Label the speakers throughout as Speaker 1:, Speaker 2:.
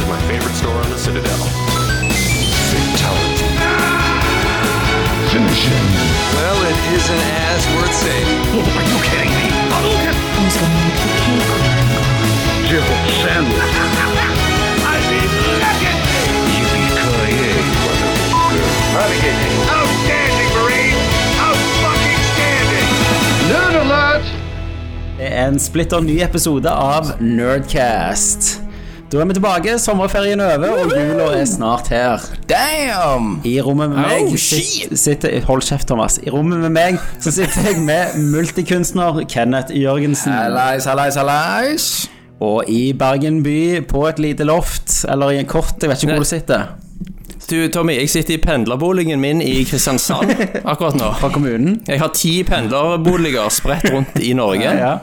Speaker 1: store on the Citadel. Fatality.
Speaker 2: Finish him.
Speaker 1: Well, it isn't as worth saying.
Speaker 2: Are you kidding me?
Speaker 3: Who's gonna make the cake?
Speaker 2: Jill Sandler. I mean, legacy. Yippee-ki-yay, motherfucker. Outstanding, Marine. Out-fucking-standing. Nerd alert.
Speaker 4: Det er en splitter ny episode av Nerdcast. Da er vi tilbake, sommerferien er over, og jula er snart her.
Speaker 5: Damn!
Speaker 4: I rommet med meg
Speaker 5: Oh,
Speaker 4: sit- sitter Hold kjeft, Thomas. I rommet med meg så sitter jeg med multikunstner Kenneth Jørgensen.
Speaker 5: Hallais, hallais, hallais.
Speaker 4: Og i Bergen by, på et lite loft, eller i en kort, jeg vet ikke hvor
Speaker 6: Nei.
Speaker 4: du sitter,
Speaker 6: Du, Tommy, jeg sitter i pendlerboligen min i Kristiansand akkurat nå.
Speaker 4: fra kommunen.
Speaker 6: Jeg har ti pendlerboliger spredt rundt i Norge.
Speaker 4: Ja.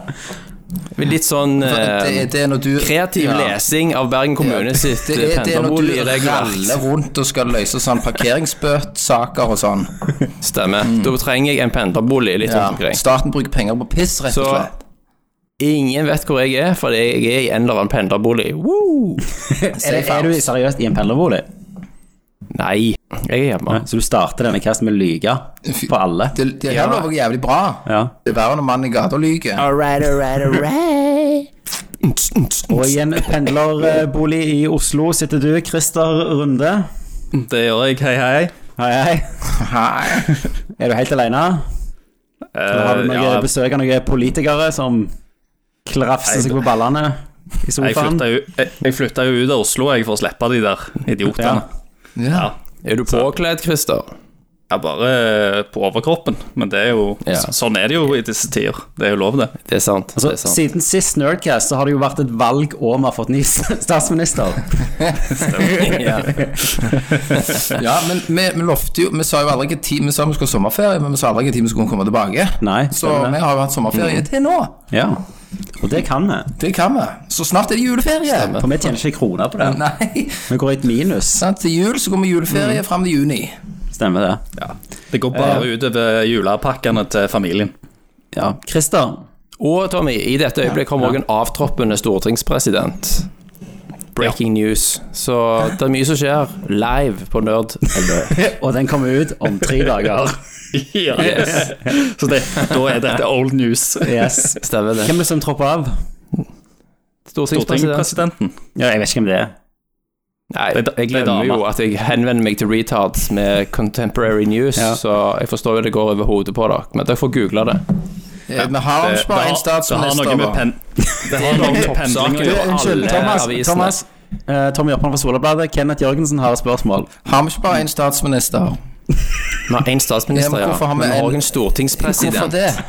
Speaker 6: Med litt sånn eh,
Speaker 5: Det, det er når du
Speaker 6: kreativ
Speaker 5: Ja.
Speaker 6: lesing av Bergen kommune sitt
Speaker 5: Det er, det er når du raller
Speaker 6: pendlerboligregelverk.
Speaker 5: rundt og skal løse sånn parkeringsbøtsaker og sånn.
Speaker 6: Stemmer. Da trenger jeg en pendlerbolig litt
Speaker 5: Mm. Ja.
Speaker 6: rundt omkring.
Speaker 5: Staten bruker penger på piss, rett og
Speaker 6: Så-
Speaker 5: slett.
Speaker 6: Ingen vet hvor jeg er, for jeg er i en eller annen pendlerbolig. Woo!
Speaker 4: Er, det- er du seriøst i en pendlerbolig?
Speaker 6: Nei, jeg er hjemme.
Speaker 4: Så du starter denne casten med å lyge på alle?
Speaker 5: Det, det her lover jeg jævlig bra.
Speaker 4: Ja.
Speaker 5: Det er verre når mannen i gata lyver.
Speaker 4: Og i en pendlerbolig i Oslo sitter du, Christer Runde.
Speaker 6: Det gjør jeg. Hei, hei.
Speaker 4: Hei, hei.
Speaker 5: Hei.
Speaker 4: Er du helt alene? Eller har du
Speaker 6: Eh,
Speaker 4: noen
Speaker 6: ja,
Speaker 4: besøk av noen politikere som klafser seg på ballene i
Speaker 7: Jeg
Speaker 4: sofaen?
Speaker 7: flytta, jo, jeg, jeg flytta jo ut av Oslo jeg for å slippe de der idiotene.
Speaker 5: Ja.
Speaker 6: er du påkledd, Christer?
Speaker 7: Jeg bare eh, på overkroppen, men det er jo
Speaker 6: Ja.
Speaker 7: så- sånn er det jo i disse tider. Det er jo lov, det.
Speaker 6: Det er sant.
Speaker 4: Altså,
Speaker 6: det er sant.
Speaker 4: siden sist Nerdcast så har det jo vært et valg og vi har fått ny statsminister.
Speaker 5: Ja, men vi, vi lovte jo Vi sa jo aldri ikke tid Vi sa vi skulle ha sommerferie, men vi sa aldri ikke tid vi skulle komme tilbake.
Speaker 4: Nei,
Speaker 5: Så
Speaker 4: stemmer det.
Speaker 5: vi har jo hatt sommerferie
Speaker 6: Mm.
Speaker 5: til nå.
Speaker 4: Ja. Og det kan vi.
Speaker 5: Det kan vi. Så snart er det juleferie.
Speaker 4: For vi tjener ikke kroner på det.
Speaker 5: Nei.
Speaker 4: Vi går i et minus.
Speaker 5: Sant? Til jul så går vi juleferie
Speaker 6: Mm.
Speaker 5: fram til juni.
Speaker 4: Stemmer det. Eh.
Speaker 7: Det går bare utover julepakkene til familien.
Speaker 4: Ja. Christer,
Speaker 6: Og Tommy, i dette øyeblikk kommer også en avtroppende stortingspresident. Breaking news. Så det er mye som skjer live på Nerd.
Speaker 4: og den kommer ut om tre dager.
Speaker 7: Ja. Så det, da er dette old news.
Speaker 4: Yes.
Speaker 6: Stemmer det?
Speaker 4: Hvem er det som tropper av?
Speaker 6: Stortingspresident?
Speaker 7: Stortingspresidenten.
Speaker 4: Ja, jeg vet ikke hvem det er.
Speaker 6: Nei,
Speaker 7: Det er-
Speaker 6: jeg
Speaker 7: det er
Speaker 6: glemmer
Speaker 7: dama.
Speaker 6: jo at jeg henvender meg til retards med contemporary news,
Speaker 4: Ja.
Speaker 6: så jeg forstår jo det går over hodet på dere, men dere får google det.
Speaker 5: Eh, Vi har
Speaker 7: Det,
Speaker 5: en
Speaker 7: det, har,
Speaker 5: sparing
Speaker 7: det har noe
Speaker 5: statsminister.
Speaker 7: med
Speaker 5: da.
Speaker 7: pen... Det har noe med pendling å
Speaker 6: Toppsaker.
Speaker 7: gjøre.
Speaker 4: Unnskyld,
Speaker 6: alle
Speaker 4: Thomas.
Speaker 6: avisene.
Speaker 4: Thomas. Eh, Tommy Jørpeland fra Solabladet. Kenneth Jørgensen har et spørsmål.
Speaker 5: Har vi ikke bare en statsminister?
Speaker 6: Vi har én
Speaker 5: Ja,
Speaker 6: statsminister,
Speaker 5: men
Speaker 6: ja.
Speaker 5: hvorfor har vi
Speaker 6: Men vi har
Speaker 5: en-
Speaker 6: også en stortingspresident.
Speaker 5: Hvorfor det?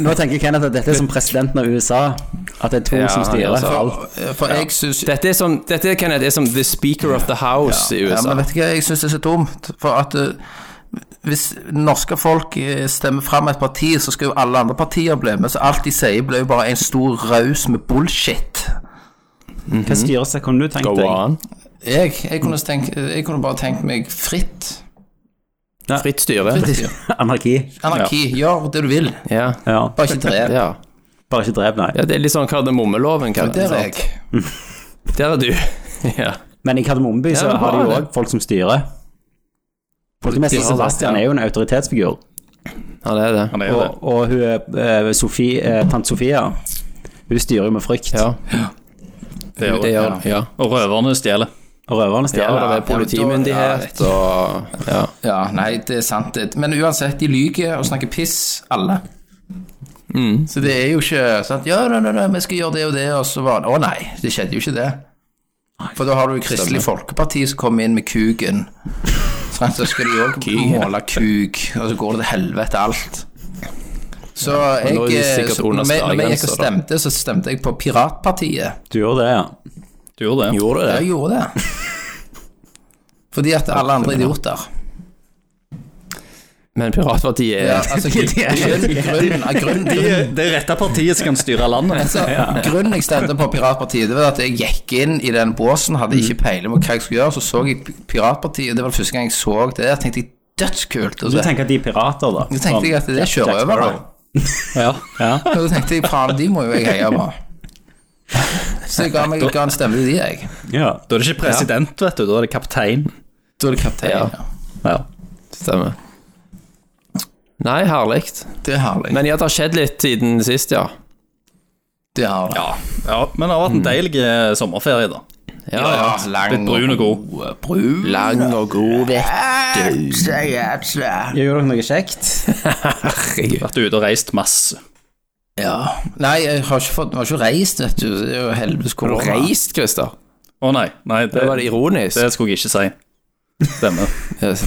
Speaker 4: Nå tenker Kenneth at dette er som presidenten av USA. At det er to
Speaker 6: Ja,
Speaker 4: som styrer.
Speaker 6: altså.
Speaker 5: For, eh, for jeg syns
Speaker 6: Dette er som, dette, Kenneth, er som the speaker of the house i
Speaker 5: Ja,
Speaker 6: USA.
Speaker 5: men vet du hva, jeg syns det er så dumt. For at eh, hvis norske folk eh, stemmer fram et parti, så skal jo alle andre partier bli med. Så alt de sier, blir jo bare en stor raus med bullshit.
Speaker 4: Hva styresett kunne du tenkt
Speaker 6: Go
Speaker 4: deg?
Speaker 6: on.
Speaker 5: Jeg, jeg, kunne, tenke, jeg kunne bare tenkt meg fritt.
Speaker 6: Fritt styre.
Speaker 4: Anarki.
Speaker 5: Anarki. Gjør det du vil.
Speaker 6: Ja.
Speaker 4: Ja.
Speaker 5: Bare ikke drep.
Speaker 6: ja.
Speaker 4: Bare ikke drep, nei.
Speaker 6: Ja, det er litt sånn kardemommeloven, kan
Speaker 5: Der er jeg.
Speaker 6: Der er du. ja.
Speaker 4: Men i Kardemommeby så
Speaker 6: Ja, men
Speaker 4: har de jo
Speaker 6: bra, det.
Speaker 4: òg folk som styrer. Folkemester
Speaker 6: Styrer,
Speaker 4: Sebastian
Speaker 6: ja.
Speaker 4: er jo en autoritetsfigur.
Speaker 6: ja, det er det.
Speaker 7: Han er jo
Speaker 4: Og,
Speaker 7: det.
Speaker 4: og hun eh, Sofie, eh, tante Sofia, hun styrer jo med frykt.
Speaker 6: Ja,
Speaker 7: det, er
Speaker 6: det
Speaker 7: jo.
Speaker 6: gjør han. Ja.
Speaker 7: Og røverne stjeler.
Speaker 4: Og røverne
Speaker 6: Ja,
Speaker 4: stjeler.
Speaker 6: det
Speaker 5: ja,
Speaker 6: er politimyndighet og ja.
Speaker 5: Ja, nei, det er sant. det. Men uansett, de lyver og snakker piss, alle.
Speaker 6: Mm.
Speaker 5: Så det er jo ikke sant Ja, nei, nei, nei, vi skal gjøre det og det, og så var det Å nei, det skjedde jo ikke det. For da har du jo Kristelig Folkeparti som kommer inn med kuken. Sant, Så skal de òg måle kuk, og så går det til helvete alt. Så jeg
Speaker 6: nå er de sikkert
Speaker 5: så,
Speaker 6: under
Speaker 5: når, vi, når vi gikk og
Speaker 6: sperregrenser, da.
Speaker 5: stemte, så stemte jeg på Piratpartiet.
Speaker 4: Du gjorde det, ja.
Speaker 7: Du gjorde det.
Speaker 6: Gjorde
Speaker 5: Jeg gjorde det. Fordi at alle andre er idioter.
Speaker 6: Men Piratpartiet
Speaker 5: Ja,
Speaker 6: er
Speaker 5: altså, grunn, grunn, grunn, grunn,
Speaker 7: Det rette partiet som kan styre landet.
Speaker 5: altså, grunnen jeg stemte på Piratpartiet, det var at jeg gikk inn i den båsen, hadde ikke peiling på hva jeg skulle gjøre, så så jeg Piratpartiet, og det var første gang jeg så det, jeg tenkte jeg dødskult. Og
Speaker 4: Du
Speaker 5: så
Speaker 4: tenker at de er pirater, da?
Speaker 5: så tenkte jeg at det kjører over meg.
Speaker 4: Ja.
Speaker 5: Og så tenkte jeg faen, de må jo jeg heie på. så jeg ga, meg, ga en stemme til de, jeg.
Speaker 4: Ja. Da er det ikke president, vet du. Da er det kaptein.
Speaker 5: Da er det kaptein.
Speaker 6: Ja.
Speaker 5: Ja.
Speaker 4: Ja.
Speaker 6: Stemmer. Nei, herlig.
Speaker 5: Det er herlig.
Speaker 6: Men ja, det har skjedd litt siden sist, ja.
Speaker 5: det har det.
Speaker 7: Ja, ja, men det har vært en deilig eh, sommerferie, da.
Speaker 6: Ja,
Speaker 5: lang
Speaker 7: Litt brun og god.
Speaker 5: Brun.
Speaker 6: Lang og god vekk.
Speaker 4: Gjør dere noe kjekt?
Speaker 6: Herregud.
Speaker 7: Vært ute og reist masse.
Speaker 5: Ja. Nei, jeg har ikke, fått, jeg har ikke reist, vet du. Det er jo helvetes
Speaker 6: Har du
Speaker 5: korona.
Speaker 6: reist, Christer?
Speaker 7: Å nei, nei det,
Speaker 6: Det var det ironisk.
Speaker 7: det skulle jeg ikke si. Stemmer.
Speaker 6: Yes.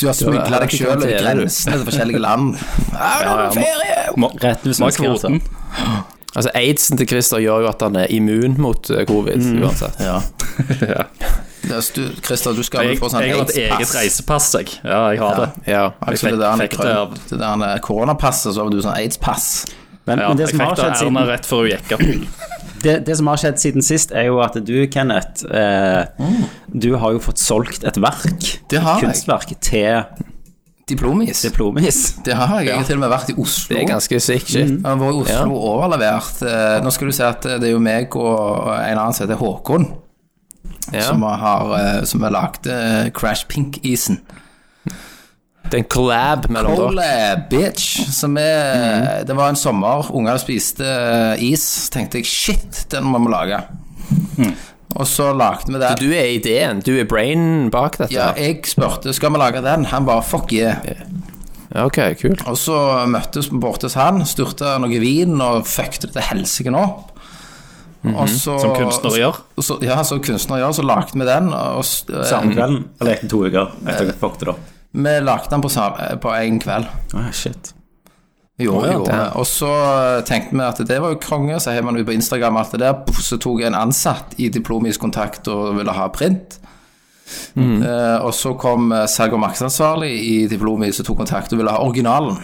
Speaker 5: Du har smugla deg
Speaker 6: ikke
Speaker 5: sjøl over
Speaker 6: karantene, du.
Speaker 5: grensene til forskjellige land. Ja, det er ferie!
Speaker 7: Må,
Speaker 4: Rett ved
Speaker 7: må ha
Speaker 4: svenskegrensa.
Speaker 7: kvoten.
Speaker 6: Altså, Aidsen til Christer gjør jo at han er immun mot eh, covid,
Speaker 7: Mm.
Speaker 6: uansett.
Speaker 5: Ja.
Speaker 7: Ja.
Speaker 5: Det er stu- Christer, du skal
Speaker 7: Jeg,
Speaker 5: vel få sånn
Speaker 7: jeg har et eget
Speaker 5: aids-pass.
Speaker 7: reisepass, jeg. Ja, jeg har det.
Speaker 6: Ja.
Speaker 5: Altså,
Speaker 7: Jeg
Speaker 5: det der med
Speaker 7: fikk det av-
Speaker 5: krøll- det der med koronapasset, så har du sånn aids-pass.
Speaker 4: Men,
Speaker 7: Ja,
Speaker 4: men det,
Speaker 7: jeg
Speaker 4: som
Speaker 7: fikk
Speaker 4: har
Speaker 7: det av
Speaker 4: skjedd siden,
Speaker 7: Erna rett før hun gikk av.
Speaker 4: det, det som har skjedd siden sist, er jo at du, Kenneth, eh,
Speaker 7: Mm.
Speaker 4: du har jo fått solgt et verk,
Speaker 5: Det har jeg.
Speaker 4: kunstverk, til
Speaker 5: Diplomis.
Speaker 4: Diplomis.
Speaker 5: Det har jeg. Jeg har til og med vært i Oslo.
Speaker 6: Det er ganske sick shit.
Speaker 7: Mm.
Speaker 5: Jeg har vært i Oslo og overlevert. Eh, Nå skal du se at det er jo meg og en annen som heter Håkon,
Speaker 6: Ja.
Speaker 5: som har, eh, som har lagd eh, Crash Pink-isen.
Speaker 6: Det er Mm. en collab mellom dere.
Speaker 5: Ole eh, bitch, som er Det var en sommer, ungene spiste eh, is, så tenkte jeg shit, den må vi lage. Og så lagde vi den.
Speaker 6: Du er ideen, du er brainen bak dette.
Speaker 5: Ja, jeg spurte skal vi lage den. Han bare fuck yeah.
Speaker 6: Ja, ok, kult.
Speaker 5: Og så møttes vi borte hos han, styrte noe vin og fucket det til helsike nå.
Speaker 6: Mhm.
Speaker 5: Og så,
Speaker 7: Som kunstnere gjør.
Speaker 5: og Så, ja, som kunstner gjør, så lagde vi den. Og, s- eh,
Speaker 4: Samme kvelden, eller etter to uker, etter at vi fucket det opp.
Speaker 5: vi lagde den på, sam- eh, på en kveld.
Speaker 4: Ah, shit.
Speaker 5: Jo, jo. Og så eh, tenkte vi at det var jo konge, så heiv man ut på Instagram alt det der. Puff, Så tok en ansatt i Diplomis kontakt og ville ha print. Eh, og så kom eh, salg- og markedsansvarlig i Diplomis og tok kontakt og ville ha originalen.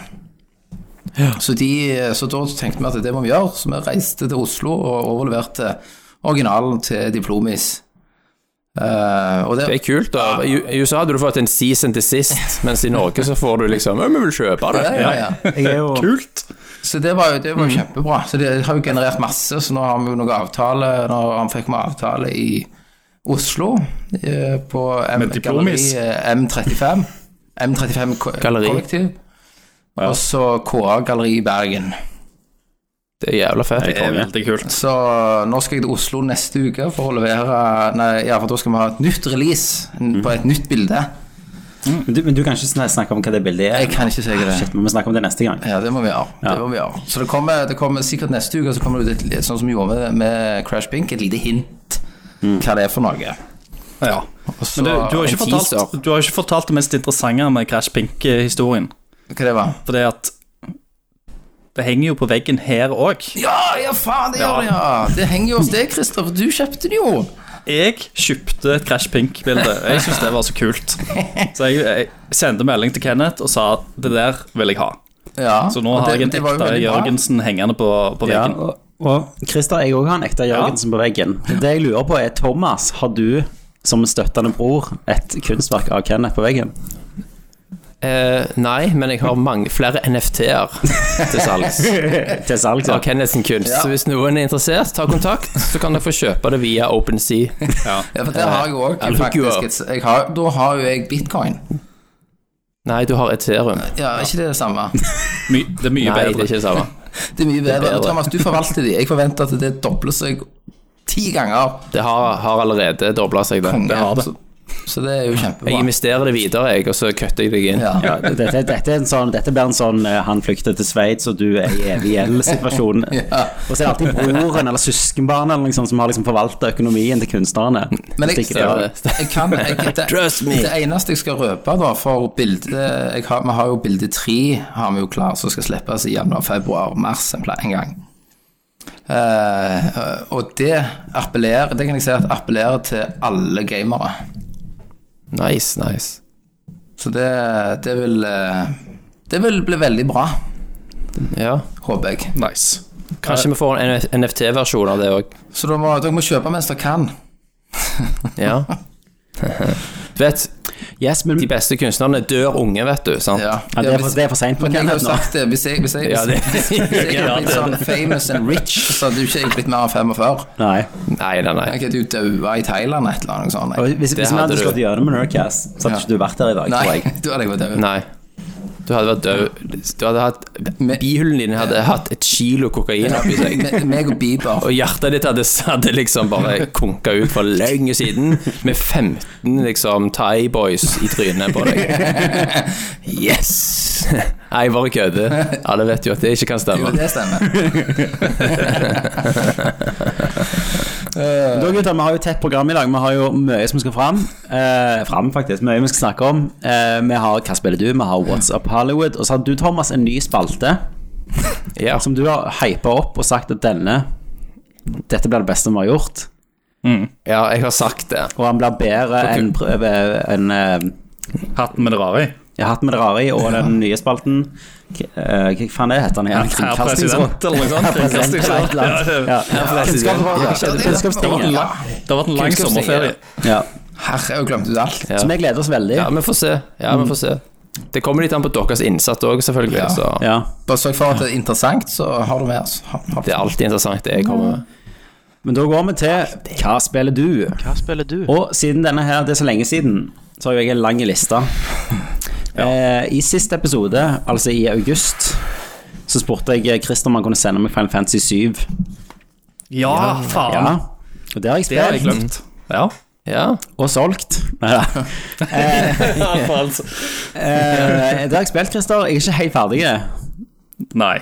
Speaker 5: Så, de, eh, så da tenkte vi at det må vi gjøre, så vi reiste til Oslo og overleverte originalen til Diplomis. Eh, og det,
Speaker 6: Det er kult, da. I I USA hadde du fått en season til sist, mens i Norge så får du liksom «Å, Vi vil kjøpe det.
Speaker 5: ja, ja, ja.
Speaker 4: Jeg er jo
Speaker 7: Kult!
Speaker 5: Så det var jo, det
Speaker 7: Mm.
Speaker 5: var jo kjempebra. Så det har jo generert masse, så nå har vi jo noe avtale Nå han fikk vi avtale i Oslo, eh, på M
Speaker 7: Med Diplomis.
Speaker 5: galleri, eh, M35. M35 ko-
Speaker 6: Galleri.
Speaker 5: kollektiv. Og så KA Galleri i Bergen.
Speaker 6: Det er jævla
Speaker 7: Det
Speaker 6: fett.
Speaker 7: er veldig kult.
Speaker 5: Så nå skal jeg til Oslo neste uke for å levere Nei, ja, for da skal vi ha et nytt release n-
Speaker 7: Mm.
Speaker 5: på et nytt bilde.
Speaker 4: Men du, men du kan ikke sn- snakke om hva det bildet er?
Speaker 5: Jeg kan ikke si det.
Speaker 4: Shit, må vi snakke om det neste gang?
Speaker 5: Ja, det må vi gjøre. Det må vi gjøre. Så det kommer, det kommer sikkert neste uke, så kommer det ut et, litt sånn som vi gjorde med, med Crash Pink, et lite hint hva det er for noe.
Speaker 7: Mm. Ja.
Speaker 5: Og så,
Speaker 7: Men du, du, har
Speaker 5: en
Speaker 7: ikke fortalt,
Speaker 5: teaser.
Speaker 7: du har ikke fortalt det mest interessante med Crash Pink-historien.
Speaker 5: Hva det var?
Speaker 7: For det at Det henger jo på veggen her òg.
Speaker 5: Ja, ja, faen, det gjør det, ja! Det henger jo hos deg, Christer, for du kjøpte det jo.
Speaker 7: Jeg kjøpte et Crash Pink-bilde. Jeg syntes det var så kult. Så jeg, jeg sendte melding til Kenneth og sa det der vil jeg ha.
Speaker 5: Ja,
Speaker 7: Så nå
Speaker 5: og
Speaker 7: har
Speaker 5: det-
Speaker 7: jeg en
Speaker 5: det var jo
Speaker 7: ekte
Speaker 5: veldig bra.
Speaker 7: Jørgensen hengende på, på
Speaker 4: Ja,
Speaker 7: veggen.
Speaker 4: og, og Christer, jeg òg har en ekte Jørgensen på veggen. Det jeg lurer på, er Thomas, har du som støttende bror et kunstverk av Kenneth på veggen?
Speaker 6: Eh, nei, men jeg har mange, flere NFT-er til salgs
Speaker 4: Til salg, ja.
Speaker 6: av Kenneths kunst. Så hvis noen er interessert, ta kontakt, så kan dere få kjøpe det via OpenSea.
Speaker 5: Ja, for det har jeg òg,
Speaker 6: Ja, look you
Speaker 5: faktisk. Et, jeg har, da har jo jeg bitcoin.
Speaker 6: Nei, du har Ethereum.
Speaker 5: Ja, er ikke det det samme?
Speaker 7: My, det er mye
Speaker 6: Nei, det er
Speaker 7: bedre.
Speaker 6: ikke det samme.
Speaker 5: Det er mye bedre.
Speaker 6: bedre.
Speaker 5: Thomas, du forvalter de. Jeg forventer at det dobler seg ti ganger.
Speaker 6: Det har, har allerede dobla seg, det.
Speaker 5: Konge.
Speaker 7: har det.
Speaker 5: Så, så det er jo kjempebra.
Speaker 6: Jeg investerer det videre, jeg, og så kutter jeg deg inn.
Speaker 5: Ja.
Speaker 4: Ja, dette, dette, er en sånn, dette blir en sånn eh, 'han flykter til Sveits, og du er i evig gjeld'-situasjon.
Speaker 5: Ja.
Speaker 4: Og så er det alltid broren eller søskenbarnet eller noe sånt som har liksom forvalta økonomien til kunstnerne.
Speaker 5: Men jeg,
Speaker 4: Stikker det av.
Speaker 5: jeg kan jeg, det,
Speaker 6: Trust me.
Speaker 5: det eneste jeg skal røpe da for bildet jeg har, Vi har jo bilde tre har vi jo klar, som skal slippes i januar, februar, mars en, pla- en gang. Eh, og det appellerer Det kan jeg si at appellerer til alle gamere.
Speaker 6: Nice, nice.
Speaker 5: Så det, det vil eh, Det vil bli veldig bra,
Speaker 6: Ja.
Speaker 5: håper jeg.
Speaker 7: Nice.
Speaker 6: Kanskje vi får en NFT-versjon av det òg.
Speaker 5: Så da må, dere må kjøpe mens dere kan.
Speaker 6: Ja. Du vet,
Speaker 4: Yes, men
Speaker 6: De beste kunstnerne dør unge, vet du. sant?
Speaker 5: Ja.
Speaker 4: ja, det, er for, det er for seint på
Speaker 5: Men jeg har jo
Speaker 4: Kenneth nå.
Speaker 5: sagt det, hvis jeg, hvis jeg,
Speaker 6: Ja, det-
Speaker 5: hvis jeg hadde blitt sånn famous and rich, så hadde jo ikke jeg blitt mer enn 45.
Speaker 4: Nei.
Speaker 6: Nei, nei, nei.
Speaker 5: Jeg hadde jo daua i Thailand et eller annet sånt.
Speaker 4: Og
Speaker 5: jeg.
Speaker 4: hvis, hvis
Speaker 6: Det
Speaker 4: vi
Speaker 6: hadde
Speaker 4: hadde
Speaker 6: du.
Speaker 4: slått gjennom med Nerdcast, så hadde
Speaker 5: Ja.
Speaker 4: ikke du vært der i dag, tror jeg.
Speaker 5: Nei, da hadde jeg vært død.
Speaker 6: nei. Du hadde vært død Du hadde hatt
Speaker 5: Men-
Speaker 6: Bihulen din hadde hatt et kilo kokain oppi seg.
Speaker 5: Me- Meg og Bieber.
Speaker 6: Og hjertet ditt hadde, hadde liksom bare konka ut for lenge siden med 15 liksom Thai-boys i trynet på deg. Yes! Nei, bare kødder. Alle vet jo at det ikke kan
Speaker 5: Jo,
Speaker 6: stemme.
Speaker 5: det stemmer.
Speaker 4: Da, gutter, vi har jo tett program i dag. Vi har jo mye som skal fram. Eh, fram, faktisk. Mye vi skal snakke om. Eh, vi har Hva spiller du? Vi har What's Up Hollywood. Og så har du, Thomas, en ny spalte
Speaker 6: Ja.
Speaker 4: som du har hypa opp og sagt at denne Dette blir det beste vi har gjort.
Speaker 6: ja, jeg har sagt det.
Speaker 4: Og han blir bedre enn prøve enn eh,
Speaker 7: Hatten med det rare i.
Speaker 4: Jeg har hatt med det rare i, og den nye spalten K- eh, Hva faen er det heter den igjen?
Speaker 7: Herr president, eller noe sånt.
Speaker 4: Herr president, eller et eller annet.
Speaker 7: Kringkastingsråd. Ja, det-
Speaker 4: Ja, Kunnskapsrådet. Kunnskapstinget.
Speaker 5: Ja.
Speaker 7: Det har vært en lang
Speaker 6: Kunnskapsting,
Speaker 7: sommerferie.
Speaker 4: Ja.
Speaker 5: Herre, jeg glemte ut alt.
Speaker 6: Ja.
Speaker 4: Så vi gleder oss veldig.
Speaker 6: Ja, vi får se. Ja, vi får se. Det kommer litt an på deres innsats òg, selvfølgelig.
Speaker 5: Ja.
Speaker 6: Så
Speaker 4: Ja.
Speaker 5: Bare sørg for at det er interessant, så har du med oss. Ha- ha-
Speaker 6: det er alltid interessant, det jeg kommer med.
Speaker 4: Men da går vi til Hva spiller du?
Speaker 8: Hva spiller du?
Speaker 4: Og siden denne her, det er så lenge siden, så har jo jeg en lang liste. Eh, I siste episode, altså i august, så spurte jeg Christer om han kunne sende meg Final Fantasy 7.
Speaker 7: Ja,
Speaker 4: Ja.
Speaker 7: faen.
Speaker 4: Og det har jeg
Speaker 7: Det har jeg
Speaker 4: spilt.
Speaker 7: glemt. Ja.
Speaker 6: Ja.
Speaker 4: Og solgt. Neida. Eh, det har jeg spilt, Christer. Jeg er ikke helt ferdig. Å
Speaker 7: Nei.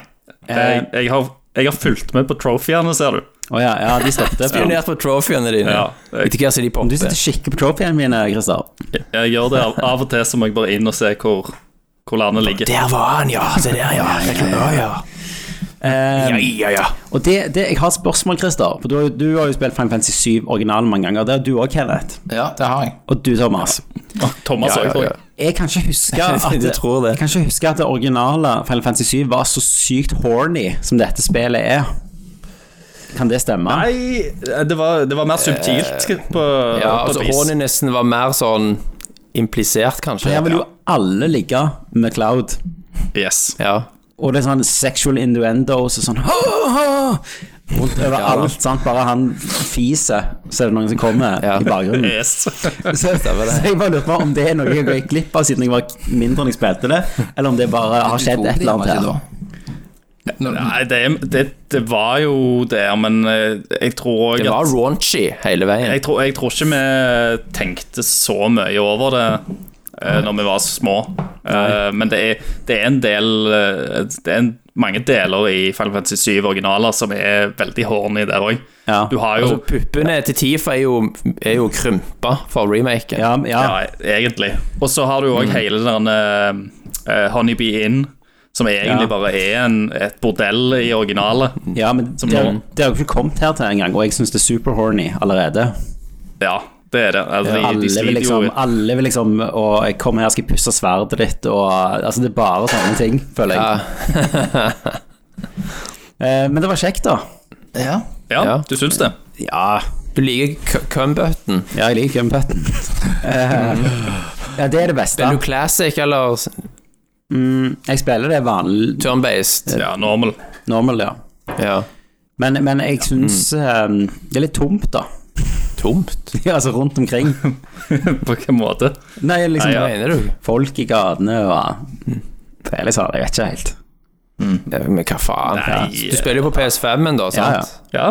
Speaker 7: Jeg, jeg, har, jeg har fulgt med på trofeene, ser du.
Speaker 4: ja, ja, de stoppet.
Speaker 6: Pionert på trofeene dine.
Speaker 7: Ja.
Speaker 6: Vet du hva som de
Speaker 4: Du
Speaker 6: popper?
Speaker 4: sitter og kikker på trofeene mine, Christer.
Speaker 7: Jeg gjør det av, av og til, så må jeg bare inn og se hvor, hvor landet ligger.
Speaker 6: Der var han, ja. Se der, ja. Ja, ja.
Speaker 4: Eh,
Speaker 6: Ja, ja, ja.
Speaker 4: og det, det, jeg har et spørsmål, Christer. For du, har jo- du har jo spilt Final Fantasy 7 originalen mange ganger. Det har du òg, Kenneth.
Speaker 5: Ja, det har jeg.
Speaker 4: Og du, Thomas.
Speaker 7: Thomas
Speaker 6: Ja, ja,
Speaker 7: òg, tror jeg.
Speaker 6: ja.
Speaker 4: Jeg kan ikke huske at,
Speaker 6: Du tror det.
Speaker 4: Jeg kan ikke huske at det originale Final Fantasy 7 var så sykt horny som dette spillet er. Kan det stemme?
Speaker 7: Nei, det var, det var mer subtilt på,
Speaker 6: Eh, Ja,
Speaker 7: på
Speaker 6: altså
Speaker 7: et vis.
Speaker 6: Horninesen var mer sånn implisert,
Speaker 4: For
Speaker 6: kanskje.
Speaker 4: her vil jo
Speaker 6: Ja.
Speaker 4: alle ligge med Cloud.
Speaker 7: Yes.
Speaker 6: ja.
Speaker 4: Og det er sånn sexual innuendos og sånn «Hå, hå!» Rundt overalt, sant. Bare han fiser, så er det noen som kommer
Speaker 6: Ja.
Speaker 4: i bakgrunnen.
Speaker 7: yes.
Speaker 4: Så, så jeg bare lurte på om det er noe jeg gikk glipp av siden jeg var mindre enn jeg spilte det, eller om det bare har skjedd et eller annet her.
Speaker 5: Når,
Speaker 7: Nei, det, det, det var jo der, men eh, jeg tror òg
Speaker 6: Det var raunchy hele veien.
Speaker 7: jeg tror, jeg tror ikke vi tenkte så mye over det eh, når vi var små. Eh, men det er, det er en del eh, Det er en, mange deler i Final Fantasy 7 originaler som er veldig horny der òg.
Speaker 4: Ja.
Speaker 7: Du har jo
Speaker 6: Altså, puppene til Tifa er jo, er jo krympa for remaken.
Speaker 4: Ja, ja.
Speaker 7: ja, egentlig. Og så har du jo òg hele den eh, eh, Honeybee Inn, som egentlig
Speaker 4: Ja.
Speaker 7: bare er en, et bordell i originalet.
Speaker 4: ja men
Speaker 7: Som
Speaker 4: det har
Speaker 7: nå.
Speaker 4: det har jo ikke kommet her til engang, og jeg syns det er super horny allerede.
Speaker 7: Ja, det er det. Altså, de,
Speaker 4: Alle
Speaker 7: de
Speaker 4: vil
Speaker 7: sliter
Speaker 4: liksom,
Speaker 7: jo
Speaker 4: alle vil liksom Og jeg kommer her og skal pusse sverdet ditt, og Altså, det er bare sånne ting, føler jeg. Eh, Men det var kjekt, da.
Speaker 5: ja.
Speaker 7: Ja,
Speaker 6: Ja.
Speaker 7: du syns det?
Speaker 4: Ja,
Speaker 6: Du liker cumbutten.
Speaker 4: ja jeg liker gumputten. ja, det er det beste.
Speaker 6: Er du classic eller
Speaker 4: Jeg spiller det vanlig
Speaker 6: turn-based?
Speaker 7: Ja, normal.
Speaker 4: normal, ja.
Speaker 6: Ja.
Speaker 4: Men, men jeg syns eh, det er litt tomt, da.
Speaker 6: Tomt?
Speaker 4: altså rundt omkring.
Speaker 7: På hvilken måte?
Speaker 4: Nei, liksom
Speaker 6: Hva mener du?
Speaker 4: folk i gatene og
Speaker 7: Mm.
Speaker 4: Felix har det, jeg vet ikke helt.
Speaker 6: Ja, Men hva faen?
Speaker 7: Nei.
Speaker 6: Du spiller jo på PS5-en, da,
Speaker 4: Ja,
Speaker 6: sant?
Speaker 7: Ja.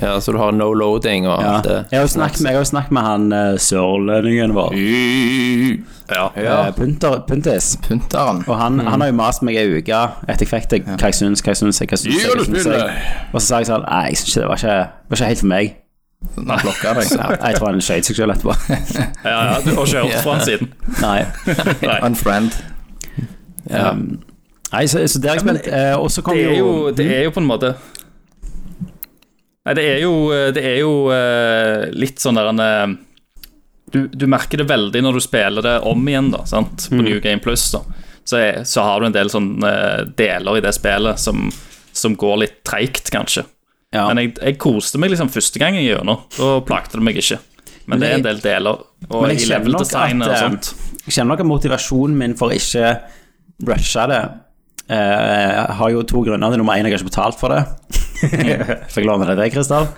Speaker 6: Ja, Så du har no loading og
Speaker 4: Ja.
Speaker 6: alt
Speaker 7: eh,
Speaker 6: det.
Speaker 4: Jeg har jo snakket med, jeg har jo snakket med han eh, sørlendingen vår,
Speaker 7: Ja. Mm.
Speaker 4: eh, Punter, Puntis.
Speaker 5: Punteren.
Speaker 4: Og han, han har jo mast meg ei uke etter jeg fikk det. Hva jeg syns, hva jeg syns, hva jeg syns. hva jeg syns, hva jeg- Og så sa jeg sånn Nei, jeg syns ikke det var ikke, var ikke helt for meg.
Speaker 5: Nå blokker jeg deg.
Speaker 4: Ja, jeg tror han skøyt seg selv etterpå.
Speaker 7: Ja, ja, du har ikke hørt fra han siden.
Speaker 4: Nei.
Speaker 7: Nei.
Speaker 5: Unfriend.
Speaker 6: Ja.
Speaker 4: Um, Nei, så, så det har jeg spilt. eh, Og så kom
Speaker 7: Det er jo,
Speaker 4: jo
Speaker 7: det er jo på en måte Nei, det er jo, det er jo eh, litt sånn der en eh, du, du merker det veldig når du spiller det om igjen, da, sant?
Speaker 4: Mm.
Speaker 7: på New Game Plus. Da. Så, er- så har du en del sånne eh, deler i det spillet som, som går litt treigt, kanskje.
Speaker 4: Ja.
Speaker 7: Men jeg, jeg koste meg liksom første gangen gjennom. Da plagte det meg ikke. Men,
Speaker 4: Men
Speaker 7: det er en
Speaker 4: jeg-
Speaker 7: del deler, og
Speaker 4: Men jeg
Speaker 7: i
Speaker 4: kjenner nok
Speaker 7: level-designet og
Speaker 4: at, eh,
Speaker 7: sånt.
Speaker 4: Jeg kjenner nok at motivasjonen min for å ikke rushe det eh, har jo to grunner. Det er nummer én, jeg har ikke betalt for det. Fikk låne det av deg, Kristian.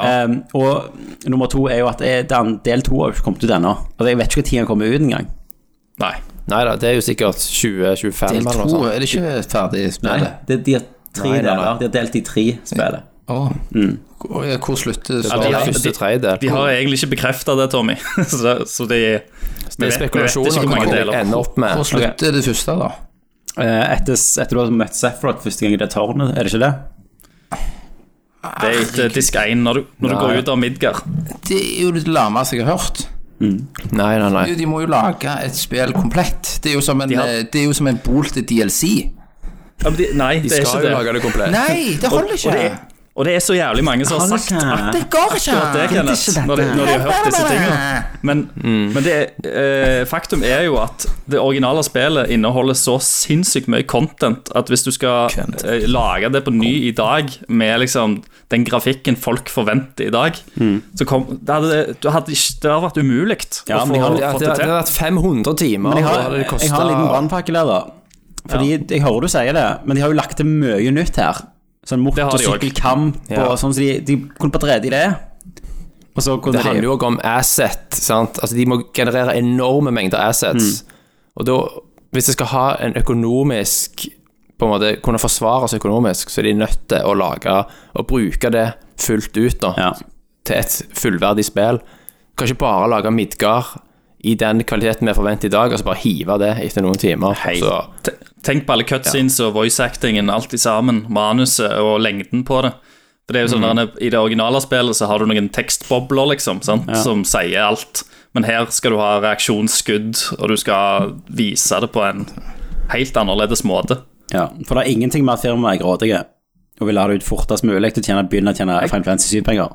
Speaker 4: Ehm, og nummer to er jo at det- den, del to har jo ikke kommet ut ennå. Altså, jeg vet ikke når den kommer ut engang.
Speaker 7: Nei.
Speaker 6: Nei da, det er jo sikkert 20-25
Speaker 5: Del
Speaker 6: eller noe
Speaker 5: to
Speaker 6: sånt.
Speaker 5: er det ikke ferdig i spillet?
Speaker 4: det, de har tre
Speaker 6: Nei, nei, nei.
Speaker 4: deler. De har delt i tre spillet.
Speaker 5: Åh. Hvor, ja, hvor slutter
Speaker 7: Ja, de,
Speaker 5: svaret?
Speaker 7: har,
Speaker 6: Første
Speaker 7: de,
Speaker 6: tredjedel.
Speaker 7: de har egentlig ikke bekrefta det, Tommy. så, det- så de
Speaker 6: Det er spekulasjoner om
Speaker 7: hvor
Speaker 6: hva
Speaker 7: mange
Speaker 6: det
Speaker 7: deler.
Speaker 6: ender opp med.
Speaker 5: Hvor slutter det første, da?
Speaker 4: Eh, etter, etter du har møtt Sephiroth første gang i det tårnet, er det ikke det?
Speaker 7: Det er ikke disk 1 når du, når du
Speaker 6: Nei.
Speaker 7: går ut av Midgard.
Speaker 5: Det er jo det lameste jeg har hørt.
Speaker 6: Nei, nei, nei.
Speaker 5: Jo, De må jo lage et spill komplett. Det er jo som en,
Speaker 7: har-
Speaker 5: eh, det er jo som en bol til DLC.
Speaker 7: Ja, men de, nei,
Speaker 6: De
Speaker 7: det er ikke
Speaker 6: skal jo
Speaker 7: det.
Speaker 6: lage det komplett.
Speaker 5: Nei, det
Speaker 7: Og,
Speaker 5: holder
Speaker 7: og, det er,
Speaker 5: ikke!
Speaker 7: og det er så jævlig mange som har sagt
Speaker 4: Hanukkah.
Speaker 5: Det går ikke!
Speaker 7: akkurat det, Kenneth, når de, når de har hørt disse tingene. Men, men det, er- eh, faktum er jo at det originale spillet inneholder så sinnssykt mye content at hvis du skal eh, lage det på ny i dag med liksom den grafikken folk forventer i dag, så kom, det hadde, det hadde, ikke, det hadde vært umulig
Speaker 4: Ja,
Speaker 7: å
Speaker 4: men
Speaker 7: få
Speaker 4: de har-
Speaker 6: Det,
Speaker 7: fått
Speaker 6: det,
Speaker 7: det
Speaker 6: det
Speaker 7: til.
Speaker 6: har vært 500 timer,
Speaker 4: Men jeg
Speaker 6: og
Speaker 4: har,
Speaker 6: det
Speaker 4: jeg har en liten brannpakke der, da. Fordi Jeg hører du sier det, men de har jo lagt til mye nytt her. Sånn
Speaker 7: Det har de også.
Speaker 4: motorsykkelkamp
Speaker 6: Ja.
Speaker 4: og sånn, så de, de kunne bare drede i det. Og så kunne
Speaker 6: Det handler
Speaker 4: de
Speaker 6: jo også om asset, sant? Altså, de må generere enorme mengder assets. Og da, hvis de skal ha en økonomisk på en måte, kunne forsvare seg økonomisk, så er de nødt til å lage og bruke det fullt ut da,
Speaker 4: Ja.
Speaker 6: til et fullverdig spill. Kan ikke bare lage Midgard i den kvaliteten vi forventer i dag, og så bare hive det etter noen timer. Så,
Speaker 7: Te- Tenk på alle cutscenes og voice-actingen, alt i sammen, manuset og lengden på det. For det er jo sånn der, I det originale spillet så har du noen tekstbobler liksom, sant? som sier alt. Men her skal du ha reaksjonsskudd, og du skal vise det på en helt annerledes måte.
Speaker 4: ja. For det er ingenting med at firmaet er grådige og vil ha det ut fortest mulig til å tjene, begynne å tjene Final Fantasy 7-penger.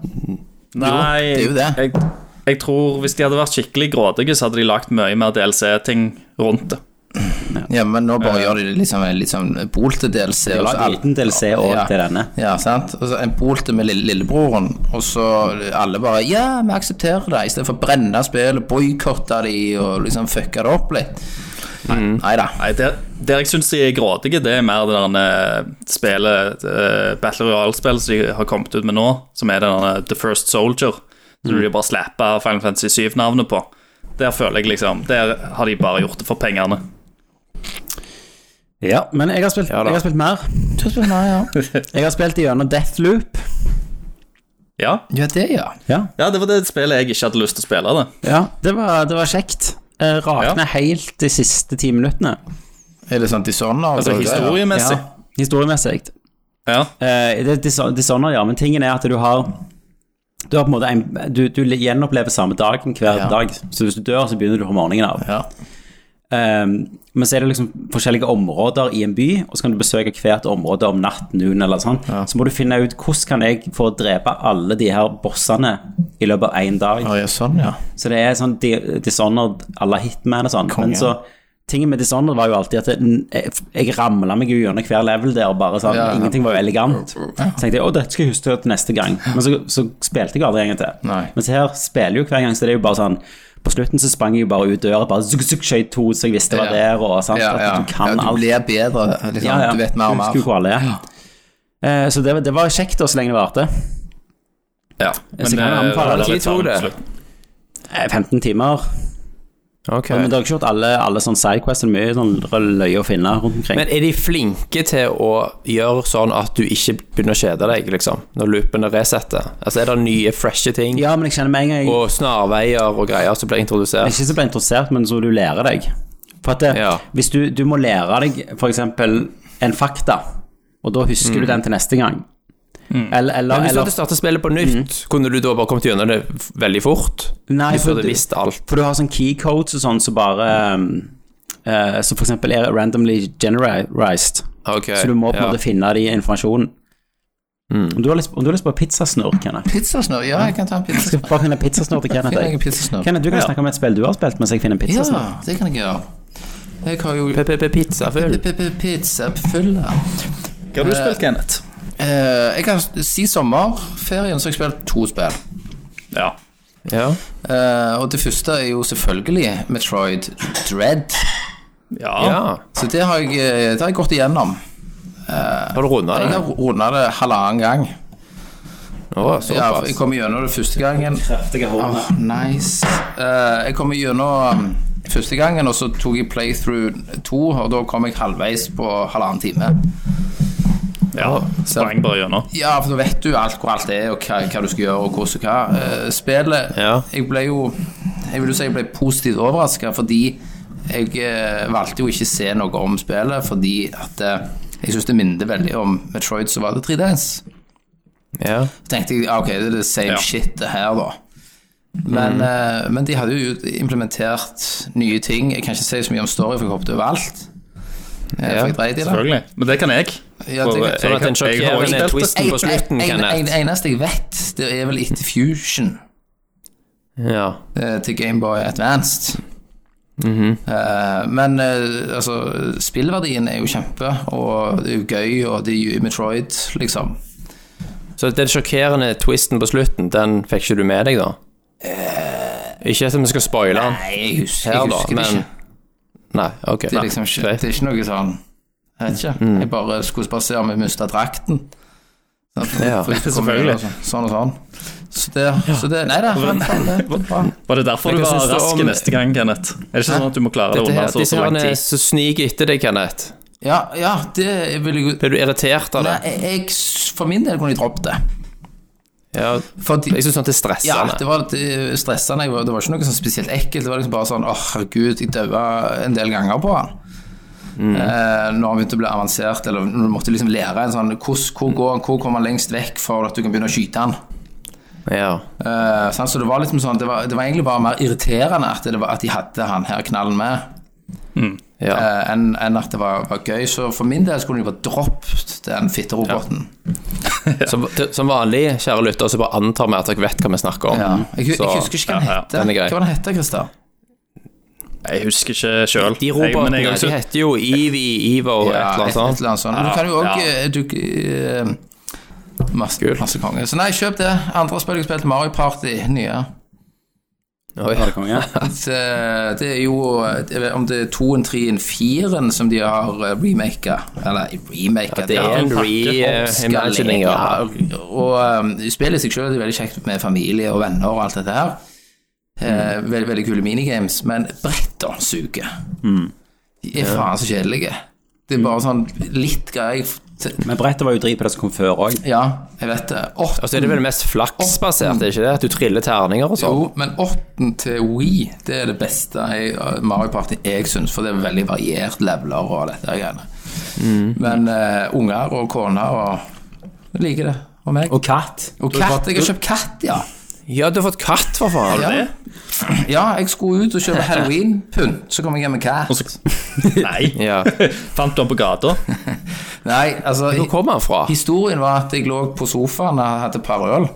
Speaker 7: Nei,
Speaker 5: det er jo det.
Speaker 7: Jeg, jeg tror hvis de hadde vært skikkelig grådige, så hadde de lagt mye mer DLC-ting rundt det.
Speaker 5: Ja, men nå bare gjør de det liksom en litt sånn bol til DLC.
Speaker 4: De har
Speaker 5: og så
Speaker 4: lagd
Speaker 5: altså alt-
Speaker 4: liten DLC også
Speaker 5: Ja.
Speaker 4: til denne.
Speaker 5: Ja, sant. Og så en bol til med lille, lillebroren, og så alle bare Ja, vi aksepterer det, istedenfor å brenne spillet, boikotte de og liksom fucke det opp litt.
Speaker 4: Mm.
Speaker 5: Nei da.
Speaker 7: Nei, der, der jeg syns de er grådige, det er mer det der eh, spillet eh, Battle Royale-spillet som de har kommet ut med nå, som er det der eh, The First Soldier. Som de bare slapper Final Fantasy 7-navnet på. Der føler jeg liksom Der har de bare gjort det for pengene.
Speaker 4: Ja, men jeg har spilt,
Speaker 6: da.
Speaker 4: jeg har spilt mer.
Speaker 5: Nei, ja.
Speaker 4: Jeg har spilt gjennom Deathloop.
Speaker 7: Ja.
Speaker 5: ja, det, ja.
Speaker 4: Ja.
Speaker 7: ja, det var det spillet jeg ikke hadde lyst til å spille. det
Speaker 4: Ja, det var, det var kjekt. Eh, Rakne
Speaker 7: Ja.
Speaker 4: helt de siste ti minuttene.
Speaker 5: Er det sånn Dishonored?
Speaker 7: Altså historiemessig.
Speaker 4: Ja, historiemessig.
Speaker 7: Ja.
Speaker 4: Eh, det er Dis- Dishonored, ja, men tingen er at du har Du har på en måte en, du, du gjenopplever samme dagen hver
Speaker 5: Ja.
Speaker 4: dag. Så hvis du dør, så begynner du på morgenen av.
Speaker 5: Ja.
Speaker 4: Ehm, men så er det liksom forskjellige områder i en by, og så kan du besøke hvert område om natten. noen eller sånn. Så må du finne ut hvordan kan jeg få drepe alle de her bossene i løpet av én dag.
Speaker 5: Å, ja, sånn, ja.
Speaker 4: Så det er sånn di- Dishonored à la Hitman og sånn.
Speaker 5: Konge.
Speaker 4: Men så Tingen med Dishonored var jo alltid at det- jeg, jeg ramla meg jo gjennom hver level der, og bare sånn
Speaker 5: Ja, ja.
Speaker 4: Ingenting var jo elegant. Så tenkte jeg å, dette skal jeg huske til neste gang. Men så, så spilte jeg aldri en gang til.
Speaker 5: Nei.
Speaker 4: Mens her spiller jeg jo hver gang, så det er jo bare sånn På slutten så sprang jeg jo bare ut døra, bare zuk, zuk, skjøt to, så jeg visste det var
Speaker 5: Ja.
Speaker 4: der, og sant.
Speaker 5: Ja, ja.
Speaker 4: At du kan
Speaker 5: ja, du
Speaker 4: alt.
Speaker 5: blir bedre, liksom.
Speaker 4: Ja, ja.
Speaker 5: Du vet mer og
Speaker 4: Du
Speaker 5: mer.
Speaker 4: husker jo hvor alle er. Eh, Så det, var- det var kjekt, da, så lenge det varte.
Speaker 7: ja.
Speaker 4: Så kan jeg
Speaker 7: eh,
Speaker 4: anbefale
Speaker 7: det
Speaker 4: det.
Speaker 7: litt
Speaker 6: Hvor tid tok
Speaker 7: varmt
Speaker 6: det?
Speaker 7: slutt.
Speaker 4: Eh, 15 timer.
Speaker 6: ok.
Speaker 4: Men det har ikke gjort alle, alle sånn sidequests, det er mye sånn løye å finne rundt omkring.
Speaker 6: Men er de flinke til å gjøre sånn at du ikke begynner å kjede deg, liksom, når loopene resetter? Altså, er det nye, freshe ting?
Speaker 4: Ja, men jeg kjenner med en gang jeg,
Speaker 6: Og snarveier og greier som blir
Speaker 4: jeg er
Speaker 6: introdusert.
Speaker 4: Ikke så ble interessert, men så du lærer deg. For at det,
Speaker 6: Ja.
Speaker 4: hvis du, du må lære deg for eksempel en fakta, og da husker du den til neste gang. Eller,
Speaker 6: Mm. Men
Speaker 4: eller,
Speaker 6: hvis du
Speaker 4: eller
Speaker 6: hadde startet spillet på nytt, kunne du da bare kommet gjennom det f- veldig fort?
Speaker 4: Nei,
Speaker 6: hvis du
Speaker 4: for
Speaker 6: hadde
Speaker 4: det-
Speaker 6: visst alt.
Speaker 4: For du har sånn keycodes og sånn som så bare um, eh, Så for eksempel er randomly generalized.
Speaker 6: Ok,
Speaker 4: Så du må på en
Speaker 6: ja. Mm.
Speaker 4: måte finne de informasjonen. Om du har lyst, om du har lyst på pizzasnurr, Kenneth
Speaker 5: Pizzasnurr? Ja, jeg kan ta en
Speaker 4: Skal
Speaker 5: pizzasnurr.
Speaker 4: vi bare finne pizzasnurr til Kenneth.
Speaker 5: Finn deg en
Speaker 4: jeg?
Speaker 5: pizzasnurr.
Speaker 4: Kenneth, du kan snakke om et spill du har spilt mens jeg finner en
Speaker 5: Ja,
Speaker 4: pizzasnurr.
Speaker 5: det kan jeg gjøre. Jeg har jo
Speaker 6: P-p-p-pizza full.
Speaker 5: pizza fylla.
Speaker 7: Hva har du spilt, Kenneth?
Speaker 5: Eh, Jeg kan si sommerferien, så har jeg spilt to spill.
Speaker 7: Ja.
Speaker 6: Ja.
Speaker 5: Eh, og det første er jo selvfølgelig Metroid Dread.
Speaker 7: Ja.
Speaker 6: ja.
Speaker 5: Så det har jeg, eh, det har jeg gått igjennom.
Speaker 6: Har du runda
Speaker 5: Jeg
Speaker 6: det?
Speaker 5: har runda det halvannen gang.
Speaker 6: Å,
Speaker 5: Ja, jeg
Speaker 6: såpass.
Speaker 5: kom gjennom det første gangen.
Speaker 4: Kraftige hånd.
Speaker 5: Ah, nice. Eh, jeg kom gjennom um, første gangen, og så tok jeg playthrough to, og da kom jeg halvveis på halvannen time.
Speaker 7: ja. Sprang bare gjennom.
Speaker 5: Ja, for da vet du alt hvor alt er, og hva, hva du skal gjøre, og hvordan og hva. Eh, spillet
Speaker 6: Ja.
Speaker 5: Jeg ble jo Jeg vil jo si jeg ble positivt overraska, fordi jeg eh, valgte jo ikke se noe om spillet, fordi at eh, jeg syns det minner veldig om Metroid, så var det 3DS.
Speaker 6: Ja.
Speaker 5: tenkte jeg ah, ok, det er det same
Speaker 7: Ja.
Speaker 5: shit det her, da. Men, eh, men de hadde jo implementert nye ting. Jeg kan ikke si så mye om story, for jeg hoppet over alt. Eh, for jeg dreit i det.
Speaker 7: Selvfølgelig. Men det kan jeg.
Speaker 5: Ja, det-
Speaker 7: For
Speaker 5: sånn
Speaker 6: Sånn at den
Speaker 7: jeg- jeg har
Speaker 6: sjokkerende
Speaker 7: spilt det.
Speaker 6: twisten på slutten,
Speaker 5: en, en, en,
Speaker 6: Kenneth.
Speaker 5: eneste jeg vet, det er vel etter Fusion
Speaker 6: Ja.
Speaker 5: eh, til Gameboy Advanced. Eh, men eh, altså, spillverdien er jo kjempe, og det er jo gøy, og det er jo Metroid, liksom.
Speaker 6: Så den sjokkerende twisten på slutten, den fikk ikke du med deg, da? Ikke at vi skal spoile den
Speaker 5: Nei, jeg husker, jeg
Speaker 6: her, da,
Speaker 5: husker det
Speaker 6: men
Speaker 5: ikke.
Speaker 6: Nei, ok.
Speaker 5: Det er liksom ikke,
Speaker 6: Greit.
Speaker 5: det er ikke noe sånn Jeg vet ikke. Jeg bare skulle bare se om jeg mista drakten. Sånn, for-
Speaker 6: Ja,
Speaker 5: for ikke å komme
Speaker 7: selvfølgelig.
Speaker 5: inn og sånn- Sånn og sånn. Så det, så det Nei da. faen, faen, det var bra.
Speaker 7: Var det derfor
Speaker 6: Men
Speaker 7: du
Speaker 6: hva
Speaker 7: var
Speaker 6: syns du
Speaker 7: rask
Speaker 6: om-
Speaker 7: neste gang, Kenneth? Er det ikke sånn at du må klare det
Speaker 6: Dette
Speaker 7: unna
Speaker 6: her,
Speaker 7: så,
Speaker 6: disse
Speaker 7: så lang
Speaker 6: her er
Speaker 7: tid?
Speaker 6: så sniker etter deg, Kenneth.
Speaker 5: Ja, ja, det vil jeg jo
Speaker 6: Blir du irritert av det?
Speaker 5: Nei, jeg, jeg s- For min del kunne jeg droppet det.
Speaker 6: Ja,
Speaker 5: Fordi
Speaker 6: jeg syns sånt er
Speaker 5: ja,
Speaker 6: stressende.
Speaker 5: det var litt eh, stressende. Jeg var, det var ikke noe sånn spesielt ekkelt. Det var liksom bare sånn Åh, herregud, jeg daua en del ganger på han. Eh, når han begynte å bli avansert, eller når du måtte liksom lære en sånn Hvor, hvor går han, hvor kommer han lengst vekk for at du kan begynne å skyte han?
Speaker 6: ja.
Speaker 5: Eh, sant? så det var liksom sånn det var, det var egentlig bare mer irriterende at, det var, at de hadde han her knallen med,
Speaker 6: ja.
Speaker 5: eh, enn enn at det var, var gøy. Så for min del skulle de bare droppet den fitteroboten.
Speaker 6: Som, til- som vanlig, kjære lytter, så bare antar vi at dere vet hva vi snakker om.
Speaker 5: Ja. Jeg,
Speaker 6: Mm.
Speaker 5: jeg,
Speaker 6: Så-
Speaker 5: husker ikke hva den
Speaker 7: ja, ja,
Speaker 5: hette.
Speaker 6: den er grei.
Speaker 5: Hva var den hette, Christer?
Speaker 7: Jeg husker ikke sjøl.
Speaker 6: De robotene de heter jo Evie, Ivo og et eller
Speaker 5: Ja,
Speaker 6: annet sånt.
Speaker 5: sånt. Men du kan jo
Speaker 7: Ja,
Speaker 5: òg
Speaker 7: ja.
Speaker 5: eh, du, eh, masse, masse konge. Så nei, kjøp det. Andre spill jeg spilte, Mario Party, nye.
Speaker 6: Oi.
Speaker 4: Var det konge?
Speaker 5: Det, eh, det er jo jeg vet, Om det er toen, treen, firen som de har eh, remaka Eller remaka
Speaker 6: Det er en reimagining,
Speaker 5: ja.
Speaker 6: ja.
Speaker 5: Og um, spillet i seg selv er veldig kjekt med familie og venner og alt dette her. Eh, veldig, veldig kule minigames, men brettene suger. De er faen så kjedelige. Det er bare sånn litt greier
Speaker 4: Men brettet var jo drit på det som kom før òg.
Speaker 5: Ja, jeg vet det.
Speaker 6: Og så er det vel mest flaksbasert, er det ikke det? At du triller terninger og sånn?
Speaker 5: Jo, men åtten til Wii, det er det beste i uh, Mario Party jeg syns, for det er veldig variert leveler og dette her greiene. Men eh, unger og kone og liker det. Og meg.
Speaker 4: Og katt.
Speaker 5: Og katt. Jeg har kjøpt katt, ja.
Speaker 6: Ja, du har fått katt, for faen!
Speaker 5: Ja. ja, jeg skulle ut og kjøpe halloweenpynt, så kom jeg hjem med katt.
Speaker 7: Nei,
Speaker 6: Ja.
Speaker 7: fant du den på gata?
Speaker 5: Nei, altså
Speaker 6: Hvor
Speaker 5: hi-
Speaker 6: kommer han fra?
Speaker 5: Historien var at jeg lå på sofaen og hadde et par øl,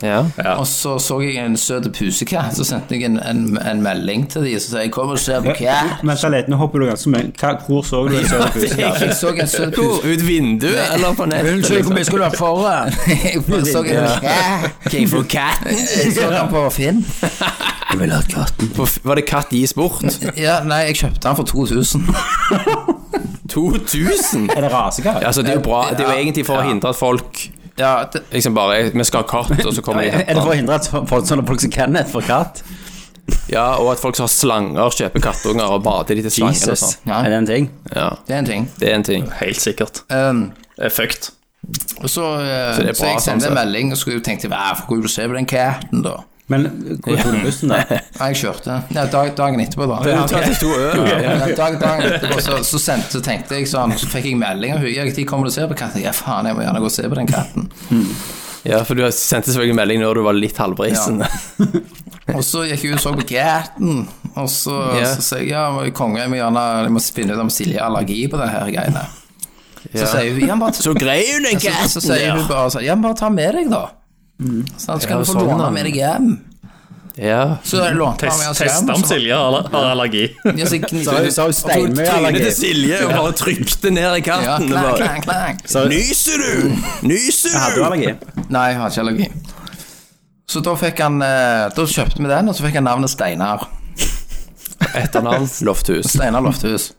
Speaker 6: Ja.
Speaker 5: og så så jeg en søt pusekatt. Så sendte jeg en, en, en melding til de som sa jeg kommer og ser på katt.
Speaker 8: Men Charlotte, nå hopper du ganske mye. Hva, hvor så du en sånn buskatt?
Speaker 5: Jeg så en søt puse...
Speaker 6: Ut vinduet, eller på nettet?
Speaker 5: hvor mye skulle du ha foran? Jeg bare så en katt.
Speaker 6: Kan jeg få katt?
Speaker 5: Jeg så den på Finn. Jeg vil ha katten.
Speaker 6: På- Var det katt gis bort?
Speaker 5: Ja, nei, jeg kjøpte den for 2000.
Speaker 6: 2000?
Speaker 8: Er det rasekatt?
Speaker 6: Altså, det er jo bra. Det er jo egentlig for å hindre at folk
Speaker 5: Ja, det,
Speaker 6: liksom bare Vi skal ha katt, og så kommer de og
Speaker 4: Er det
Speaker 6: henter
Speaker 4: for å
Speaker 6: den.
Speaker 4: hindre at folk, sånne folk som Kenneth får katt?
Speaker 6: Ja, og at folk som har slanger, kjøper kattunger og bader de til slangen og
Speaker 4: Jesus.
Speaker 6: sånn.
Speaker 5: Ja.
Speaker 4: Er det en ting?
Speaker 6: Ja,
Speaker 5: det er en ting.
Speaker 6: det er en ting.
Speaker 7: Helt sikkert.
Speaker 5: Um,
Speaker 7: Det er fucked.
Speaker 5: og så, eh,
Speaker 6: Så det er
Speaker 5: så
Speaker 6: bra,
Speaker 5: jeg sendte
Speaker 6: sånn
Speaker 5: en
Speaker 6: sett.
Speaker 5: melding og skulle tenkte jeg får jo se på den katten, da.
Speaker 4: Men hvor tok du bussen, da?
Speaker 5: Nei, jeg kjørte. Ja, dag, dagen etterpå, da.
Speaker 6: Du tar til to øl.
Speaker 5: Ja, dag, dagen etterpå så, så, sendte, så tenkte jeg sånn, så fikk jeg melding av henne. De kommer du og ser på katten. Ja, faen, jeg må gjerne gå og se på den katten.
Speaker 6: Ja, for du sendte selvfølgelig melding når du var litt halvbrisen.
Speaker 5: Og så gikk jeg ut og så på katten, og så,
Speaker 6: Ja.
Speaker 5: så sier jeg ja, men konge, jeg må gjerne jeg må finne ut om Silje har allergi på denne her greiene. Så sier hun ja, men bare,
Speaker 6: Så grei hun den
Speaker 5: så, så sier hun bare sånn, ja, men bare ta med deg, da. Sånn, så
Speaker 6: Ja,
Speaker 5: kan du få
Speaker 6: sånn,
Speaker 5: låne
Speaker 6: da.
Speaker 5: med deg hjem.
Speaker 6: Ja.
Speaker 5: Så jeg lånte han med hans hjem.
Speaker 7: Testa om Silje har har allergi.
Speaker 5: Silje.
Speaker 4: jo steinmye
Speaker 6: Trynet til Silje og bare trykte ned i
Speaker 5: Ja,
Speaker 6: katten. og bare,
Speaker 5: klang, klang, klang.
Speaker 6: Nyser du? Nyser
Speaker 4: Hadde
Speaker 6: du?
Speaker 4: du allergi?
Speaker 5: Nei, jeg har ikke allergi. Så da fikk han eh, Da kjøpte vi den, og så fikk han navnet Steinar.
Speaker 6: Etternavn Lofthus.
Speaker 5: Steinar Lofthus.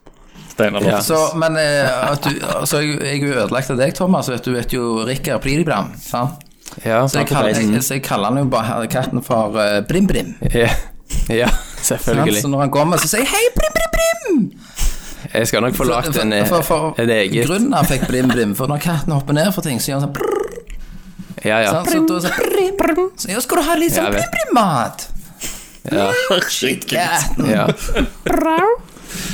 Speaker 7: Steinar Lofthus.
Speaker 5: Så, men eh, at du, altså, jeg, jeg er jo ødelagt av deg, Thomas, vet du vet jo Rikard Plidibram. Sant?
Speaker 6: Ja.
Speaker 5: Så jeg, kaller, jeg, så jeg kaller han jo bare katten for eh, Brim-Brim.
Speaker 6: Ja. ja,
Speaker 5: Så
Speaker 6: selvfølgelig.
Speaker 5: når han kommer, så sier jeg 'hei, Brim-Brim-Brim'!
Speaker 6: Jeg skal nok få lagt en, eh,
Speaker 5: for, for, for,
Speaker 6: en eget
Speaker 5: Grunnen han fikk Brim-Brim, for når katten hopper ned for ting, så gjør han sånn brrr,
Speaker 6: Ja, ja.
Speaker 5: sant? Så da så brim, brim. Så ja, skal du ha litt sånn
Speaker 6: Jeg vet.
Speaker 5: Brim-Brim-mat? Ja.
Speaker 6: ja.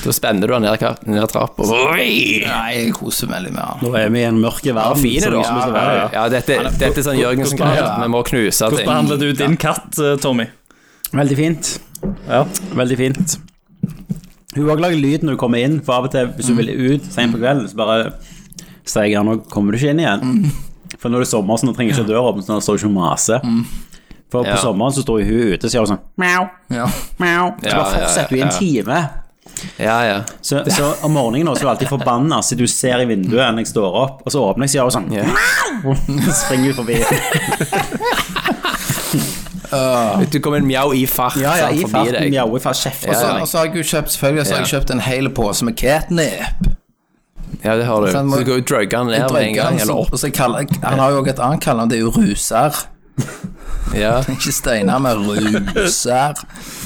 Speaker 6: Da spenner du han ned, ka- ned trappa.
Speaker 5: Nei, jeg koser meg veldig med han.
Speaker 4: Nå er vi i en mørke verden.
Speaker 6: Fin er
Speaker 4: som
Speaker 6: du,
Speaker 4: ikke skal
Speaker 6: da.
Speaker 4: være.
Speaker 6: Ja, dette, dette er sånn Jørgensen-greie. Vi må knuse
Speaker 7: Hvordan behandler du din katt, eh, Tommy?
Speaker 4: Veldig fint.
Speaker 7: Ja.
Speaker 4: Veldig fint. Hun har lager lyd når du kommer inn, for av og til hvis
Speaker 6: Mm.
Speaker 4: hun vil ut sent på kvelden, så bare sier jeg nå kommer du ikke inn
Speaker 6: Mm.
Speaker 4: igjen. For når det er sommer, så nå trenger jeg ikke døra åpen, så nå står hun ikke og maser. For
Speaker 6: Mm. Ja.
Speaker 4: på sommeren så står jo hun ute, så gjør hun sånn mjau,
Speaker 5: Ja.
Speaker 4: mjau. Så
Speaker 6: Ja,
Speaker 4: bare
Speaker 6: ja,
Speaker 4: fortsetter hun i
Speaker 6: ja.
Speaker 4: en time.
Speaker 6: Ja, ja.
Speaker 4: Så, så om morgenen nå, så er hun alltid forbanna, så du ser i vinduet når jeg står opp, og så åpner jeg, så gjør hun sånn
Speaker 6: Ja.
Speaker 4: mjau, så springer hun forbi.
Speaker 6: Du kom en mjau i fart
Speaker 4: Ja, ja,
Speaker 6: sant,
Speaker 4: i
Speaker 6: forbi
Speaker 4: farten, sånn,
Speaker 6: deg.
Speaker 4: mjauer fra kjeften.
Speaker 5: Og så, og så har jeg jo kjøpt selvfølgelig så har jeg
Speaker 6: Ja.
Speaker 5: kjøpt en hel pose med catnip.
Speaker 6: Ja, det har du. Så
Speaker 5: Sånn, må-
Speaker 6: du går jo drugge han ned med en gang, eller opp.
Speaker 5: Og så kaller, jeg- han har jo også et annet kallenavn, det er jo ruser.
Speaker 6: Ja,
Speaker 5: Ikke Steinar, men ruser.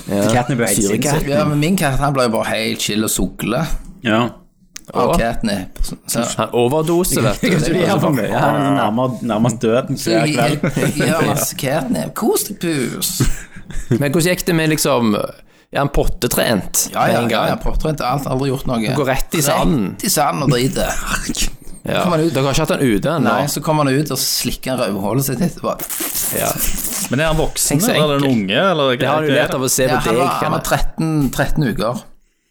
Speaker 6: ja.
Speaker 4: Catnip er helt sinnssykt.
Speaker 5: Ja, men min katt han ble jo bare helt chill og sugle
Speaker 4: Ja.
Speaker 5: av
Speaker 6: Å.
Speaker 5: catnip. Så, så,
Speaker 6: Han overdoser, vet du.
Speaker 4: Så de er for mye. Han er sånn nærmere- nærmest døden
Speaker 5: så
Speaker 4: hver
Speaker 5: jeg, jeg,
Speaker 4: kveld.
Speaker 5: jeg gir masse catnip. Kos deg, pus.
Speaker 6: Men hvordan gikk det med liksom Er han pottetrent
Speaker 5: Ja,
Speaker 6: med
Speaker 5: ja,
Speaker 6: en
Speaker 5: ja, ja
Speaker 6: gang?
Speaker 5: portrett, alt, aldri gjort noe.
Speaker 6: går rett i sanden.
Speaker 5: Rett i sanden og driter.
Speaker 6: Ja.
Speaker 5: Kommer han ut?
Speaker 6: Dere har ikke hatt han ute ennå?
Speaker 5: Nei, så kommer han ut, og så slikker han rødhålet sitt etterpå.
Speaker 6: Ja.
Speaker 7: Men er han voksen,
Speaker 6: Tenk så
Speaker 7: eller er han unge? Eller,
Speaker 6: Det har han jo lært av å se
Speaker 5: Ja,
Speaker 6: på
Speaker 5: han,
Speaker 6: deg.
Speaker 5: var, han var
Speaker 6: Kenneth.
Speaker 5: 13, 13 uker,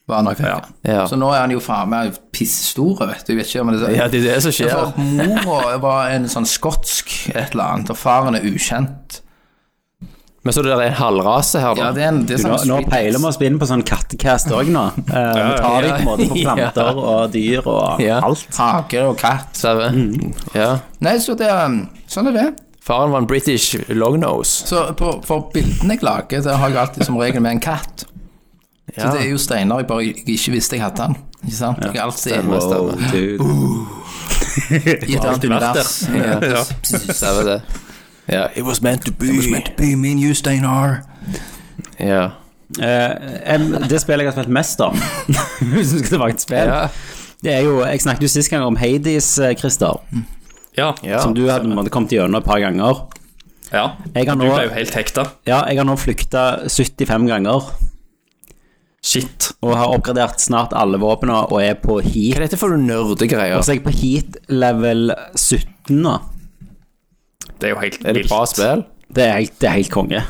Speaker 5: var han nok. vet jeg.
Speaker 6: Ja.
Speaker 5: Så nå er han jo faen meg pissstor, vet du. Jeg vet ikke om det er
Speaker 6: Ja, det er det som skjer.
Speaker 5: For mora var en sånn skotsk et eller annet, og faren er ukjent.
Speaker 6: Men så det der er en halvrase her, da.
Speaker 5: Ja, det er en, det er
Speaker 4: Nå,
Speaker 5: sånn
Speaker 4: nå peiler vi oss inn på sånn kattecast òg nå. Eh, Vi tar det på en måte på
Speaker 6: Ja.
Speaker 4: planter og dyr og
Speaker 6: Ja.
Speaker 4: alt.
Speaker 5: Hage og katt.
Speaker 6: Ser vi?
Speaker 5: Mm.
Speaker 6: Ja.
Speaker 5: Nei, så det er, sånn er det.
Speaker 6: Faren var en British longnose.
Speaker 5: Så på, for bildene jeg lager, det har jeg alltid som regel med en katt. Så
Speaker 6: Ja.
Speaker 5: det er jo Steinar jeg bare ikke visste jeg hadde han. Ikke sant? Jeg har alltid
Speaker 6: Stemmer.
Speaker 5: i et annet univers.
Speaker 6: Ja. Ser vi det? Ja. It was meant to be.
Speaker 5: Be me and you, Steinar.
Speaker 6: Ja.
Speaker 4: Eh, em, det spillet jeg har spilt mest om, hvis vi skal tilbake til spill,
Speaker 6: Ja.
Speaker 4: det er jo Jeg snakket jo sist gang om Hades, eh, Christer,
Speaker 7: Ja.
Speaker 6: ja.
Speaker 4: som du hadde på en måte kommet gjennom et par ganger.
Speaker 7: ja.
Speaker 4: Jeg har
Speaker 7: Du
Speaker 4: nå,
Speaker 7: ble jo helt hekta.
Speaker 4: ja, jeg har nå flykta 75 ganger
Speaker 7: Shit.
Speaker 4: og har oppgradert snart alle våpnene og er på
Speaker 6: Hva
Speaker 4: heat.
Speaker 6: er dette for nerdegreier?
Speaker 4: Og så er jeg på heat level 17 nå.
Speaker 7: Det er jo helt
Speaker 6: Er det
Speaker 7: vilt.
Speaker 6: bra spill?
Speaker 4: Det er helt, det er helt konge.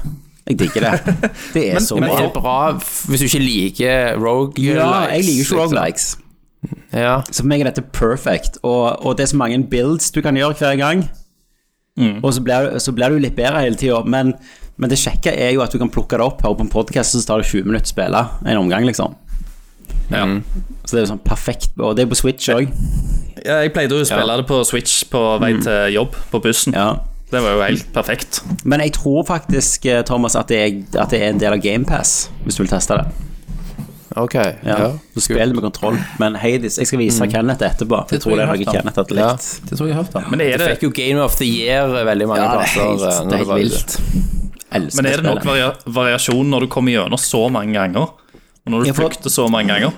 Speaker 4: Jeg digger det. Det er så
Speaker 6: Men
Speaker 4: bra.
Speaker 6: er det bra f- hvis du ikke liker roguelikes?
Speaker 4: Ja, jeg liker ikke
Speaker 6: liksom?
Speaker 4: roguelikes.
Speaker 6: Ja.
Speaker 4: Så for meg er dette perfect. Og, og det er så mange builds du kan gjøre hver gang. Og så blir, så blir du litt bedre hele tida. Men, men det kjekke er jo at du kan plukke det opp, høre på en podkast, så tar det 20 minutter å spille en omgang, liksom.
Speaker 7: Ja.
Speaker 4: Så det er jo sånn perfekt. Og det er på Switch òg.
Speaker 7: Ja, jeg pleide jo å spille det på Switch på vei
Speaker 6: Mm.
Speaker 7: til jobb, på bussen.
Speaker 4: Ja.
Speaker 7: Det var jo helt perfekt.
Speaker 4: Men jeg tror faktisk, eh, Thomas, at det, er, at det er en del av GamePass, hvis du vil teste det.
Speaker 6: Ok.
Speaker 4: Ja. Mm.
Speaker 6: Ja.
Speaker 4: Så spill med kontroll. Men Hades Jeg skal vise Kenneth etterpå. for
Speaker 5: Det
Speaker 4: Jeg tror
Speaker 5: tror
Speaker 4: det er
Speaker 5: jeg
Speaker 4: noe
Speaker 5: nok, da.
Speaker 4: Kenneth hadde
Speaker 6: Ja.
Speaker 4: likt.
Speaker 5: Det tror jeg jeg har hørt om.
Speaker 7: Men er
Speaker 6: Det
Speaker 7: det,
Speaker 6: fikk jo Game of the Year eh, veldig mange
Speaker 4: Ja, det er
Speaker 6: plasser.
Speaker 4: helt,
Speaker 6: eh, når
Speaker 4: det er helt
Speaker 6: var ute.
Speaker 4: vilt. Elsker
Speaker 7: men er det nok
Speaker 4: spillet.
Speaker 7: varia variasjon når du kommer gjennom så mange ganger? Og når du
Speaker 4: Jeg får-
Speaker 7: flykter så mange ganger?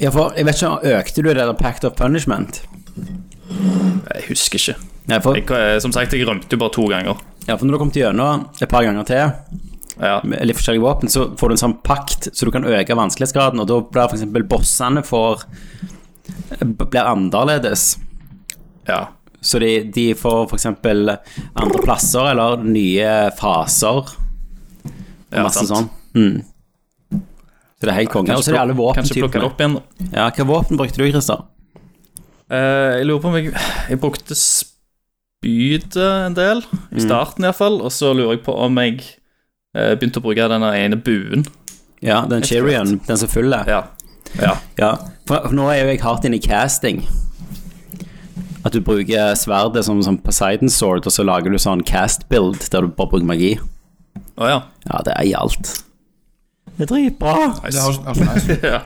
Speaker 4: Ja, for jeg vet ikke, økte du det der Pact of Punishment?
Speaker 7: Jeg husker ikke.
Speaker 4: Nei, for,
Speaker 7: Jeg, eh, som sagt, jeg rømte jo bare to ganger.
Speaker 4: ja, for når du har kommet gjennom et par ganger til,
Speaker 7: Ja.
Speaker 4: med litt forskjellige våpen, så får du en sånn pakt, så du kan øke vanskelighetsgraden, og da blir for eksempel bossene for blir annerledes.
Speaker 7: ja.
Speaker 4: Så de, de får for eksempel andre plasser, eller nye faser, og
Speaker 7: Ja,
Speaker 4: masse
Speaker 7: sant.
Speaker 4: sånn. Mm. Så det er helt konge. Og så er det alle
Speaker 7: Kanskje plukke det
Speaker 4: våpentypene.
Speaker 7: opp igjen.
Speaker 4: Ja, hva våpen brukte du, Christer?
Speaker 7: Eh, jeg lurer på om jeg Jeg brukte spydet en del, i
Speaker 4: Mm.
Speaker 7: starten iallfall, og så lurer jeg på om jeg eh, begynte å bruke den ene buen.
Speaker 4: Ja, den Chirion, den som fyller.
Speaker 7: Ja. ja.
Speaker 4: Ja, for for nå er jo jeg hardt inne i casting. At du bruker sverdet som, som Poseidon sword, og så lager du sånn cast build der du bare bruker magi.
Speaker 7: Å ja.
Speaker 4: Ja, det er i alt. Det er dritbra.
Speaker 5: Det har, har så nice.
Speaker 7: ja.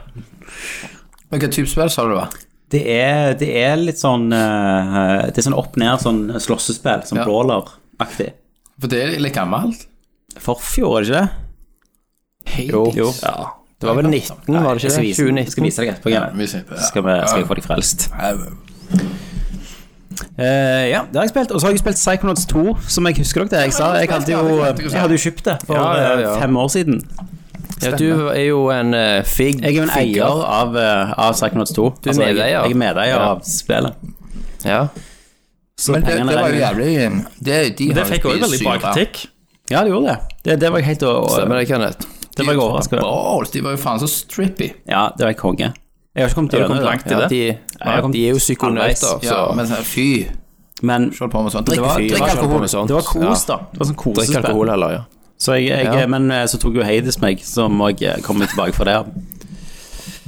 Speaker 5: Men hva type spill sa du det var?
Speaker 8: Det er, det er litt sånn eh, Det er sånn opp-ned, sånn slåssespill, sånn
Speaker 5: Ja.
Speaker 8: brawler-aktig.
Speaker 5: For det er litt gammelt.
Speaker 4: Forfjor, er det ikke det?
Speaker 5: Helt
Speaker 4: Jo.
Speaker 6: Det var vel 19, var det ikke det?
Speaker 4: Jeg skal vise, jeg skal
Speaker 6: 2019.
Speaker 4: vise deg etterpå, Gavin.
Speaker 5: Vi sitter-
Speaker 4: Skal, vi, skal jeg få deg frelst. Eh, ja, det har jeg spilt. Og så har jeg spilt Psychonauts 2, som jeg husker dere det. Jeg, sa, jeg, hadde jo, jeg hadde jo kjøpt det for
Speaker 6: Ja, ja, ja.
Speaker 4: eh, fem år siden.
Speaker 6: Ja, du er jo en eh, fig.
Speaker 4: Jeg er jo en
Speaker 6: figger.
Speaker 4: eier av, eh, av Psychonauts 2.
Speaker 6: er
Speaker 4: jeg,
Speaker 6: medeier.
Speaker 4: jeg er medeier
Speaker 6: Ja.
Speaker 4: av spillet.
Speaker 6: Ja.
Speaker 4: Så
Speaker 5: Men det,
Speaker 4: pengene
Speaker 5: det var jo
Speaker 4: regner-
Speaker 5: jævlig ehm, det, de
Speaker 7: Det
Speaker 5: har jo
Speaker 7: fikk også veldig
Speaker 5: spist
Speaker 7: bra
Speaker 5: syre.
Speaker 7: kritikk.
Speaker 4: Ja, det gjorde det. Det, det var jeg helt å,
Speaker 6: Stemmer det, Kenneth?
Speaker 4: Det var jeg overrasket over.
Speaker 5: Balls, De var jo faen så strippy.
Speaker 4: Ja, det var jeg konge. Jeg har ikke kommet
Speaker 7: Har du
Speaker 4: gjennom
Speaker 7: kommet langt
Speaker 4: det.
Speaker 7: i det?
Speaker 6: De,
Speaker 4: jeg kom-
Speaker 6: de er jo psykonauter,
Speaker 5: Ja,
Speaker 6: så
Speaker 5: men sånn, fy,
Speaker 4: Men
Speaker 5: hold på med sånn. Drikk,
Speaker 4: det var,
Speaker 5: fy,
Speaker 4: det
Speaker 5: drikk
Speaker 4: var,
Speaker 5: alkohol.
Speaker 6: alkohol og sånt.
Speaker 4: det var kos,
Speaker 6: Ja.
Speaker 4: da. Det var sånn
Speaker 6: Drikk
Speaker 4: kosespill.
Speaker 6: alkohol heller, ja.
Speaker 4: Så jeg, jeg,
Speaker 6: Ja.
Speaker 4: Men eh, så tok jo Hades meg, som òg kommer tilbake fra der.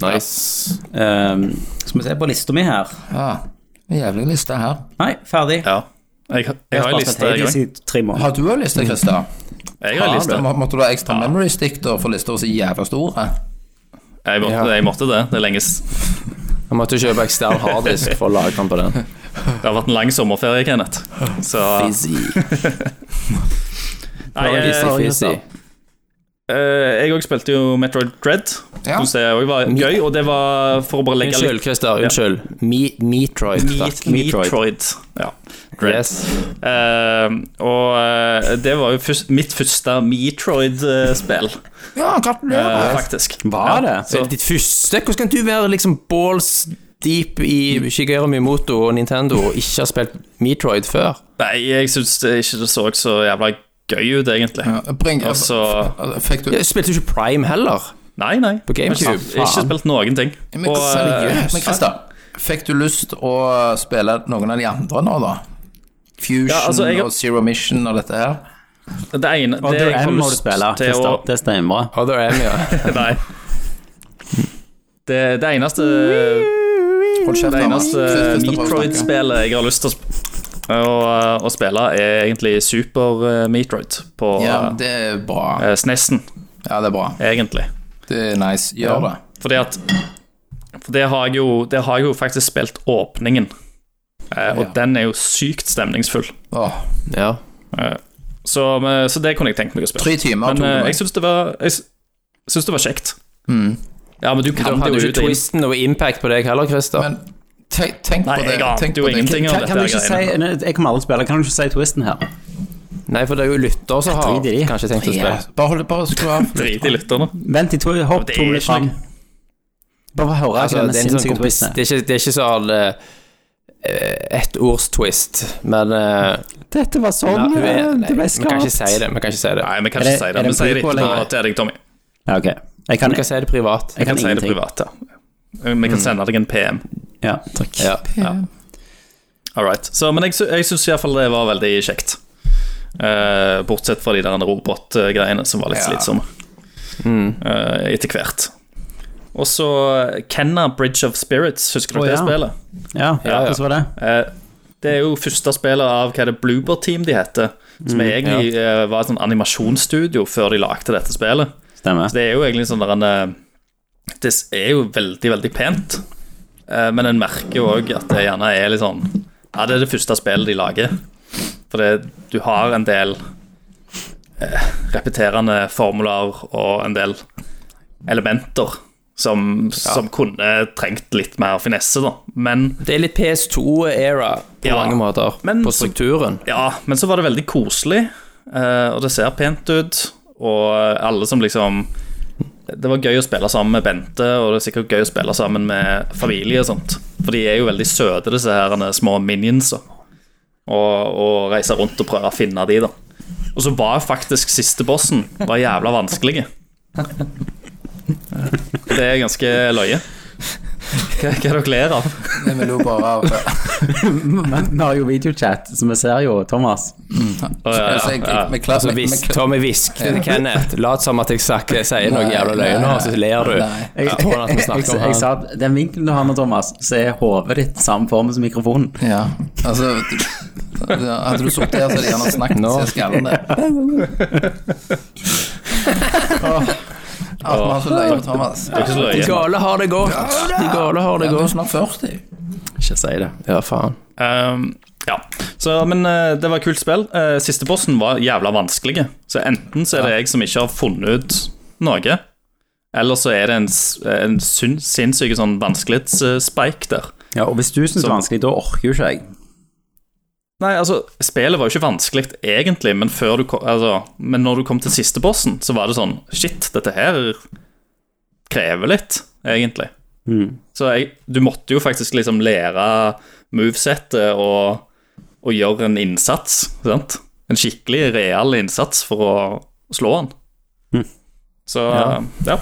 Speaker 6: Nice.
Speaker 4: Um, skal vi se på lista mi her.
Speaker 5: Ja, en jævlig liste her.
Speaker 4: Nei, ferdig.
Speaker 7: Ja. Jeg, jeg, har en
Speaker 4: bare
Speaker 7: liste,
Speaker 4: sett
Speaker 7: jeg
Speaker 4: Hades
Speaker 7: òg.
Speaker 4: i tre måneder.
Speaker 5: Har du en liste, Christer?
Speaker 7: Jeg har en liste.
Speaker 5: Må- Måtte du ha ekstra memory stick da, for lista var så jævla stor? eh?
Speaker 7: Jeg måtte, jeg måtte det. Det er lenge s-
Speaker 6: Jeg måtte kjøpe ekstern harddisk for å lage den på den.
Speaker 7: Det har vært en lang sommerferie, Kenneth. Så
Speaker 6: Fizzy.
Speaker 7: Nei,
Speaker 6: Fizzy,
Speaker 7: jeg,
Speaker 6: fizzy.
Speaker 7: jeg òg spilte jo Metroid Dread.
Speaker 5: Ja.
Speaker 7: Syns det òg var gøy, og det var for å bare legge
Speaker 6: Unnskyld,
Speaker 7: litt
Speaker 6: Christer. Unnskyld. Me- Metroid. takk.
Speaker 7: Metroid. Ja. Dread.
Speaker 6: Yes.
Speaker 7: Eh, og eh, det var jo først, mitt første Metroid-spill, eh,
Speaker 5: Ja,
Speaker 7: altså.
Speaker 5: gratulerer.
Speaker 7: faktisk.
Speaker 4: Var
Speaker 7: Ja,
Speaker 4: det?
Speaker 7: Så,
Speaker 6: Ditt første? Hvordan kan du være liksom balls deep i Shigeru Miyamoto og Nintendo og ikke ha spilt Metroid før?
Speaker 7: nei, jeg syns det ikke det så så jævla gøy ut, egentlig.
Speaker 5: Ja, Bring,
Speaker 7: Og så-
Speaker 5: fikk du
Speaker 6: Du spilte jo ikke Prime heller.
Speaker 7: Nei, nei.
Speaker 6: På GameCube,
Speaker 7: Ikke, ikke spilt noen ting.
Speaker 5: Men
Speaker 7: Og, eh,
Speaker 5: seriøst, men Christer, fikk du lyst å spille noen av de andre nå, da? Fusion
Speaker 7: Ja, altså, jeg-
Speaker 5: og Zero Mission og dette her?
Speaker 7: eh, det ene det
Speaker 4: Other
Speaker 7: jeg har
Speaker 4: M må du
Speaker 7: lyst
Speaker 4: spille.
Speaker 7: til å-
Speaker 4: Christer. Det stemmer.
Speaker 6: Other M, ja.
Speaker 7: Nei. Det, det eneste
Speaker 5: Hold kjeft,
Speaker 7: Det
Speaker 5: Anders.
Speaker 7: eneste
Speaker 5: Christer prøver å snakke.
Speaker 7: Metroid-spillet jeg har lyst til å, sp å, å spille, er egentlig Super eh, Metroid på
Speaker 5: Ja,
Speaker 7: ja,
Speaker 5: det er bra.
Speaker 7: SNES-en,
Speaker 5: Ja, det er bra.
Speaker 7: egentlig.
Speaker 5: Det er nice. Gjør det.
Speaker 7: Fordi at For det har jeg jo, det har jeg jo faktisk spilt åpningen, eh, og
Speaker 5: Ja.
Speaker 7: den er jo sykt stemningsfull.
Speaker 5: Åh,
Speaker 6: ja.
Speaker 7: Så, eh, så det kunne jeg tenkt meg å spille.
Speaker 5: tre timer
Speaker 7: Men
Speaker 5: tok
Speaker 7: eh,
Speaker 5: det.
Speaker 7: jeg syns det var Jeg s- syns det var kjekt. Ja, men du
Speaker 6: Du
Speaker 7: kan det
Speaker 6: hadde
Speaker 7: jo
Speaker 6: jo
Speaker 7: ut
Speaker 6: ikke
Speaker 7: og inn.
Speaker 6: twisten og impact på deg heller, Christer.
Speaker 5: Men tenk, tenk
Speaker 7: Nei,
Speaker 5: på
Speaker 7: jeg
Speaker 5: det. Tenk
Speaker 7: ante
Speaker 5: på
Speaker 7: jo
Speaker 5: det.
Speaker 7: ingenting av
Speaker 4: Kan,
Speaker 7: dette.
Speaker 4: kan du ikke si
Speaker 7: greiene.
Speaker 4: nei, Jeg kommer aldri til å spille. Kan du ikke si twisten her?
Speaker 6: Nei, for det er jo lytter som har
Speaker 4: driter i.
Speaker 6: kanskje tenkt å
Speaker 5: Ja,
Speaker 6: spille.
Speaker 5: bare, hold- bare skru av.
Speaker 7: Drit i lytterne.
Speaker 4: Vent i to Hopp
Speaker 7: Det er
Speaker 4: to minutter
Speaker 7: ikke
Speaker 4: fram.
Speaker 7: noe-
Speaker 4: Bare få høre hva
Speaker 6: Altså, det, er
Speaker 4: denne
Speaker 6: en sånn
Speaker 4: sinnssyke
Speaker 6: kompis,
Speaker 4: twisten er.
Speaker 6: det er ikke, det er ikke sånn uh, ettordstwist, men eh,
Speaker 4: Dette var
Speaker 6: ja,
Speaker 4: sånn
Speaker 6: hun er,
Speaker 4: eh,
Speaker 6: nei,
Speaker 4: det
Speaker 6: Vi
Speaker 4: ble
Speaker 6: kan ikke
Speaker 4: skapt.
Speaker 6: si det. Vi kan ikke si det.
Speaker 7: Nei, vi kan
Speaker 4: Er
Speaker 7: ikke
Speaker 4: det-
Speaker 7: si
Speaker 4: er
Speaker 7: det.
Speaker 4: det
Speaker 7: Vi sier det
Speaker 4: prequel,
Speaker 7: etterpå
Speaker 4: eller?
Speaker 7: til deg, Tommy.
Speaker 4: Ja, ok. Jeg kan,
Speaker 6: Vi kan si det privat.
Speaker 4: jeg
Speaker 7: Vi kan
Speaker 4: kan
Speaker 7: si det
Speaker 4: ingenting. Mm.
Speaker 7: privat, ja. Vi kan sende deg en PM.
Speaker 4: Ja, takk.
Speaker 6: Ja.
Speaker 7: All right. Så, men jeg, sy- jeg syns iallfall det var veldig kjekt. Eh, bortsett fra de der robotgreiene som var litt
Speaker 5: Ja.
Speaker 7: slitsomme
Speaker 4: Mm.
Speaker 7: Eh, etter hvert. Og så Kenna Bridge of Spirits, husker du
Speaker 4: Å,
Speaker 7: det
Speaker 4: ja.
Speaker 7: spillet?
Speaker 4: Ja, hvordan var det?
Speaker 7: Eh, det er jo første spillet av hva er det Bloober Team de heter. Som
Speaker 4: Mm,
Speaker 7: egentlig eh, var et sånn animasjonsstudio før de lagde dette spillet.
Speaker 4: Stemmer.
Speaker 7: Det er jo egentlig sånn der en eh, Det er jo veldig, veldig pent. Eh, Men en merker jo òg at det gjerne er litt sånn Ja, det er det første spillet de lager. For det, du har en del eh, repeterende formler og en del elementer som, som kunne trengt litt mer finesse, da. Men
Speaker 6: Det er litt PS2-era på
Speaker 7: Ja.
Speaker 6: mange måter,
Speaker 7: Men
Speaker 6: på
Speaker 7: så-
Speaker 6: strukturen.
Speaker 7: Ja, men så var det veldig koselig, eh, og det ser pent ut. Og alle som liksom Det var gøy å spille sammen med Bente, og det er sikkert gøy å spille sammen med familie og sånt. For de er jo veldig søte, disse her denne små minionsa. Og, og reise rundt og prøve å finne de, da. Og så var faktisk siste bossen var jævla vanskelig. Det er ganske løye. Hva, hva dere ler av?
Speaker 5: Vi lo bare av
Speaker 4: Men vi har jo videochat, så vi ser jo Thomas.
Speaker 7: Å, ja, ja,
Speaker 5: Altså, jeg-
Speaker 7: ja.
Speaker 5: jeg- vi klapper-
Speaker 6: Altså,
Speaker 5: vi-
Speaker 6: hvis
Speaker 5: vi-
Speaker 6: Tommy hvisker til Kenneth, lat som at jeg snakker, sier noen
Speaker 5: Nei,
Speaker 6: jævla løgner,
Speaker 5: nei,
Speaker 6: og så ler du.
Speaker 5: nei.
Speaker 4: Jeg,
Speaker 6: på at vi
Speaker 4: jeg,
Speaker 6: snakker om
Speaker 4: jeg
Speaker 6: han.
Speaker 4: sa at den vinkelen du har nå, Thomas, så er hodet ditt samme form som mikrofonen.
Speaker 5: Ja, altså Hadde du sittet her, så hadde jeg gjerne snakket
Speaker 6: Nå.
Speaker 5: til skallen der. At vi har så løye med Thomas.
Speaker 7: Det er ikke så
Speaker 6: De
Speaker 7: løye.
Speaker 6: gale har det godt. De gale har det
Speaker 5: Ja, du er
Speaker 6: godt.
Speaker 5: snart 40.
Speaker 6: Ikke si det. Ja, faen.
Speaker 7: Ehm, ja. Så, men eh, det var et kult spill. Eh, siste bossen var jævla vanskelig. Så enten så er det jeg som ikke har funnet ut noe, eller så er det en, s- eh, en sin, sinnssyk sånn vanskelighetsspike der.
Speaker 4: Ja, og hvis du syns det er vanskelig, da orker jo ikke jeg.
Speaker 7: Nei, altså, spillet var jo ikke vanskelig egentlig, men, før du kom, altså, men når du kom til siste bossen, så var det sånn Shit, dette her krever litt, egentlig.
Speaker 4: Mm.
Speaker 7: Så jeg, du måtte jo faktisk liksom lære movesettet og, og gjøre en innsats, sant? En skikkelig real innsats for å slå han.
Speaker 4: Mm.
Speaker 7: Så ja.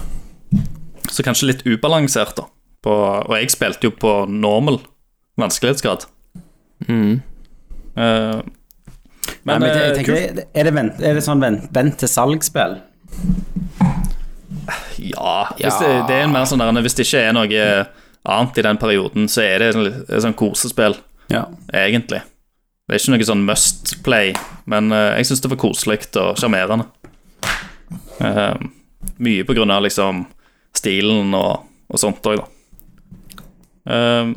Speaker 7: Så kanskje litt ubalansert, da. På, og jeg spilte jo på normal vanskelighetsgrad. Eh,
Speaker 4: Mm. Nei,
Speaker 7: men
Speaker 4: men jeg
Speaker 7: eh,
Speaker 4: tenker, er, det vent, er det sånn vent, vent til salg-spill?
Speaker 7: Ja, Hvis det, det er en mer sånn der, Hvis det ikke er noe eh, annet i den perioden, så er det sånn- et sånn kosespill,
Speaker 4: Ja.
Speaker 7: egentlig. Det er ikke noe sånn must play, men eh, jeg syns det var koselig og sjarmerende. Eh, mye på grunn av liksom stilen og, og sånt òg, da. Eh,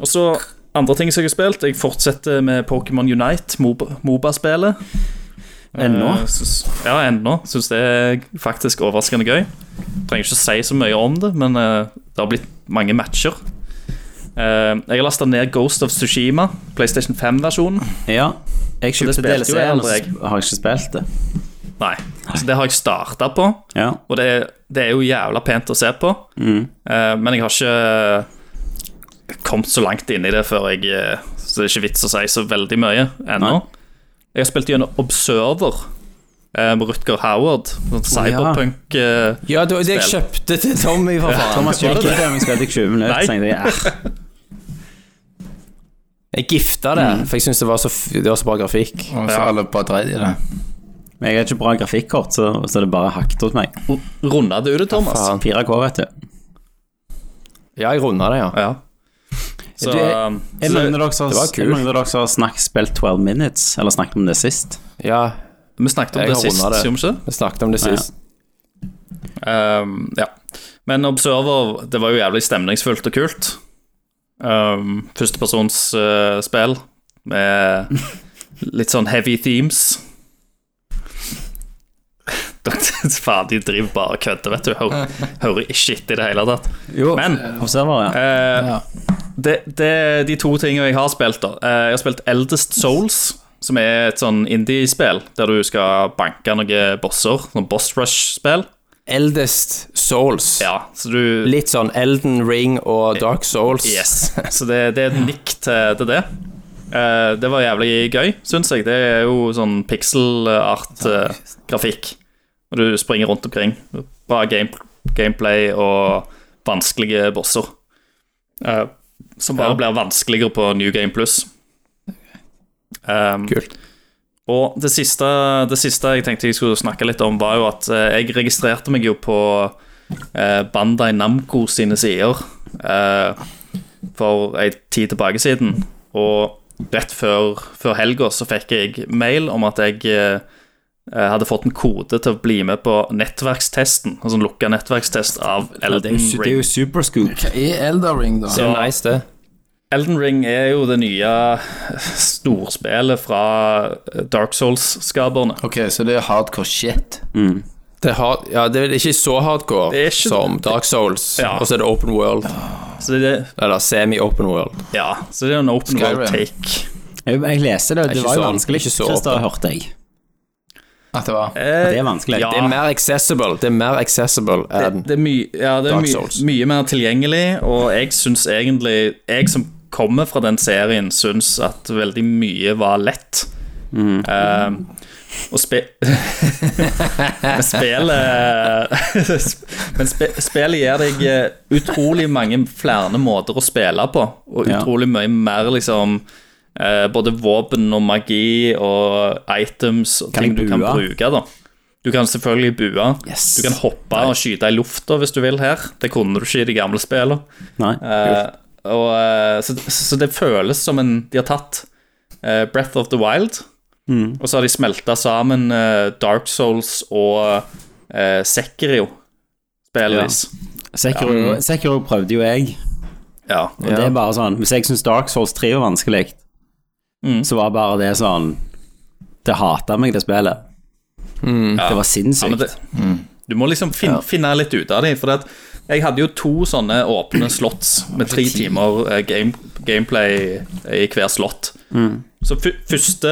Speaker 7: og så andre ting som jeg har spilt. Jeg fortsetter med Pokémon Unite, Mob- Moba-spillet.
Speaker 4: Ennå?
Speaker 7: Eh, syns- Ja, ennå. Syns det er faktisk overraskende gøy. Trenger ikke si så mye om det, men eh, det har blitt mange matcher. Eh, jeg har lasta ned Ghost of Sushima, PlayStation 5-versjonen.
Speaker 4: Ja. Jeg
Speaker 7: det
Speaker 4: kjøpte
Speaker 7: spilte jo jeg
Speaker 4: DLC-en, og
Speaker 7: aldri, jeg.
Speaker 4: så har jeg ikke spilt det.
Speaker 7: Nei, så det har jeg starta på,
Speaker 4: Ja.
Speaker 7: og det, er- det er jo jævla pent å se på.
Speaker 6: Mm.
Speaker 7: Eh, men jeg har ikke kommet så langt inn i det før jeg eh, Så det er ikke vits å si så veldig mye ennå.
Speaker 4: Nei.
Speaker 7: Jeg har spilt gjennom Observer eh, med Rutger Howard. Sånn cyberpunk eh,
Speaker 6: Ja, det var det jeg kjøpte til Tommy, for faen.
Speaker 4: Thomas kjøpte det, men jeg spilte i 20 minutter,
Speaker 7: Nei.
Speaker 4: så tenkte jeg "Ah,
Speaker 6: Jeg gifta det,
Speaker 5: Mm.
Speaker 6: for jeg syns det, var så f- det var så bra grafikk.
Speaker 5: Og så alle bare dreide i det.
Speaker 4: Men jeg har ikke bra grafikkort, så, så det bare hakket hos meg.
Speaker 7: Runda du det, Thomas?
Speaker 6: Faen.
Speaker 4: 4K, vet du.
Speaker 6: Ja, jeg runda det, ja.
Speaker 7: Ja. Så,
Speaker 4: Du,
Speaker 7: eh,
Speaker 4: Er det
Speaker 7: så
Speaker 4: noen av dere som
Speaker 6: det var kult.
Speaker 4: er det noen av dere som har snakket, spilt 12 Minutes, eller snakket om det sist?
Speaker 6: Ja,
Speaker 7: vi snakket om
Speaker 6: Jeg
Speaker 7: det
Speaker 6: har
Speaker 7: sist,
Speaker 6: rundet det.
Speaker 7: gjorde vi ikke det?
Speaker 6: Vi snakket om det sist.
Speaker 7: Ehm, ja. Men Observer, det var jo jævlig stemningsfullt og kult. Um, Førstepersons eh, spill med litt sånn heavy themes. Dere- Faen, de driver bare og kødder, vet du. Hører, hører ikke etter i det hele tatt.
Speaker 4: Jo,
Speaker 7: Men
Speaker 4: Observer, ja.
Speaker 7: Eh,
Speaker 5: Ja.
Speaker 7: det, det er de to tingene jeg har spilt, da. Eh, jeg har spilt Eldest Souls, som er et sånn indie-spill der du skal banke noen bosser. Sånn boss rush-spill.
Speaker 6: Eldest Souls.
Speaker 7: Ja, så du
Speaker 6: Litt sånn Elden Ring og Dark Souls.
Speaker 7: Yes. Så det, det er et nikk til, til det. Eh, det var jævlig gøy, syns jeg. Det er jo sånn pixel-art-grafikk. Og du springer rundt omkring. Bra game, gameplay og vanskelige bosser. Eh, som bare blir vanskeligere på New Game Plus. Um,
Speaker 6: Kult.
Speaker 7: Og det siste, det siste jeg tenkte jeg skulle snakke litt om, var jo at eh, jeg registrerte meg jo på eh, Bandai Namco sine sider eh, for ei tid tilbake siden. Og rett før, før helga så fikk jeg mail om at jeg eh, hadde fått en kode til å bli med på nettverkstesten, altså en lukka nettverkstest av
Speaker 4: Det er
Speaker 7: Elden
Speaker 4: jo, det er
Speaker 7: Ring.
Speaker 4: jo superscoop.
Speaker 5: I Elder Ring, da.
Speaker 6: Det er jo nice, det.
Speaker 7: Elden Ring er jo det nye storspillet fra eh, Dark Souls-skaperne.
Speaker 5: Ok, så det er hardcore shit.
Speaker 6: Det, har, ja, det er ikke så hardcore
Speaker 7: Det er ikke-
Speaker 6: som Dark Souls,
Speaker 7: Ja.
Speaker 6: og så er det open world.
Speaker 7: Så det,
Speaker 6: Eller semi-open world.
Speaker 7: ja, så det er jo en open
Speaker 5: Skyrim.
Speaker 7: world take.
Speaker 4: Jeg, jeg leste det, og
Speaker 6: Det
Speaker 4: det
Speaker 6: er ikke
Speaker 4: var jo
Speaker 6: så-
Speaker 4: vanskelig.
Speaker 6: ikke så
Speaker 4: Christer,
Speaker 6: åpen.
Speaker 4: hørte jeg.
Speaker 5: At det var
Speaker 4: Det er vanskelig.
Speaker 7: Eh, Ja.
Speaker 6: Det er mer accessible. Det er mer accessible enn
Speaker 7: Det er, my, ja, det er
Speaker 6: Dark
Speaker 7: my,
Speaker 6: Souls.
Speaker 7: mye mer tilgjengelig, og jeg syns egentlig Jeg som kommer fra den serien, syns at veldig mye var lett.
Speaker 4: Mm.
Speaker 7: Eh, og spe... men spillet Men spe, spillet gir deg eh, utrolig mange flere måter å spille på, og
Speaker 4: Ja.
Speaker 7: utrolig mye mer, liksom eh, Både våpen og magi og items og
Speaker 4: Kan
Speaker 7: ting
Speaker 4: jeg
Speaker 7: du kan
Speaker 4: bue?
Speaker 7: bruke, da. Du kan selvfølgelig bue. Du kan hoppe og skyte i lufta hvis du vil her. Det kunne du ikke i de gamle spillene.
Speaker 4: Nei.
Speaker 7: Eh, og, eh, så, så det føles som en De har tatt eh, Breath of the Wild, og så har de smelta sammen eh, Dark Souls og uh, Sekrio, spillvis.
Speaker 4: Sekiro, Sekiro prøvde jo jeg,
Speaker 7: Ja.
Speaker 4: og det er bare sånn Hvis jeg syns Dark Souls 3 var vanskelig,
Speaker 7: Mm.
Speaker 4: så var bare det sånn Det hata meg, det spillet. Det var
Speaker 7: Ja, men
Speaker 4: sinnssykt.
Speaker 7: det, Du må liksom fin, finne litt ut av det. For at jeg hadde jo to sånne åpne slotts med tre timer eh, game, gameplay i hver slott. Så fu- første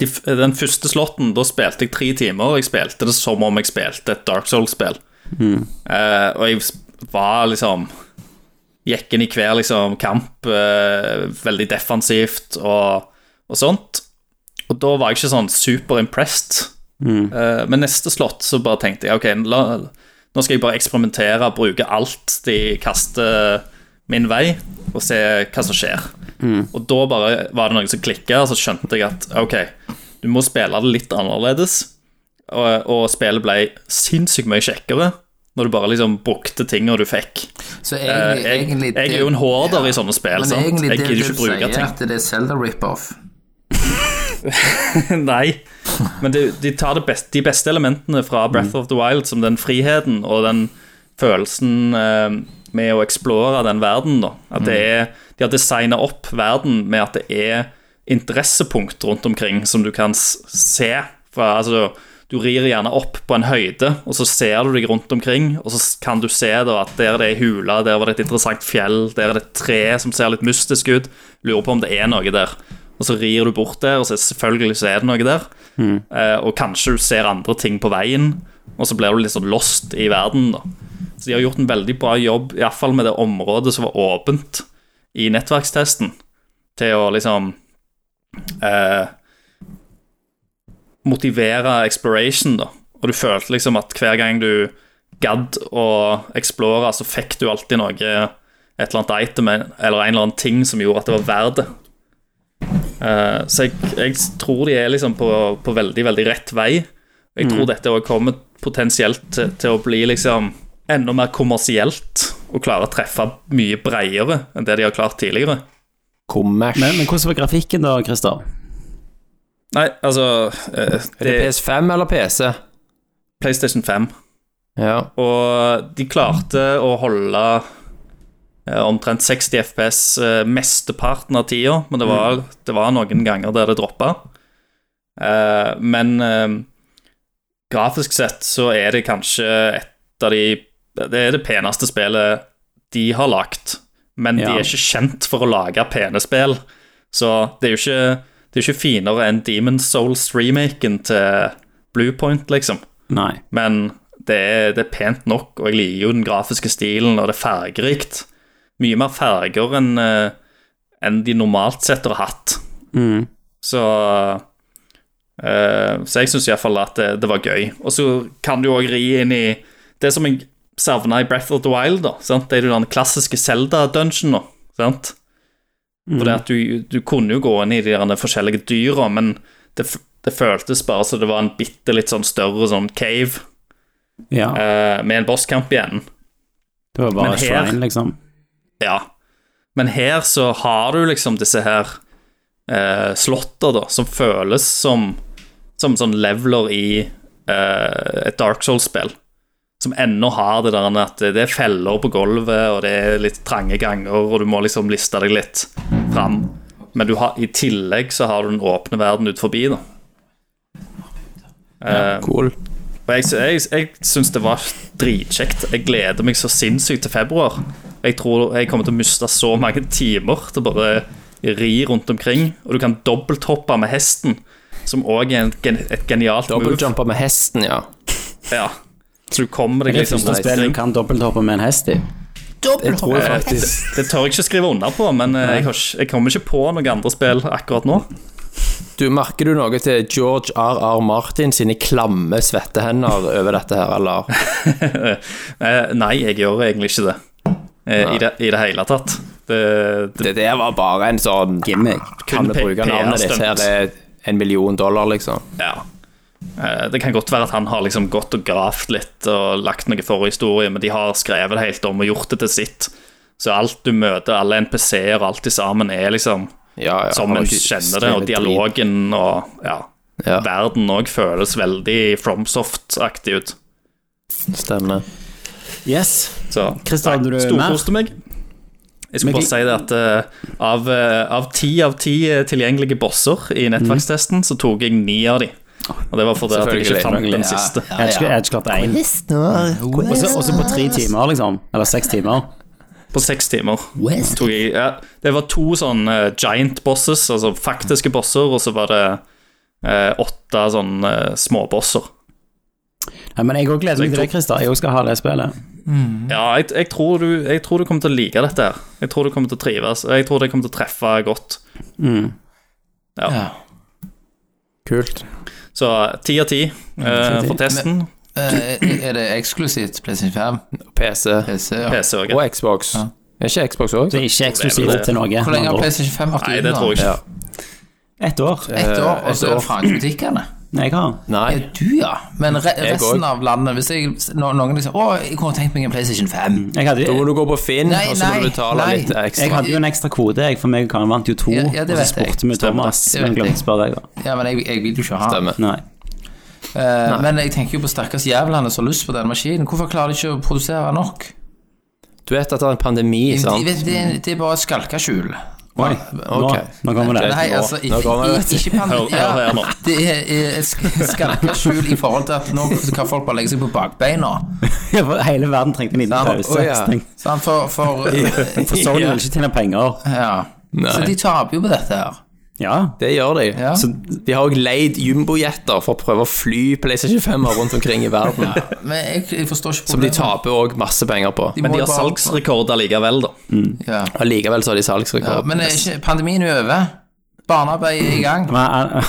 Speaker 7: de, f- Den første slotten, da spilte jeg tre timer, og jeg spilte det som om jeg spilte et Dark Souls-spill. Eh, og jeg s- var liksom Gikk inn i hver liksom, kamp eh, veldig defensivt og, og sånt. Og da var jeg ikke sånn super impressed. Eh, men neste slott så bare tenkte jeg ok, la, nå skal jeg bare eksperimentere, bruke alt de kaster min vei, og se hva som skjer.
Speaker 5: Mm.
Speaker 7: Og da bare var det noe som klikka, og så skjønte jeg at ok, du må spille det litt annerledes. Og, og spillet ble sinnssykt mye kjekkere når du bare liksom brukte tinga du fikk.
Speaker 5: Så
Speaker 7: Eh,
Speaker 5: egentlig,
Speaker 7: jeg,
Speaker 5: egentlig
Speaker 7: jeg er jo en hoarder i sånne spill,
Speaker 5: Men
Speaker 7: sant?
Speaker 5: egentlig
Speaker 7: Jeg
Speaker 5: det
Speaker 7: gidder ikke
Speaker 5: du
Speaker 7: bruke
Speaker 5: sier,
Speaker 7: ting.
Speaker 5: at det er Zelda rip-off.
Speaker 7: Nei, men de, de tar det best, de beste elementene fra Breath
Speaker 5: Mm.
Speaker 7: of the Wild, som den friheten og den følelsen eh, med å eksplore den verden. Da. At det er, de har designa opp verden med at det er interessepunkt rundt omkring som du kan s- se. Fra, altså, du rir gjerne opp på en høyde, og så ser du deg rundt omkring. Og så s- kan du se da, at der det er hule, der var det et interessant fjell, der er det et tre som ser litt mystisk ut. Lurer på om det er noe der. Og så rir du bort der, og så selvfølgelig så er det noe der. Eh, og kanskje du ser andre ting på veien, og så blir du litt sånn lost i verden, da. Så de har gjort en veldig bra jobb, iallfall med det området som var åpent i nettverkstesten, til å liksom eh, motivere exploration, da. Og du følte liksom at hver gang du gadd å explore, så fikk du alltid noe, et eller annet item eller en eller annen ting som gjorde at det var verdt det. Eh, så jeg, jeg tror de er liksom på, på veldig, veldig rett vei. Og Jeg tror dette også kommer potensielt til, til å bli liksom enda mer kommersielt og klare å treffe mye bredere enn det de har klart tidligere.
Speaker 6: Kommers.
Speaker 4: Men, men hvordan var grafikken da, Christer?
Speaker 7: Nei, altså eh,
Speaker 6: er
Speaker 7: Det
Speaker 6: det
Speaker 7: er
Speaker 6: PS5 eller PC?
Speaker 7: PlayStation 5.
Speaker 6: Ja.
Speaker 7: Og de klarte å holde eh, omtrent 60 FPS eh, mesteparten av tida, men det var, det var noen ganger der det droppa. Eh, men eh, grafisk sett så er det kanskje et av de Det er det peneste spillet de har lagt, men de
Speaker 4: Ja.
Speaker 7: er ikke kjent for å lage pene spill. Så det er jo ikke, det er jo ikke finere enn Demon Souls-remaken til Bluepoint, liksom.
Speaker 4: Nei.
Speaker 7: Men det er, det er pent nok, og jeg liker jo den grafiske stilen, og det er fargerikt. Mye mer farger enn eh, enn de normalt sett har hatt. Så eh, Så jeg syns iallfall at det, det var gøy. Og så kan du òg ri inn i det som jeg savna i Breath of the Wild, da. Sant? Det er jo den klassiske Zelda-dungeon, da. Sant? Fordi at du, du kunne jo gå inn i de derne forskjellige dyra, men det, f- det føltes bare som det var en bitte litt sånn større sånn cave
Speaker 4: Ja,
Speaker 7: eh, med en bosskamp igjen.
Speaker 4: det var bare
Speaker 7: men her-
Speaker 4: shrine, liksom.
Speaker 7: Ja. Men her så har du liksom disse her eh, slotter, da, som føles som Som sånn leveler i eh, et Dark Souls-spill. Som ennå har det der med at det er feller på gulvet, og det er litt trange ganger, og du må liksom liste deg litt fram. Men du har, i tillegg så har du den åpne verden ut forbi, da.
Speaker 6: Cool.
Speaker 7: Og jeg, jeg, jeg syns det var dritkjekt. Jeg gleder meg så sinnssykt til februar. Jeg tror jeg kommer til å miste så mange timer til å bare ri rundt omkring. Og du kan dobbelthoppe med hesten, som òg er en, gen- et genialt move.
Speaker 6: Dobbeltjumper med hesten, ja.
Speaker 7: Ja. Så du kommer deg
Speaker 4: Det
Speaker 7: liksom
Speaker 4: første
Speaker 7: rundt
Speaker 4: spillet
Speaker 7: omkring.
Speaker 4: du kan dobbelthoppe med en hest i.
Speaker 6: Jeg tror faktisk
Speaker 7: Det tør jeg ikke skrive under på, men eh, jeg, har, ikke- jeg kommer ikke på noen andre spill akkurat nå.
Speaker 6: Du, Merker du noe til George R.R. Martin sine klamme svettehender over dette her, eller?
Speaker 7: Eh, Nei, jeg gjør egentlig ikke det. Eh, I det, I det hele tatt. Det, det,
Speaker 6: Det der var bare en sånn
Speaker 8: Gimmick.
Speaker 6: Kan
Speaker 7: Kun
Speaker 6: vi bruke
Speaker 7: P-
Speaker 6: navnet ditt
Speaker 7: PR-stunt.
Speaker 6: her? Det er en million dollar, liksom.
Speaker 7: ja. Eh, det kan godt være at han har liksom gått og gravd litt og lagt noe forhistorie, men de har skrevet det helt om og gjort det til sitt. Så alt du møter, alle NPC-er og alt til sammen, er liksom
Speaker 6: Ja, ja,
Speaker 7: som
Speaker 6: har
Speaker 7: en
Speaker 6: ikke
Speaker 7: kjenner det,
Speaker 6: skrevet
Speaker 7: og dialogen og ja,
Speaker 6: Ja.
Speaker 7: verden òg føles veldig Fromsoft-aktig ut.
Speaker 6: drit. Stemmer.
Speaker 4: Yes.
Speaker 7: Så
Speaker 4: Christer, hadde du mer?
Speaker 7: storkoste meg. Jeg skulle
Speaker 4: Men-
Speaker 7: bare si det at eh, av, eh, av ti av ti eh, tilgjengelige bosser i nettverkstesten, så tok jeg ni av de. Og det var fordi at jeg
Speaker 6: Selvfølgelig.
Speaker 7: ikke fant den
Speaker 6: Ja,
Speaker 7: siste.
Speaker 4: Jeg hadde ikke- jeg hadde ikke klart én. Og så på tre timer, liksom. Eller seks timer.
Speaker 7: På seks timer. Tok jeg, ja, det var to sånn eh, giant bosses, altså faktiske bosser, og så var det eh, åtte sånn eh, småbosser.
Speaker 4: Ja, men jeg òg gleder meg til det, Christer. Jeg også skal ha det spillet.
Speaker 7: Ja, jeg, jeg, tror du, jeg tror du kommer til å like dette her. Jeg tror du kommer til å trives, og jeg tror det kommer til å treffe godt. Ja.
Speaker 6: Kult.
Speaker 7: Så ti av ti eh, for testen.
Speaker 5: Eh, er det eksklusivt PlayStation 5?
Speaker 6: PC
Speaker 5: PC, ja.
Speaker 7: PC òg.
Speaker 6: og Xbox.
Speaker 5: Ja.
Speaker 6: Er ikke Xbox òg?
Speaker 4: Det er ikke eksklusivt til Norge.
Speaker 5: Hvor lenge har PlayStation 5 vært
Speaker 7: Nei,
Speaker 5: ute
Speaker 7: det
Speaker 5: nå?
Speaker 7: tror jeg Eh,
Speaker 6: Ja.
Speaker 7: ikke.
Speaker 4: Ett år.
Speaker 5: Et år, og så
Speaker 6: Et
Speaker 5: er
Speaker 6: år.
Speaker 5: det franskbutikkene.
Speaker 4: Jeg har.
Speaker 6: Nei.
Speaker 5: Er du, ja. Men re
Speaker 6: Jeg
Speaker 5: resten
Speaker 6: også.
Speaker 5: av landet Hvis jeg, no, noen liksom Å, jeg kunne tenkt meg en PlayStation 5.
Speaker 6: Mm.
Speaker 4: Jeg hadde,
Speaker 6: Da må du gå på Finn,
Speaker 5: Nei,
Speaker 6: og så må
Speaker 5: nei,
Speaker 6: du betale
Speaker 5: nei.
Speaker 6: litt
Speaker 4: jeg
Speaker 6: ekstra.
Speaker 4: hadde jo en ekstra kode, jeg, for meg og Karen vant jo to.
Speaker 5: Ja, ja, det
Speaker 4: og så
Speaker 5: vet jeg.
Speaker 4: spurte vi Thomas,
Speaker 5: det
Speaker 4: men
Speaker 5: vet
Speaker 4: glemte
Speaker 5: jeg.
Speaker 4: å spørre deg, da.
Speaker 5: Ja, men jeg, jeg vil jo ikke ha den.
Speaker 6: Stemmer.
Speaker 4: Nei.
Speaker 5: Eh, men jeg tenker jo på stakkars jævlene som har lyst på den maskinen. Hvorfor klarer de ikke å produsere nok?
Speaker 6: Du vet at det er en pandemi,
Speaker 5: De-
Speaker 6: sant?
Speaker 5: vet, det, det er bare et skalkeskjul.
Speaker 4: Oi, nå,
Speaker 6: ok.
Speaker 4: nå kommer det.
Speaker 5: Nei,
Speaker 6: nå-
Speaker 5: altså
Speaker 6: nå
Speaker 5: ikke,
Speaker 6: kommer det, vet du.
Speaker 5: ikke pan-
Speaker 7: Hør- hør her
Speaker 5: ja,
Speaker 7: nå.
Speaker 5: Det er er et sk- skalkeskjul i forhold til at nå kan folk bare legge seg på bakbeina.
Speaker 4: Hele verden trengte en liten
Speaker 5: Sant?
Speaker 4: pause.
Speaker 6: Å, ja.
Speaker 4: tenk-
Speaker 5: Sant? For, for
Speaker 4: For Sony vil ikke tjene penger.
Speaker 5: Ja. Så de taper jo på dette her.
Speaker 4: Ja.
Speaker 6: Det gjør de.
Speaker 5: Ja.
Speaker 6: Så de har òg leid jumbojetter for å prøve å fly PlayStation 5 rundt omkring i verden.
Speaker 5: Men jeg, jeg forstår ikke
Speaker 6: Som de
Speaker 5: problemet.
Speaker 6: taper òg masse penger på.
Speaker 5: må
Speaker 7: Men de har
Speaker 5: bare-
Speaker 7: salgsrekord allikevel, da.
Speaker 5: Ja.
Speaker 6: Allikevel så har de
Speaker 5: Ja,
Speaker 6: salgsrekord.
Speaker 5: men er ikke pandemien er over? Barnearbeid er i gang.
Speaker 4: Men han,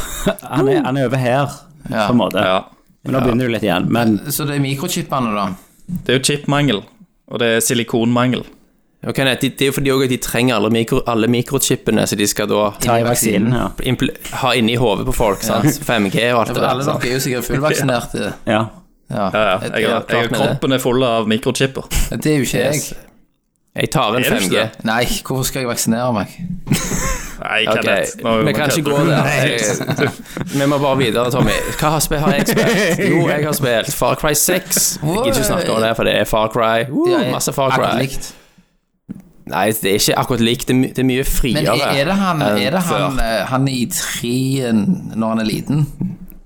Speaker 4: han, er, han er over her,
Speaker 5: Ja.
Speaker 4: på en måte.
Speaker 7: Ja.
Speaker 4: Men nå begynner du litt igjen. Men
Speaker 5: Så det er mikrochipene, da.
Speaker 7: Det er jo chipmangel, og det er silikonmangel.
Speaker 6: Ok, nei, de, det er jo fordi også at de trenger alle, mikro, alle mikrochipene som de skal da
Speaker 4: ta i vaksinen, ja.
Speaker 6: impl- ha inni hodet på folk. sant? 5G og alt det der.
Speaker 5: Alle
Speaker 6: sant?
Speaker 5: dere er jo sikkert fullvaksinerte.
Speaker 4: ja.
Speaker 5: Ja.
Speaker 7: Ja, ja. Jeg,
Speaker 6: Ja,
Speaker 7: har-
Speaker 6: klart
Speaker 7: jeg,
Speaker 6: med
Speaker 7: kroppen er full av mikrochipper.
Speaker 5: Det er jo ikke jeg.
Speaker 6: Yes. Jeg tar en
Speaker 7: Er det ikke
Speaker 6: 5G.
Speaker 7: det?
Speaker 5: Nei, hvorfor skal jeg vaksinere meg?
Speaker 7: Nei,
Speaker 6: Ok,
Speaker 7: Kenneth. nå-
Speaker 6: vi kan ikke gå der. Jeg- Vi må bare videre, Tommy. Hva har, spe- har jeg spilt? Jo, jeg har spilt Far Cry 6. Jeg gidder ikke snakke om det, for det er Far Cry. Woo,
Speaker 5: Ja, jeg-
Speaker 6: masse Far
Speaker 5: akkurat
Speaker 6: Cry.
Speaker 5: likt.
Speaker 6: Nei, det er ikke akkurat likt. Det er, my- det er mye
Speaker 5: Men
Speaker 6: friere.
Speaker 5: er, er det han, er det han, eh, han i treen når han er liten?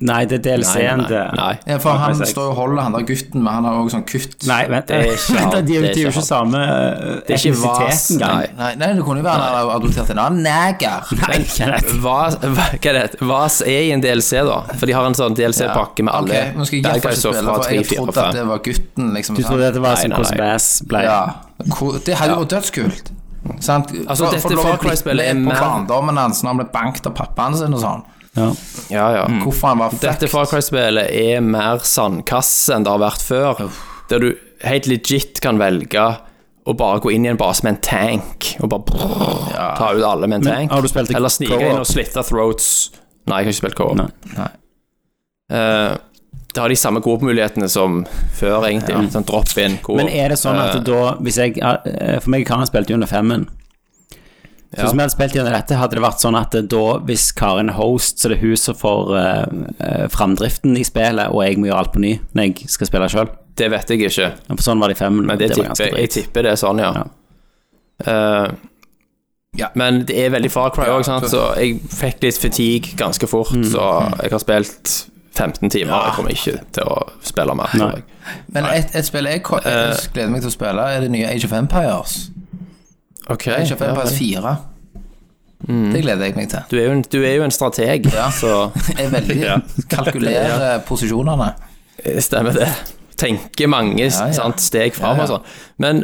Speaker 4: Nei, det er
Speaker 6: Nei,
Speaker 4: DLC-en
Speaker 6: nei,
Speaker 4: til
Speaker 6: nei.
Speaker 5: Ja, for han
Speaker 4: Sex.
Speaker 5: står jo og holder han der gutten, men han har òg sånn kutt.
Speaker 4: Nei, vent,
Speaker 6: Det er ikke
Speaker 4: vent,
Speaker 6: han.
Speaker 4: de er jo-
Speaker 6: Det er
Speaker 4: de er jo
Speaker 6: ikke
Speaker 4: ikke samme eh,
Speaker 6: Det er ikke
Speaker 4: etnisitet
Speaker 6: vas.
Speaker 4: engang.
Speaker 6: Nei.
Speaker 5: Nei, nei, det kunne jo være han har adoptert en annen neger.
Speaker 6: Men hva, hva, hva er det? Hva er i en DLC, da? For de har en sånn DLC-pakke med alle
Speaker 5: Ok, nå skal jeg
Speaker 6: bad
Speaker 5: iallfall ikke
Speaker 6: guys og
Speaker 5: spille,
Speaker 6: fra
Speaker 5: for
Speaker 6: 3,
Speaker 5: jeg
Speaker 6: 4 og
Speaker 5: trodde
Speaker 6: 5.
Speaker 5: at det var gutten, liksom.
Speaker 4: Du
Speaker 5: sant?
Speaker 4: trodde dette var
Speaker 6: Nei,
Speaker 4: sånn
Speaker 6: nei,
Speaker 4: hvordan
Speaker 6: nei.
Speaker 4: Bass ble
Speaker 5: Ja. Hvor- Det hadde jo vært dødskult. Sant?
Speaker 6: Altså, dette Far Cry-spillet er mer-
Speaker 5: mer Barndommen hans når han ble banket av pappaen sin og sånn.
Speaker 4: Ja.
Speaker 6: Ja, ja.
Speaker 5: Hvorfor han var
Speaker 6: Dette
Speaker 5: fucked.
Speaker 6: Far Cry-spillet er mer sandkasse enn det har vært før. Der du helt legit kan velge å bare gå inn i en base med en tank og bare brrr, ta ut alle med en
Speaker 4: Men
Speaker 6: tank.
Speaker 4: har du spilt i
Speaker 6: Eller snike
Speaker 4: co-op?
Speaker 6: inn og slitte throats. Nei, jeg har ikke spilt co-op.
Speaker 4: Nei.
Speaker 5: Nei.
Speaker 6: Eh, det har de samme co-op-mulighetene som før, egentlig. Sånn drop-in co-op.
Speaker 4: Men er det sånn at
Speaker 6: Eh,
Speaker 4: da hvis jeg, eh, For meg og Karen spilte jo under femmen. Så
Speaker 6: Ja.
Speaker 4: Hvis vi hadde spilt gjennom dette, hadde det vært sånn at eh, da hvis Karen er host, så er det hun som får eh, eh, framdriften i spillet, og jeg må gjøre alt på ny når jeg skal spille sjøl.
Speaker 6: det vet jeg ikke.
Speaker 4: Sånn var det i femmen.
Speaker 6: Men
Speaker 4: og
Speaker 6: det,
Speaker 4: var
Speaker 6: tipper,
Speaker 4: ganske
Speaker 6: jeg
Speaker 4: drit.
Speaker 6: tipper det er sånn, ja.
Speaker 4: Ja.
Speaker 6: Eh,
Speaker 5: Ja.
Speaker 6: Men det er veldig Far Cry
Speaker 5: Ja,
Speaker 6: òg, sant? så jeg fikk litt fatigue ganske fort. Så jeg har spilt 15 timer, jeg kommer ikke til å spille mer. tror
Speaker 4: Nei.
Speaker 6: jeg.
Speaker 5: Men et, et spill jeg, ko- jeg
Speaker 6: Eh.
Speaker 5: gleder meg til å spille, er det nye Age of Empires.
Speaker 6: Ok,
Speaker 5: Age of
Speaker 6: ja, Mm.
Speaker 5: Empires
Speaker 6: vel.
Speaker 5: 4. Det gleder jeg meg til.
Speaker 6: du, er jo en, du er jo en strateg,
Speaker 5: Ja.
Speaker 6: så
Speaker 5: Jeg er veldig kalkulerer eh, posisjonene.
Speaker 6: eh, stemmer det. Tenker mange
Speaker 5: Ja, ja.
Speaker 6: Sant? steg fram altså. ehm,
Speaker 5: Ja, ja.
Speaker 6: og sånn. Men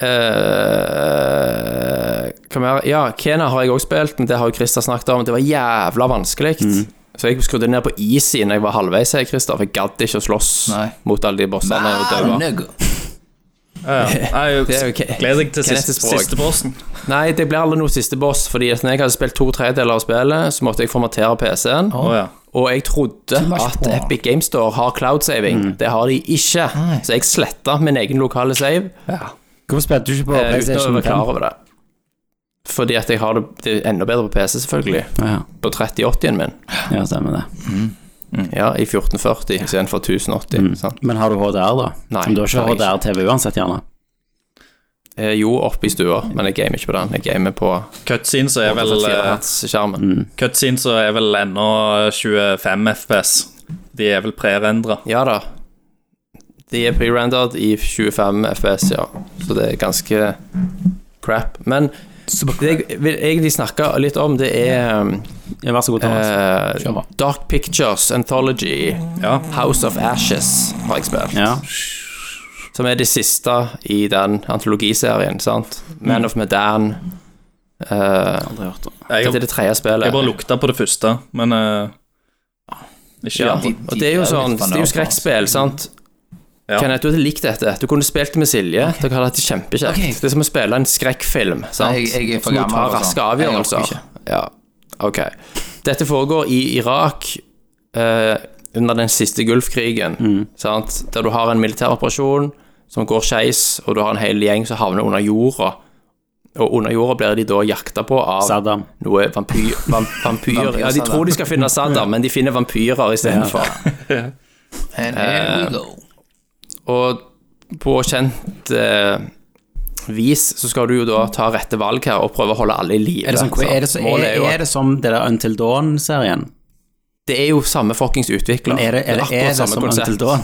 Speaker 6: eh, eh, Hva mer? Ja, Kena har jeg også spilt, men det har jo Christer snakket om. Det var jævla vanskelig. Så jeg skrudde ned på easy når jeg var halvveis her, Christer, for jeg gadd ikke å slåss
Speaker 5: Nei.
Speaker 6: mot alle de bossene og
Speaker 5: Ah,
Speaker 6: daua.
Speaker 5: nigga.
Speaker 7: Ja, ja.
Speaker 6: Det er
Speaker 7: Jeg
Speaker 6: jo ikke-
Speaker 7: gleder meg til
Speaker 6: Hva er
Speaker 7: siste,
Speaker 6: neste språk?
Speaker 7: siste bossen.
Speaker 6: Nei, det ble aldri noe siste boss, fordi når jeg hadde spilt to tredjedeler av spillet, så måtte jeg formatere PC-en.
Speaker 7: Å ja.
Speaker 6: Og jeg trodde
Speaker 5: Too much
Speaker 6: at
Speaker 5: power.
Speaker 6: Epic Games Store har cloud saving. Det har de ikke.
Speaker 5: Nei.
Speaker 6: Så jeg sletta min egen lokale save
Speaker 4: Hvorfor spilte du ikke på
Speaker 6: eh, uten å
Speaker 4: PlayStation
Speaker 6: være
Speaker 4: 5?
Speaker 6: klar over det. Fordi at jeg har det, det er enda bedre på PC, selvfølgelig.
Speaker 4: Ja,
Speaker 6: På 3080-en min.
Speaker 4: ja, stemmer det.
Speaker 6: Ja, i 1440 istedenfor 1080. Sant?
Speaker 4: Men har du HDR, da?
Speaker 6: Nei,
Speaker 4: Men du har
Speaker 6: har
Speaker 4: ikke
Speaker 6: jeg
Speaker 4: HDR-TV uansett, gjerne?
Speaker 6: Eh, jo, oppe i stua, men jeg gamer ikke på den. Jeg gamer på
Speaker 7: Cutscenes er vel
Speaker 6: 84
Speaker 7: eh,
Speaker 6: hertz-skjermen.
Speaker 7: Cutscenes er vel ennå 25 FPS. De er vel prerendra.
Speaker 6: Ja da. De er pre-rendered i 25 FPS, ja. Så det er ganske crap. Men det jeg vil egentlig snakke litt om, det er um,
Speaker 4: Ja, vær så god, Thomas.
Speaker 6: eh,
Speaker 4: Kjør på.
Speaker 6: Dark Pictures Anthology.
Speaker 7: Ja.
Speaker 6: House of Ashes har jeg spilt.
Speaker 4: ja.
Speaker 6: Som er det siste i den antologiserien, sant?
Speaker 4: Mm.
Speaker 6: Man of Medan. Eh,
Speaker 7: Jeg,
Speaker 6: dette
Speaker 7: har-
Speaker 6: er det tredje spillet.
Speaker 7: jeg bare lukta på det første, men eh, Ikke
Speaker 6: Ja,
Speaker 7: ja.
Speaker 5: de-
Speaker 6: og det er jo
Speaker 5: de er jo
Speaker 6: sånn
Speaker 5: litt
Speaker 6: Det er jo
Speaker 5: fanatiske.
Speaker 6: skrekkspill, sant?
Speaker 7: Ja.
Speaker 6: Kenneth, du hadde likt dette. Du kunne spilt med Silje. Dere hadde hatt det kjempekjekt.
Speaker 5: Ok.
Speaker 6: Det er som å spille en skrekkfilm. sant?
Speaker 5: Nei, jeg- jeg er for
Speaker 6: Så må du
Speaker 5: gammel
Speaker 6: ta
Speaker 5: for sånn.
Speaker 6: raske
Speaker 5: Jeg orker
Speaker 6: avgjørelser.
Speaker 5: ikke.
Speaker 6: Ja, ok. Dette foregår i Irak eh, under den siste Gulfkrigen,
Speaker 5: Mm.
Speaker 6: sant? der du har en militæroperasjon som går skeis, og du har en hel gjeng som havner under jorda. Og under jorda blir de da jakta på av
Speaker 4: Saddam.
Speaker 6: noe vampyr, vam, vampyrer. Ja, de
Speaker 5: Vampyr-Saddam.
Speaker 6: tror de skal finne Saddam, men de finner vampyrer istedenfor. Eh.
Speaker 5: And here we go.
Speaker 6: Og på kjent eh, vis så skal du jo da ta rette valg her og prøve å holde alle i live.
Speaker 4: Er det, sånn, er, det, så, er,
Speaker 6: Målet er jo
Speaker 4: er
Speaker 6: at
Speaker 4: det som det der Until Dawn-serien?
Speaker 6: det er jo samme fuckings utvikler.
Speaker 4: Men er det, er det,
Speaker 6: akkurat
Speaker 4: er det
Speaker 6: samme
Speaker 4: som
Speaker 6: konsept.
Speaker 4: Until Dawn?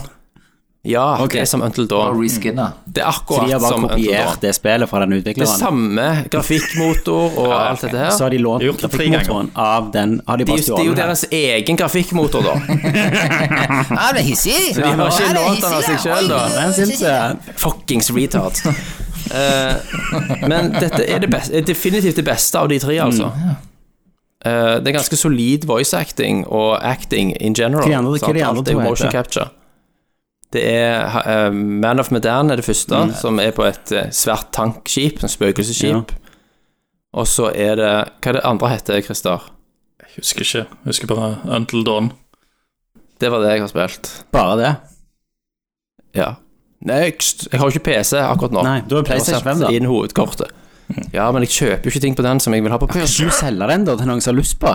Speaker 6: Ja,
Speaker 4: Ok.
Speaker 6: det er som Until
Speaker 5: Og
Speaker 6: Dawn.
Speaker 5: reskinna.
Speaker 6: Det er
Speaker 4: Så de
Speaker 6: akkurat
Speaker 4: har bare
Speaker 6: som Until Dawn.
Speaker 4: kopiert det spillet fra den
Speaker 6: Det er
Speaker 4: utvikleren?
Speaker 6: samme grafikkmotor og alt dette her.
Speaker 4: Så har de lånt
Speaker 7: De har gjort det tre ganger.
Speaker 4: grafikkmotoren av den Har de
Speaker 6: Det er
Speaker 4: bare
Speaker 6: jo- det er jo
Speaker 4: stjålet den?
Speaker 6: deres egen grafikkmotor, da.
Speaker 5: Ah, det er hissig!
Speaker 6: De har ikke lånt den av seg sjøl, da.
Speaker 4: Den syns jeg.
Speaker 6: Fuckings retards. Eh, men dette er, det beste, er definitivt det beste av de tre, altså.
Speaker 4: Mm,
Speaker 6: Eh, det er ganske solid voice acting og acting in general.
Speaker 4: Hva de andre- hva
Speaker 6: sant?
Speaker 4: de andre
Speaker 6: Alt er
Speaker 4: to
Speaker 6: jo motion
Speaker 4: heter?
Speaker 6: capture. Det er eh, Man of Medan er det første,
Speaker 4: Mm.
Speaker 6: som er på et eh, svært tankskip, en spøkelsesskip. Og så er det Hva er det andre heter, Christer?
Speaker 7: Jeg husker ikke. Jeg Husker bare Until Dawn.
Speaker 6: Det var det jeg har spilt.
Speaker 4: Bare det?
Speaker 6: Ja. Next! Jeg har jo ikke PC akkurat nå.
Speaker 4: Nei, du har PlayStation 5, da.
Speaker 6: Inn hovedkortet. Ja, men jeg kjøper jo ikke ting på den som jeg vil ha på
Speaker 4: Kan
Speaker 6: PC.
Speaker 4: ikke du selge den da til noen som har lyst på?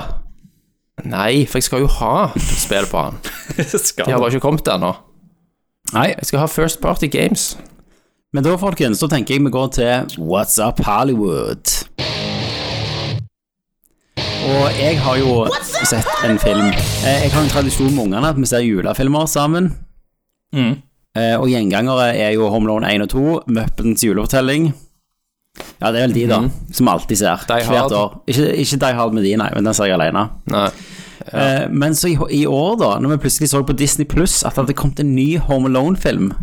Speaker 6: Nei, for jeg skal jo ha spill på den.
Speaker 7: Skal
Speaker 6: De har bare ikke kommet ennå.
Speaker 4: Nei.
Speaker 6: Jeg skal ha First Party Games.
Speaker 4: Men da, folkens, da tenker jeg vi går til What's Up Hollywood. Og jeg har jo sett en film. Eh, Jeg har en tradisjon med ungene at vi ser julefilmer sammen.
Speaker 7: Mm.
Speaker 4: Eh, Og gjengangere er jo Home Loan 1 og 2, Muppets julefortelling. Ja, det er vel de, da,
Speaker 7: Mhm.
Speaker 4: som vi alltid ser.
Speaker 6: Die Hard.
Speaker 4: hvert år. Ikke, ikke Die Hard med de, nei, men den ser jeg alene.
Speaker 6: Nei.
Speaker 4: Eh, Men så i, i år, da, når vi plutselig så på Disney Pluss at det hadde kommet en ny Home Alone-film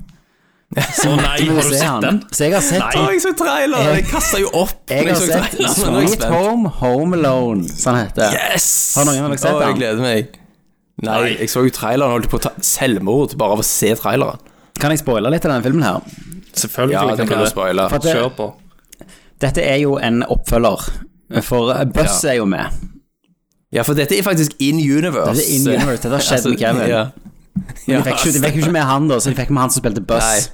Speaker 7: Å nei, har du sett den?
Speaker 4: Så jeg har sett
Speaker 7: Nei.
Speaker 6: jeg så traileren! Jeg kasta jo opp. liksom.
Speaker 4: Jeg har sett Sweet Home Home Alone, sånn heter det.
Speaker 6: Yes!
Speaker 4: Har noen av dere sett
Speaker 6: Å,
Speaker 4: den?
Speaker 6: Jeg gleder meg. Nei, jeg så jo traileren holdt på å ta selvmord bare av å se traileren.
Speaker 4: Kan jeg spoile litt av denne filmen her?
Speaker 7: Selvfølgelig
Speaker 6: Ja, det
Speaker 7: kan du
Speaker 6: kan du
Speaker 7: det.
Speaker 6: spoile.
Speaker 4: For at det,
Speaker 7: Kjør på.
Speaker 4: dette er jo en oppfølger, for Buzz er jo med.
Speaker 6: Ja, for dette er faktisk in universe. Altså,
Speaker 4: Dette er in universe. Dette har skjedd med Kevin.
Speaker 6: Ja.
Speaker 4: Men de fikk ikke- de fikk jo ikke med han, da, så de fikk med han som spilte
Speaker 6: Nei.
Speaker 4: Buzz.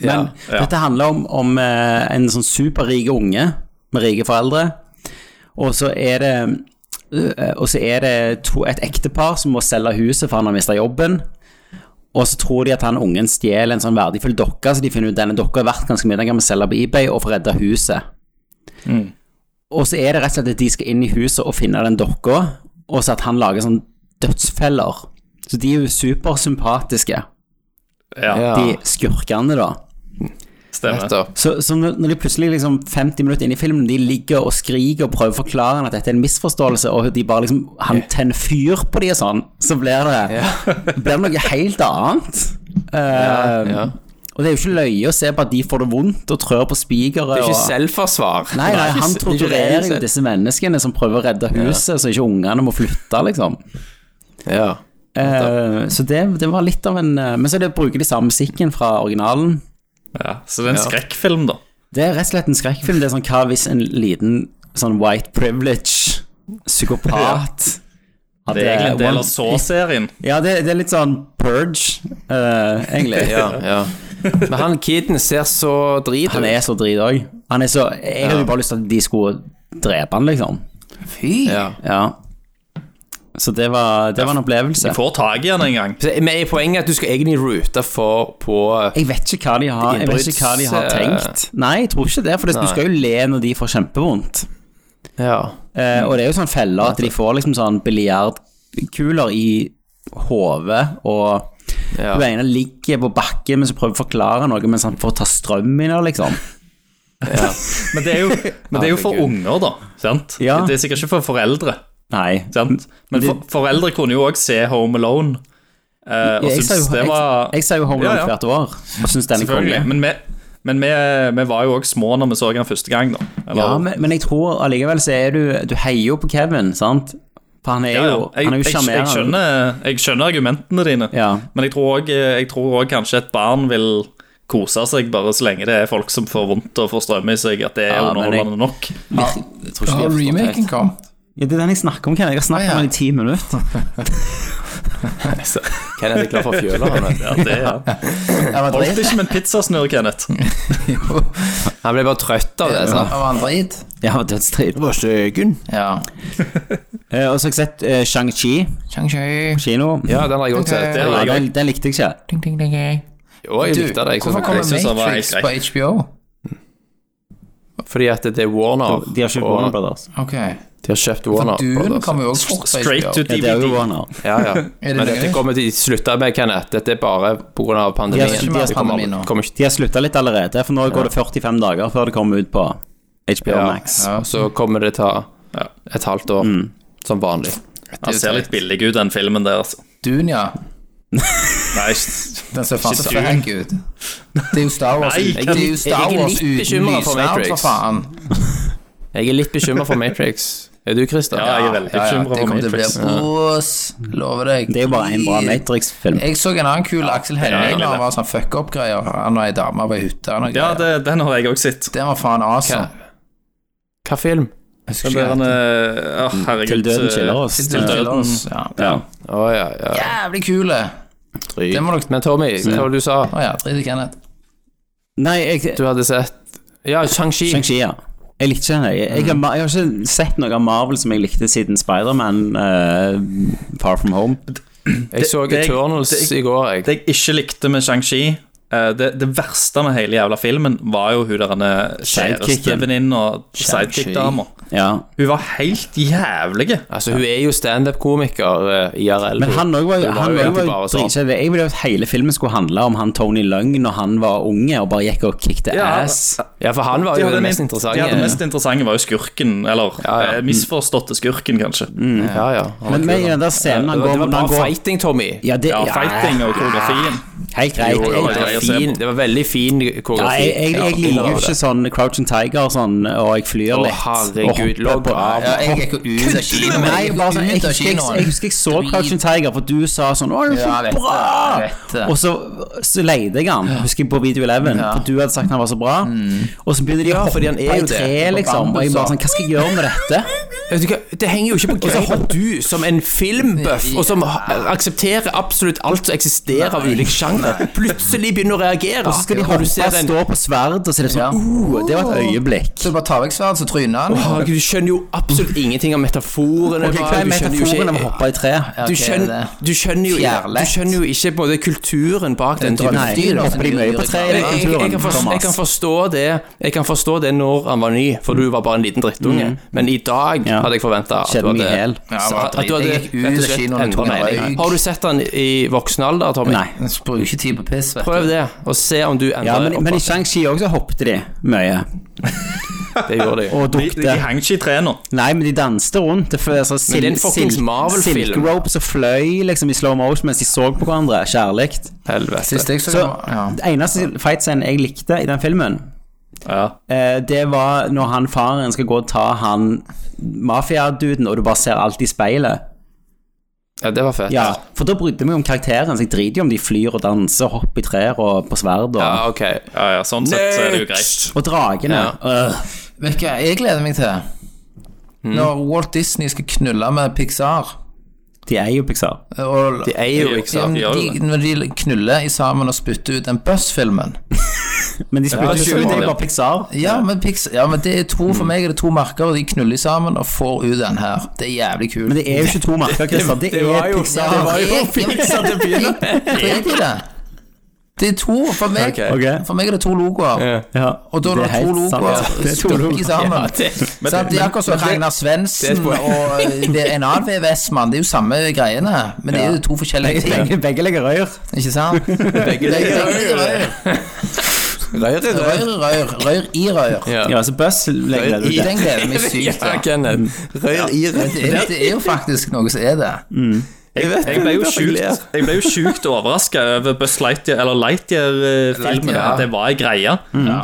Speaker 6: Ja.
Speaker 4: Men dette handler om, om eh, en sånn superrike unge med rike foreldre, og så er det eh, og så er det to, et ektepar som må selge huset for han har mista jobben. Og så tror de at han ungen stjeler en sånn verdifull dokke, så de finner ut denne dokka er verdt ganske mye, den kan vi selge på eBay og få redda huset.
Speaker 6: Mm.
Speaker 4: Og så er det rett og slett at de skal inn i huset og finne den dokka, og så at han lager sånn dødsfeller. Så de er jo supersympatiske,
Speaker 7: Ja,
Speaker 6: ja.
Speaker 4: de skurkene, da.
Speaker 7: stemmer.
Speaker 6: Nettopp.
Speaker 4: Så, så når når de plutselig liksom 50 minutter inn i filmen De ligger og skriker og prøver å forklare han at dette er en misforståelse, og de bare liksom han tenner fyr på de og sånn, så blir det, blir det noe helt annet. Eh,
Speaker 6: ja.
Speaker 4: Og det er jo ikke løye å se på at de får det vondt og trør på spikere.
Speaker 6: Det er
Speaker 4: og-
Speaker 6: ikke selvforsvar.
Speaker 4: Nei, nei, han
Speaker 6: Det er ikke- det er ikke
Speaker 4: torturerer jo
Speaker 6: reell selv-
Speaker 4: disse menneskene som prøver å redde huset, så ikke ungene må flytte, liksom.
Speaker 6: Ja.
Speaker 4: Eh, så det, det var litt av en eh, Men så er det, bruker de samme musikken fra originalen.
Speaker 7: Ja, så det er en skrekkfilm, da.
Speaker 4: Det er rett og slett en skrekkfilm. Det er sånn hva hvis en liten sånn white privilege psykopat
Speaker 7: Det er egentlig en del av Saw-serien.
Speaker 4: Ja, det, det er litt sånn purge, eh, egentlig.
Speaker 6: ja, ja. Men han kiden ser så drit
Speaker 4: Han er så drit òg. Han er så Jeg hadde jo bare lyst til at de skulle drepe han, liksom.
Speaker 5: Fy!
Speaker 6: Ja.
Speaker 4: Ja. Så det var, det var en opplevelse.
Speaker 7: Får tak i han en gang.
Speaker 6: Så- Men er poenget at du skal egentlig rute for på
Speaker 4: Jeg vet ikke hva de har, jeg vet ikke hva de har
Speaker 6: Innbruds, eh,
Speaker 4: tenkt. Nei, jeg tror ikke det, for det, du
Speaker 6: Nei.
Speaker 4: skal jo le når de får kjempevondt.
Speaker 6: Ja.
Speaker 4: Eh, og det er jo sånn feller at de får liksom sånn biljardkuler i hodet, og
Speaker 6: ja.
Speaker 4: hun ene ligger på bakken mens hun prøver å forklare noe, mens han får ta strøm i det, liksom.
Speaker 7: Men det er jo, men det er jo for
Speaker 6: Herregud.
Speaker 7: unger, da. Sant?
Speaker 4: Ja.
Speaker 7: Det er sikkert ikke for foreldre.
Speaker 4: Nei.
Speaker 7: Sant? Men for, foreldre kunne jo òg se Home Alone. eh, og
Speaker 4: Jeg
Speaker 7: syntes
Speaker 4: ser jo,
Speaker 7: det
Speaker 4: jeg,
Speaker 7: var
Speaker 4: jeg ser jo Home Alone
Speaker 7: Ja, ja.
Speaker 4: hvert år, og syns den er
Speaker 7: Selvfølgelig.
Speaker 4: kongelig.
Speaker 7: Men, vi, men vi, vi var jo òg små når vi så den første gang, da. Eller-
Speaker 4: Ja, men, men jeg tror allikevel så er du Du heier jo på Kevin, sant? For han er
Speaker 7: Ja, ja.
Speaker 4: jo
Speaker 7: Jeg,
Speaker 4: Han er
Speaker 7: jeg,
Speaker 4: jo
Speaker 7: jeg,
Speaker 4: sjarmerende.
Speaker 7: skjønner, jeg skjønner argumentene dine,
Speaker 4: Ja.
Speaker 7: men jeg tror også- eh, jeg tror òg kanskje et barn vil kose seg bare så lenge det er folk som får vondt og får strøm i seg, at det er
Speaker 4: Ja, men jeg-
Speaker 7: underholdende nok.
Speaker 5: Ja,
Speaker 4: Jeg tror ikke
Speaker 5: da
Speaker 4: de har
Speaker 5: har
Speaker 4: forstått det.
Speaker 5: Ah, remaken kom.
Speaker 4: Ja, det er den jeg snakker om, Ken. Jeg har snakket
Speaker 5: Ah, ja.
Speaker 4: om den i ti minutter.
Speaker 6: Kenneth er klar for fjøla. Han, vet du.
Speaker 7: Ja, det er Holdt ikke med en pizzasnurr, Kenneth.
Speaker 6: han ble bare trøtt av det. sant?
Speaker 5: Av andre id.
Speaker 4: Ja, dødsdrit.
Speaker 6: var søken.
Speaker 5: Ja.
Speaker 4: Eh, Og så har jeg sett eh, Shang-Chi
Speaker 5: Shang-Chi.
Speaker 4: kino.
Speaker 6: Ja, den har jeg godt sett.
Speaker 7: Det
Speaker 4: Ja,
Speaker 7: var jeg
Speaker 4: den, den likte jeg ikke.
Speaker 5: Ding, ding, ding, ding.
Speaker 6: Jo, jeg likte det. Jeg
Speaker 5: hvorfor
Speaker 6: synes-
Speaker 5: kommer
Speaker 7: synes det var
Speaker 5: Matrix
Speaker 7: helt
Speaker 5: på HBO?
Speaker 6: Fordi at det er Warner.
Speaker 4: De har ikke
Speaker 6: og-
Speaker 4: Warner Brothers.
Speaker 5: Ok.
Speaker 6: De har kjøpt Warner.
Speaker 5: Dune
Speaker 6: Brothers.
Speaker 5: kommer jo også fort på
Speaker 7: Straight
Speaker 5: HBO.
Speaker 7: to
Speaker 4: Ja, det er jo
Speaker 7: DVD.
Speaker 4: Warner.
Speaker 6: Ja, ja.
Speaker 5: det
Speaker 6: Men
Speaker 5: det?
Speaker 6: dette kommer til å slutte med, Kenneth. Dette er bare pga. pandemien.
Speaker 4: De har- de har
Speaker 6: Det kommer-
Speaker 5: pandemi nå.
Speaker 6: kommer ikke
Speaker 4: De har slutta litt allerede, for nå går det 45 dager før det kommer ut på HBO
Speaker 6: Ja.
Speaker 4: Max.
Speaker 5: Ja,
Speaker 6: Og så kommer det ta
Speaker 7: Ja.
Speaker 6: et halvt år, som vanlig.
Speaker 7: Han ser litt billig ut, den filmen der, altså.
Speaker 5: Dune, ja.
Speaker 7: Nei,
Speaker 5: Den ser faen så
Speaker 7: Dune.
Speaker 5: fæk ut. Det er jo Star Wars,
Speaker 7: Nei,
Speaker 5: det er jo Star
Speaker 6: jeg er
Speaker 5: Wars
Speaker 6: litt
Speaker 5: uten
Speaker 6: bekymret for
Speaker 5: lysnavn, for
Speaker 6: Matrix.
Speaker 5: faen.
Speaker 6: Jeg er litt bekymra for Matrix. Er du, Christer?
Speaker 7: Ja, jeg er veldig
Speaker 5: Ja, ja,
Speaker 7: bekymra
Speaker 5: det
Speaker 7: for
Speaker 5: kommer til å bli
Speaker 7: Matrix.
Speaker 5: bås, lover deg.
Speaker 4: Det er jo bare en bra Matrix-film.
Speaker 5: Jeg så en annen kul Aksel Hennie
Speaker 7: ja,
Speaker 5: når
Speaker 7: ja.
Speaker 5: han var sånn fuck up-greier. Han og ei dame på ei hytte. og noe
Speaker 7: Ja,
Speaker 5: greier.
Speaker 7: det, den har jeg òg sett.
Speaker 5: Den var faen awesome.
Speaker 6: Hva film?
Speaker 5: Jeg husker
Speaker 7: Den der
Speaker 5: ikke hva den
Speaker 7: eh, åh, herregud. eh,
Speaker 4: Til døden skiller oss.
Speaker 5: heter.
Speaker 7: døden.
Speaker 5: Til døden. Ja.
Speaker 4: Ja.
Speaker 6: Å ja, ja.
Speaker 5: Jævlig kule.
Speaker 6: Dryg.
Speaker 5: Det må dere-
Speaker 6: Men Tommy, hva var det du sa?
Speaker 5: Å ja, drit i Kenneth.
Speaker 4: Nei, jeg,
Speaker 6: Du hadde sett Ja, Shang-Chi.
Speaker 4: Shang-Chi, ja. Jeg likte ikke den. Jeg, jeg,
Speaker 6: Mm.
Speaker 4: har, ma- jeg har ikke sett noe av Marvel som jeg likte siden Spiderman eh, Far From Home.
Speaker 6: Jeg så
Speaker 7: Det- det-
Speaker 6: Eternals
Speaker 7: det-
Speaker 6: i går, jeg.
Speaker 7: Det jeg ikke likte med Shang-Chi eh, det, det verste med hele jævla filmen var jo hun der ene
Speaker 4: Sidekicken.
Speaker 7: kjærestevenninna og sidekick-dama.
Speaker 4: Ja.
Speaker 7: Hun var helt jævlig.
Speaker 6: Altså, hun er jo standup-komiker eh, IRL.
Speaker 4: Men han òg var jo
Speaker 6: Hun
Speaker 4: han også
Speaker 6: egentlig
Speaker 4: var jo
Speaker 6: bare sånn.
Speaker 4: dritkjedelig. Jeg ville jo at hele filmen skulle handle om han Tony Lung når han var unge og bare gikk og kickte ass.
Speaker 6: Ja, for han var
Speaker 7: De
Speaker 6: jo
Speaker 7: hadde
Speaker 6: den
Speaker 7: en-
Speaker 6: mest interessante.
Speaker 7: Ja, det mest interessante var jo skurken, eller
Speaker 6: Ja, ja. Mm.
Speaker 7: eh, misforståtte skurken, kanskje.
Speaker 6: Ja, ja. han var
Speaker 4: Men
Speaker 6: kul,
Speaker 4: med i
Speaker 6: han.
Speaker 4: den der scenen han
Speaker 6: det, var-
Speaker 4: går
Speaker 6: det var
Speaker 4: når han
Speaker 6: bra
Speaker 4: går
Speaker 6: fighting, Tommy.
Speaker 4: Ja, det,
Speaker 7: Ja,
Speaker 4: ja,
Speaker 7: Fighting og koreografien.
Speaker 4: Helt greit.
Speaker 6: Jo,
Speaker 7: Ja,
Speaker 6: jo, det,
Speaker 7: ja,
Speaker 6: var
Speaker 7: jeg ser
Speaker 6: fin,
Speaker 7: på.
Speaker 6: det var veldig fin
Speaker 4: Ja,
Speaker 6: koreografi.
Speaker 4: jeg, jeg, jeg liker jo ikke sånn Crouching Tiger sånn, og jeg flyr
Speaker 6: Å,
Speaker 4: litt. og
Speaker 6: herregud,
Speaker 4: hopper
Speaker 6: logg
Speaker 4: på-
Speaker 6: av.
Speaker 5: Ja, jeg gikk jo ut av kinoen.
Speaker 4: Nei,
Speaker 5: Jeg gikk
Speaker 4: bare sånn, jeg,
Speaker 5: ut av
Speaker 4: husker, jeg,
Speaker 5: kinoen.
Speaker 4: jeg husker jeg så
Speaker 5: Drit.
Speaker 4: Crouching Tiger, for du sa sånn Å, det er
Speaker 5: Ja,
Speaker 4: så
Speaker 5: jeg vet det, jeg vet
Speaker 4: bra!
Speaker 5: det.
Speaker 4: Og så, så leide jeg han, husker jeg, på Video 11, for du hadde sagt han var så bra. Og så begynner de å
Speaker 6: fordi han
Speaker 4: hoppe
Speaker 6: er
Speaker 4: i
Speaker 6: jo det,
Speaker 4: tre,
Speaker 5: på
Speaker 4: liksom. Og jeg bare sånn Hva skal jeg gjøre med dette?
Speaker 6: Vet du hva, Det henger jo ikke på greip at du, som en filmbuff, og som ha- aksepterer absolutt alt som eksisterer av ulike sjangre, plutselig begynner å reagere.
Speaker 4: Og så skal de
Speaker 6: Når du ser
Speaker 4: hoppe,
Speaker 6: den-
Speaker 4: stå på sverd, og så er det sånn uh, Det var et øyeblikk.
Speaker 5: Så du bare tar vekk sverdet, så
Speaker 6: Å,
Speaker 5: tryner han.
Speaker 6: herregud, du skjønner jo absolutt ingenting av metaforene.
Speaker 4: Ok,
Speaker 6: bak,
Speaker 4: Hva er
Speaker 6: du skjønner jo
Speaker 4: metaforen om å
Speaker 6: ikke-
Speaker 4: hoppe i tre?
Speaker 5: Ja,
Speaker 6: Du
Speaker 5: ok, det
Speaker 6: skjønner,
Speaker 5: er
Speaker 6: du skjønner jo ikke Du
Speaker 5: Fjærlett.
Speaker 6: skjønner jo ikke både kulturen bak den typen
Speaker 4: Nei,
Speaker 5: dyr, altså,
Speaker 4: hopper de mye på tre i
Speaker 6: jeg,
Speaker 4: den
Speaker 6: jeg, jeg,
Speaker 4: kulturen,
Speaker 6: kan forstå, jeg, kan
Speaker 4: Thomas?
Speaker 6: forstå det, jeg kan forstå det når han var ny, for du var bare en liten drittunge. Men i dag
Speaker 4: Mm. Ja.
Speaker 6: hadde jeg forventa at,
Speaker 4: Skjedde
Speaker 6: du
Speaker 4: mye
Speaker 6: hadde-
Speaker 4: hel.
Speaker 5: Ja,
Speaker 6: at,
Speaker 5: bare
Speaker 6: at du hadde
Speaker 5: drit. Jeg gikk ut
Speaker 6: rett og
Speaker 5: av
Speaker 6: slett
Speaker 5: kinoen og tok
Speaker 6: endret
Speaker 5: en
Speaker 6: mening.
Speaker 5: røyk.
Speaker 6: Har du sett han i voksen alder, Tommy?
Speaker 4: Nei.
Speaker 5: Jeg Bruker ikke tid på piss, vet du.
Speaker 6: Prøv det, og se om du endrer
Speaker 4: Ja, men, men i
Speaker 6: oppfatning.
Speaker 4: Shang-Chi også hoppet de mye.
Speaker 6: Det gjorde de.
Speaker 4: Og
Speaker 7: De, de
Speaker 4: dukte.
Speaker 7: hang ikke i tre nå.
Speaker 4: Nei, men de danste rundt. Det føles som
Speaker 6: Men det er en
Speaker 4: sil-
Speaker 6: fuckings
Speaker 4: sil-
Speaker 6: Marvel-film.
Speaker 4: silk ropes og fløy liksom i slow motion mens de så på hverandre. Kjærlig.
Speaker 5: Sist
Speaker 6: Helvete.
Speaker 5: jeg så,
Speaker 4: Så
Speaker 5: ja.
Speaker 4: det eneste fightscenen jeg likte i den filmen,
Speaker 7: Ja.
Speaker 4: eh, det var når han faren skal gå og ta han mafiaduden, og du bare ser alt i speilet.
Speaker 6: Ja, det var fett.
Speaker 4: Ja, For da brydde jeg meg om karakteren, så jeg driter jo om de flyr og danser, hopper i trær og på sverd og,
Speaker 6: Ja, ok.
Speaker 7: Ja, ja, sånn sett så er det jo greit.
Speaker 6: Next!
Speaker 4: og dragene. Øh.
Speaker 5: Vet du hva jeg gleder meg til? Når Walt Disney skal knulle med Pixar
Speaker 4: De er jo Pixar.
Speaker 5: og,
Speaker 6: De er jo ikke sant.
Speaker 5: Ja, men de, Når de knuller i sammen og spytter ut den Buzz-filmen
Speaker 4: Men de spytter
Speaker 6: det er
Speaker 4: jo ut, det er
Speaker 6: Superman.
Speaker 4: bare Pixar.
Speaker 5: ja, Mm. men Pixar, ja, men det er to for meg er det to merker, og de knuller sammen og får ut den her. Det er jævlig kult.
Speaker 4: Men det er jo ikke to merker, Christer. Det,
Speaker 6: var
Speaker 4: er
Speaker 6: jo-
Speaker 4: Pixar.
Speaker 5: det var jo Pixar til å begynne med. Drit i det. Det er to. For meg,
Speaker 6: Ok.
Speaker 4: Ok.
Speaker 5: for meg er det to logoer.
Speaker 4: Ja,
Speaker 5: Og da er det, to logoer stukket sammen.
Speaker 6: Ja, det,
Speaker 5: Men, Sant? det er akkurat som Ragnar
Speaker 6: det er
Speaker 5: Svendsen
Speaker 6: et
Speaker 5: og
Speaker 6: poeng.
Speaker 5: eh, det er en annen VVS-mann. Det er jo samme greiene, men det er jo to forskjellige ting.
Speaker 4: Begge, begge legger røyr.
Speaker 5: Ikke sant? Begge legger røyr.
Speaker 6: Røyr i røyr.
Speaker 5: Røyr, røyr. Røyr i røyr.
Speaker 4: Ja, så Buzz legger det ut.
Speaker 5: Den gleder jeg meg sykt
Speaker 6: Ja,
Speaker 5: til.
Speaker 6: Kenneth. Røyr i
Speaker 5: Men
Speaker 6: røyr.
Speaker 5: Det, er- det er jo faktisk noe som er det.
Speaker 7: Jeg, jeg ble jo sjukt, jeg ble jo sjukt overraska over Buzz Lightyear, eller Lightyear-filmen,
Speaker 5: Lightyear.
Speaker 7: at det var en greie.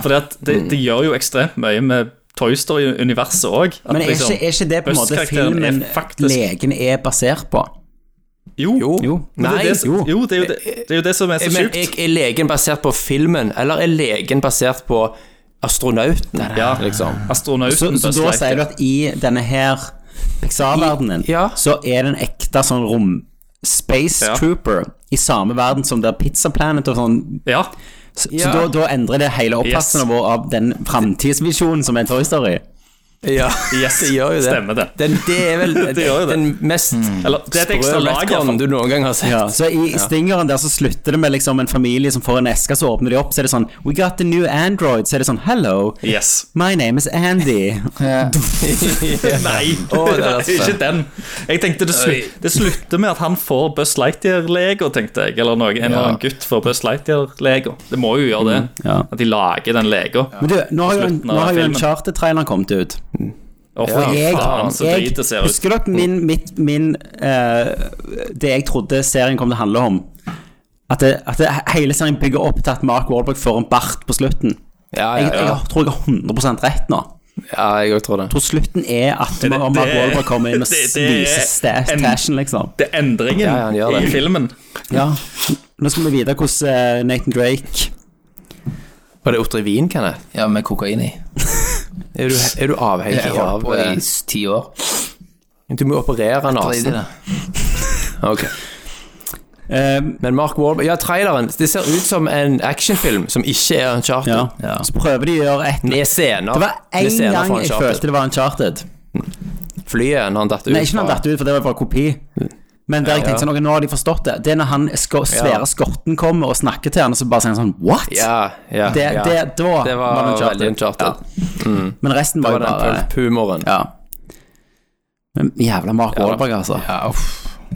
Speaker 7: For det, det gjør jo ekstremt mye med Toy Story-universet liksom- òg.
Speaker 4: Men er ikke, er ikke det på en måte filmen legen er basert på?
Speaker 7: Jo. jo.
Speaker 4: Jo.
Speaker 7: Men det, er
Speaker 6: Nei,
Speaker 7: det, som- jo, det er jo det, det, er jo det som er så
Speaker 6: Men
Speaker 7: sjukt.
Speaker 6: jeg, er legen basert på filmen, eller er legen basert på astronautene,
Speaker 7: Ja.
Speaker 6: liksom?
Speaker 4: Så,
Speaker 7: Astronauten
Speaker 4: så
Speaker 7: Buzz
Speaker 4: da sier du
Speaker 7: Lightyear.
Speaker 4: at i denne her Pixar-verdenen,
Speaker 6: I- ja.
Speaker 4: så er det en ekte sånn rom Space
Speaker 7: Ja.
Speaker 4: Trooper i samme verden som der Pizza Planet og sånn.
Speaker 7: Ja.
Speaker 4: Så,
Speaker 6: Ja.
Speaker 4: så da, da endrer det hele oppfatningen vår av den framtidsvisjonen som er Toy Story.
Speaker 6: Ja,
Speaker 7: Yes.
Speaker 6: det gjør jo det.
Speaker 7: Stemmer det.
Speaker 6: Den, det er vel
Speaker 7: gjør jo det.
Speaker 6: den mest
Speaker 7: Eller, det er et ekstra
Speaker 6: sprø
Speaker 7: lag,
Speaker 6: retcon
Speaker 7: iallfall.
Speaker 6: du noen gang har sett.
Speaker 4: Ja, så i stingeren der så slutter det med liksom en familie som får en eske, så åpner de opp, så er det sånn We got the new Android, så er det sånn Hello,
Speaker 7: Yes.
Speaker 4: my name is Andy.
Speaker 7: Nei,
Speaker 6: Å, det er altså-
Speaker 7: Nei,
Speaker 6: det
Speaker 7: ikke den. Jeg tenkte det, slu det slutter med at han får Buzz Lightyear-lego, tenkte jeg. Eller noe, en eller annen gutt får Buzz Lightyear-lego. Det må jo gjøre det.
Speaker 4: ja.
Speaker 7: At de lager den lego.
Speaker 4: Men du, nå har jo, en-
Speaker 7: Slutten av
Speaker 4: nå har jo en
Speaker 7: filmen.
Speaker 4: charter-traileren kommet ut.
Speaker 7: Og fy
Speaker 4: Jeg,
Speaker 7: faen, så
Speaker 4: jeg
Speaker 7: drit det ser ut.
Speaker 4: husker dere min, mitt, min eh, Det jeg trodde serien kom til å handle om? At, det, at det, hele serien bygger opp til at Mark Wahlberg får en bart på slutten.
Speaker 6: Ja,
Speaker 4: Jeg,
Speaker 6: ja, ja.
Speaker 4: jeg tror jeg har 100 rett nå.
Speaker 6: ja jeg òg tror det.
Speaker 4: Jeg tror slutten er at
Speaker 7: det-
Speaker 4: Mark
Speaker 7: det-
Speaker 4: Wahlberg kommer inn og
Speaker 7: det- det er
Speaker 4: viser sta-
Speaker 7: en-
Speaker 4: stashen, liksom.
Speaker 7: Det er endringen
Speaker 6: Ja, ja, han gjør
Speaker 7: i
Speaker 6: det.
Speaker 7: filmen.
Speaker 4: Ja. Nå skal vi vite hvordan eh, Nathan Drake
Speaker 6: Var det Otrivin, Kenneth?
Speaker 5: Ja, med kokain i.
Speaker 6: Er du, er du avhengig
Speaker 5: Jeg holdt
Speaker 6: av
Speaker 5: på i
Speaker 6: eh,
Speaker 5: s- ti år.
Speaker 6: Du må operere
Speaker 5: Drit i
Speaker 6: nesen.
Speaker 5: det.
Speaker 6: Ok.
Speaker 4: eh,
Speaker 6: Men Mark Wahlberg Ja, traileren. Det ser ut som en actionfilm som ikke er en charter.
Speaker 4: ja. Så prøver de å gjøre et
Speaker 6: Med scener.
Speaker 4: Det var
Speaker 6: Med
Speaker 4: én
Speaker 6: scener
Speaker 4: gang
Speaker 6: fra
Speaker 4: jeg
Speaker 6: Uncharted.
Speaker 4: følte det var Uncharted.
Speaker 6: Flyet når han datt ut.
Speaker 4: Nei, ikke når han datt ut, for det var bare kopi. Men der jeg tenkte sånn, ok, nå har de forstått det. Det er når han sko svære
Speaker 6: Ja.
Speaker 4: skorten kommer og snakker til han, og så bare sier han sånn What?!
Speaker 6: Ja, ja.
Speaker 4: det,
Speaker 6: ja.
Speaker 4: det, da
Speaker 6: Det var
Speaker 4: det
Speaker 6: veldig Uncharted.
Speaker 4: Men resten
Speaker 6: Det
Speaker 4: var
Speaker 6: var
Speaker 4: jo
Speaker 6: den
Speaker 4: bare
Speaker 6: pulp-humoren.
Speaker 4: Ja. Men jævla Mark Wahlberg, altså.
Speaker 6: Ja,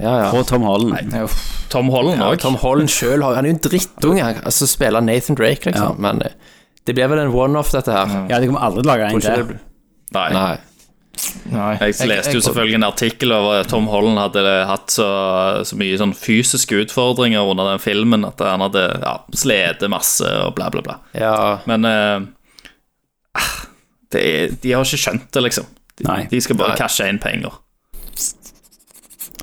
Speaker 6: ja.
Speaker 4: Og Tom Holland.
Speaker 7: Tom Holland
Speaker 6: Ja,
Speaker 7: òg.
Speaker 6: Tom Holland sjøl han er jo en drittunge. Han altså, spiller Nathan Drake, liksom. Men eh, det blir vel en one-off, dette her.
Speaker 4: Mm. Ja, de kommer aldri til å lage en
Speaker 6: Tror ikke
Speaker 4: til.
Speaker 6: det blir-
Speaker 7: Nei.
Speaker 6: Nei.
Speaker 7: Jeg leste jo selvfølgelig en artikkel over at Tom Holland hadde hatt så, så mye sånn fysiske utfordringer under den filmen at han hadde ja, slitt masse og bla, bla, bla.
Speaker 6: Ja,
Speaker 7: Men eh, ah, det er, de har ikke skjønt det, liksom. De,
Speaker 4: Nei.
Speaker 7: de skal bare
Speaker 6: Nei.
Speaker 7: cashe inn penger.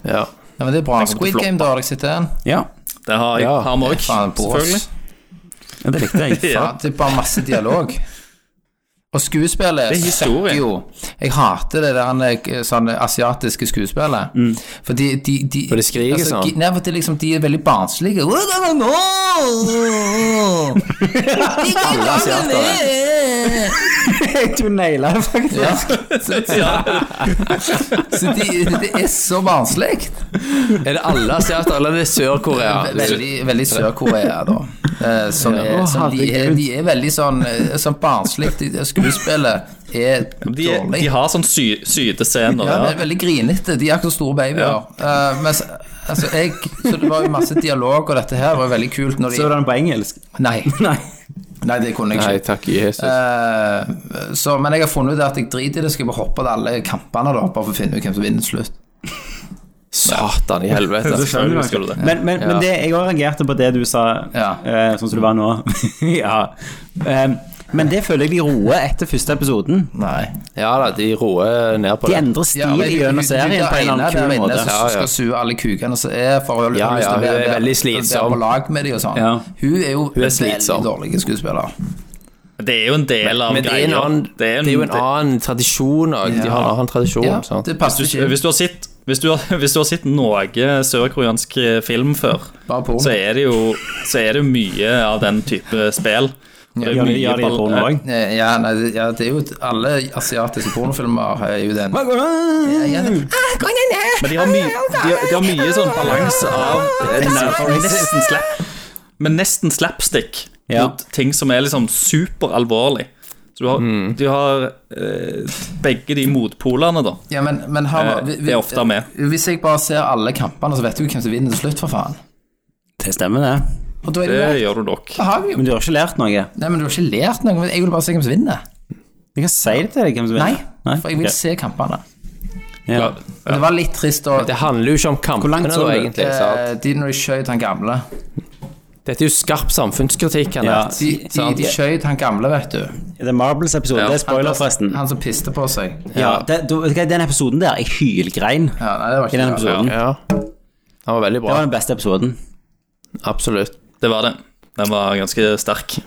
Speaker 6: ja.
Speaker 5: Ja, men det er bra.
Speaker 7: Den kommer til
Speaker 5: Squid
Speaker 7: å
Speaker 5: Game, da, har jeg sett den?
Speaker 4: Ja.
Speaker 7: Det har jeg,
Speaker 6: Ja.
Speaker 7: har vi òg,
Speaker 5: Faen, bra, ass.
Speaker 7: selvfølgelig.
Speaker 4: ja, det likte jeg.
Speaker 7: Ja.
Speaker 5: Ja, det er bare masse dialog. Og skuespillet
Speaker 7: Det er historie.
Speaker 5: sucker jo. Jeg hater det der eh, sånn asiatiske skuespillet. For de, de, de altså,
Speaker 6: For de skriker sånn.
Speaker 5: gi- Nei, for det er liksom, de er veldig barnslige. Alle asiatere.
Speaker 4: Du naila det, faktisk.
Speaker 5: Ja. Så, så de, det er så barnslig.
Speaker 6: Er det alle asiater, eller er det Sør-Korea?
Speaker 5: Eh, Veldig, veldig Sør-Korea, da. Eh, som er,
Speaker 4: Å,
Speaker 5: som de, er,
Speaker 4: herregud.
Speaker 5: de er veldig sånn, eh, sånn barnslig. De- Skuespillet er
Speaker 7: De,
Speaker 5: dårlig.
Speaker 7: de har sånn sy, sytescener.
Speaker 5: Ja,
Speaker 7: Ja,
Speaker 5: men veldig grinete. De er akkurat store babyer. Eh, men så- altså, jeg, så det var jo masse dialog, og dette her var veldig kult når de
Speaker 4: Så var den på engelsk.
Speaker 5: Nei.
Speaker 4: Nei.
Speaker 5: Nei, det kunne jeg
Speaker 6: Nei,
Speaker 5: ikke.
Speaker 6: takk, Jesus.
Speaker 5: Eh, så, men jeg har funnet ut at jeg driter i det, skal jeg bare hoppe til alle kampene da, bare for å finne ut hvem som vinner til slutt.
Speaker 6: Satan i helvete. altså.
Speaker 7: Selvfølgelig skal du det.
Speaker 4: Men, men, men det, jeg òg reagerte på det du sa,
Speaker 5: Ja.
Speaker 4: eh, sånn som det var nå. ja. Em, men det føler jeg de roer etter første episoden.
Speaker 5: Nei.
Speaker 6: Ja da, de roer ned på
Speaker 4: De
Speaker 6: det.
Speaker 4: endrer stil gjennom serien på en eller annen kul måte.
Speaker 5: Som
Speaker 6: Ja, ja.
Speaker 5: skal sue alle kukene som er for å
Speaker 6: Ja,
Speaker 5: har lyst til
Speaker 6: ja,
Speaker 5: å
Speaker 6: hun
Speaker 5: være-
Speaker 6: er
Speaker 5: være-
Speaker 6: veldig
Speaker 5: være
Speaker 6: slitsom.
Speaker 5: På lag med de og sånn.
Speaker 4: Ja.
Speaker 5: Hun er jo
Speaker 6: er
Speaker 5: veldig
Speaker 6: slitsom.
Speaker 5: dårlig skuespiller.
Speaker 7: Det er jo en del av
Speaker 6: Men det er, en
Speaker 7: greia.
Speaker 6: annen, det er, jo en annen tradisjon òg. De har en annen tradisjon.
Speaker 5: Ja,
Speaker 6: sant?
Speaker 5: det passer
Speaker 7: Hvis du,
Speaker 5: ikke.
Speaker 7: hvis du har sett hvis du, har, hvis du har sett noe sørkoreansk eh, film før,
Speaker 5: Bare porno.
Speaker 7: så er det jo så er det jo mye av den type spill. Og det er
Speaker 4: Gjør de-
Speaker 7: mye
Speaker 4: gjør de
Speaker 7: ball-
Speaker 4: porno òg?
Speaker 5: Eh, Ja, nei, det- ja, det er jo Alle asiatiske pornofilmer er jo den. Ja, ja.
Speaker 7: Men de har, mye- de, har- de har mye sånn balanse av nesten slap, Men nesten slapstick
Speaker 4: Ja.
Speaker 7: mot ting som er liksom superalvorlig. Så du har,
Speaker 5: Mm.
Speaker 7: du har eh, begge de motpolene, da.
Speaker 5: ja, men, men Halvor,
Speaker 7: Eh,
Speaker 5: vi- vi-
Speaker 7: det er ofte med.
Speaker 5: Hvis jeg bare ser alle kampene, så vet du jo hvem som vinner til slutt, for faen.
Speaker 4: Det stemmer, det.
Speaker 5: Og da er det,
Speaker 7: Det
Speaker 5: jo-
Speaker 7: gjør du nok.
Speaker 5: Da har vi jo
Speaker 4: Men du har ikke lært noe?
Speaker 5: Nei, men du har ikke lært noe. men Jeg vil bare se hvem som vinner.
Speaker 4: Jeg kan si det til deg, hvem som
Speaker 5: Nei,
Speaker 4: vinner.
Speaker 5: for jeg vil
Speaker 4: Ok.
Speaker 5: se kampene.
Speaker 4: ja.
Speaker 5: Men Det var litt trist å
Speaker 6: Det handler jo ikke om kampene,
Speaker 4: langt sånn- Eh, så
Speaker 6: da,
Speaker 4: du?
Speaker 6: egentlig. sant?
Speaker 5: Eh, De når de skjøt han gamle
Speaker 6: Dette er jo skarp samfunnskritikk. Han
Speaker 4: Ja.
Speaker 6: har.
Speaker 5: De, de,
Speaker 6: Sant.
Speaker 5: de skjøt han gamle, vet du.
Speaker 4: Det er Marbles-episode. Det er spoiler, forresten.
Speaker 5: Han som piste på seg.
Speaker 4: Ja, det, du, vet du hva, Den episoden der, jeg hylgrein
Speaker 5: Ja, nei, det var
Speaker 4: i
Speaker 5: ikke
Speaker 4: den
Speaker 5: bra.
Speaker 4: episoden.
Speaker 6: Ja. Han var veldig
Speaker 4: Det
Speaker 6: bra.
Speaker 4: var den beste episoden.
Speaker 6: Absolutt.
Speaker 7: Det var det. Den var ganske sterk.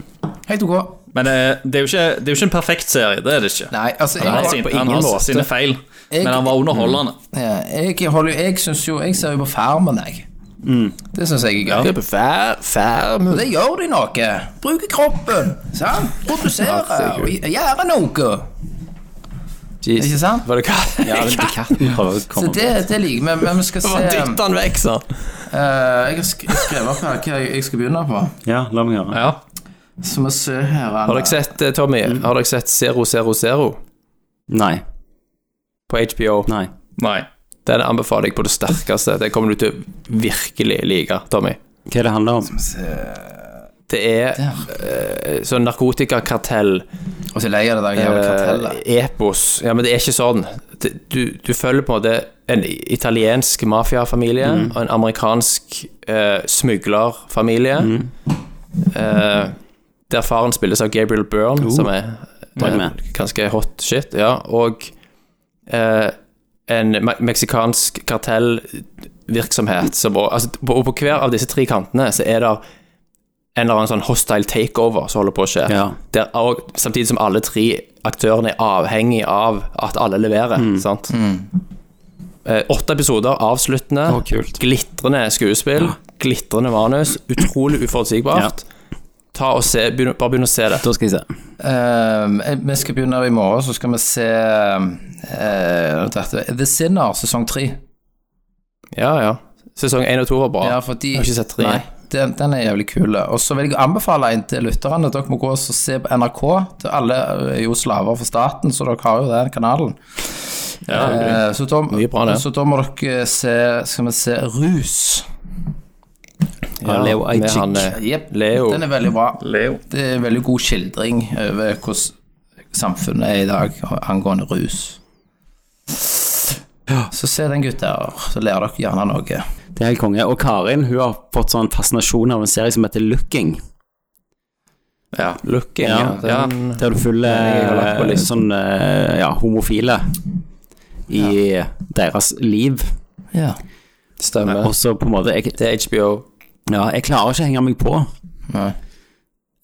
Speaker 5: Helt ok.
Speaker 7: Men eh, det er jo ikke, det er jo ikke en perfekt serie, det er det ikke.
Speaker 5: Nei, altså,
Speaker 7: Han har,
Speaker 5: jeg,
Speaker 7: sin,
Speaker 6: ingen
Speaker 7: han har
Speaker 6: måte.
Speaker 7: sine feil,
Speaker 5: Jeg- Mm.
Speaker 7: men han var underholdende.
Speaker 5: Ja, jeg, holder, jo- jeg syns jo Jeg ser jo på Farmen, jeg. Det syns jeg er gøy.
Speaker 6: Det er på fær, fær,
Speaker 5: Og det gjør de noe. Bruker kroppen. Sant? Produserer. og Gjør noe.
Speaker 6: Jeez.
Speaker 5: Ikke sant?
Speaker 6: Var det katt? Ja, det
Speaker 5: Så det, det liker vi. Men vi skal se
Speaker 6: var dytt han vekk, sa han.
Speaker 5: Eh, Jeg har sk- skrevet opp her hva jeg jeg skal begynne på.
Speaker 4: Ja, la meg høre.
Speaker 7: Ja.
Speaker 5: Så vi ser her
Speaker 6: Har dere sett, eh, Tommy, har dere sett 000
Speaker 4: Nei.
Speaker 6: på HBO?
Speaker 4: Nei.
Speaker 7: Nei.
Speaker 6: Den anbefaler jeg på det sterkeste. Den kommer du til å virkelig like, Tommy.
Speaker 4: Hva er det handler om?
Speaker 6: Det er eh, sånn narkotikakartell
Speaker 5: Og så leier det der jævla kartellet.
Speaker 6: Eh, epos. Ja, men det er ikke sånn. Det- Du, du følger på en måte en italiensk mafiafamilie
Speaker 4: Mm.
Speaker 6: og en amerikansk eh, smuglerfamilie.
Speaker 4: Mm.
Speaker 6: Eh, der faren spilles av Gabriel Byrne, som er
Speaker 4: Oh, er
Speaker 6: eh,
Speaker 4: med.
Speaker 6: ganske hot shit. Ja, og eh, en me meksikansk kartellvirksomhet som og- altså, på, og på hver av disse tre kantene så er det en eller annen sånn hostile takeover som holder på å skje.
Speaker 4: Ja.
Speaker 6: Der, og, samtidig som alle tre aktørene er avhengig av at alle leverer.
Speaker 4: Mm.
Speaker 6: Sant? Eh, åtte episoder, avsluttende.
Speaker 4: Å, kult.
Speaker 6: Glitrende skuespill. Glitrende manus. Utrolig uforutsigbart. Ta og se, begynn, bare begynn å se det.
Speaker 4: Da skal jeg se.
Speaker 5: Ehm, eh, vi skal begynne i morgen, så skal vi se eh, dette. The Sinner, sesong tre.
Speaker 6: Ja, ja. Sesong én og to var bra.
Speaker 5: Ja, fordi,
Speaker 6: Jeg har ikke sett tre.
Speaker 5: Nei, den, den er jævlig kul. Og så vil jeg anbefale en til lytterne. Dere må gå og se på NRK. til Alle er jo slaver for staten, så dere har jo den kanalen. Eh, så, da,
Speaker 6: Mye bra, det.
Speaker 5: så da må dere se Skal vi se Rus.
Speaker 6: Ja,
Speaker 4: Leo
Speaker 6: med
Speaker 4: Ajkic.
Speaker 6: han, eh,
Speaker 5: Jep,
Speaker 6: Leo.
Speaker 5: Den er veldig bra.
Speaker 7: Leo.
Speaker 5: Det er en eh, veldig god skildring over hvordan samfunnet er i dag angående rus. Så se den, gutter. Så lærer dere gjerne noe.
Speaker 4: Det er helt konge. Og Karin hun har fått sånn fascinasjon av en serie som heter Looking.
Speaker 6: Ja. Looking, ja.
Speaker 4: Ja,
Speaker 6: ja.
Speaker 4: Der du
Speaker 6: jeg har lagt på
Speaker 4: følger eh,
Speaker 6: listen.
Speaker 4: sånn eh, ja, homofile i deres liv.
Speaker 5: Ja.
Speaker 6: Stemmer.
Speaker 4: Og så på en måte jeg,
Speaker 6: Det er HBO.
Speaker 4: ja, jeg klarer ikke å henge meg på.
Speaker 5: Nei.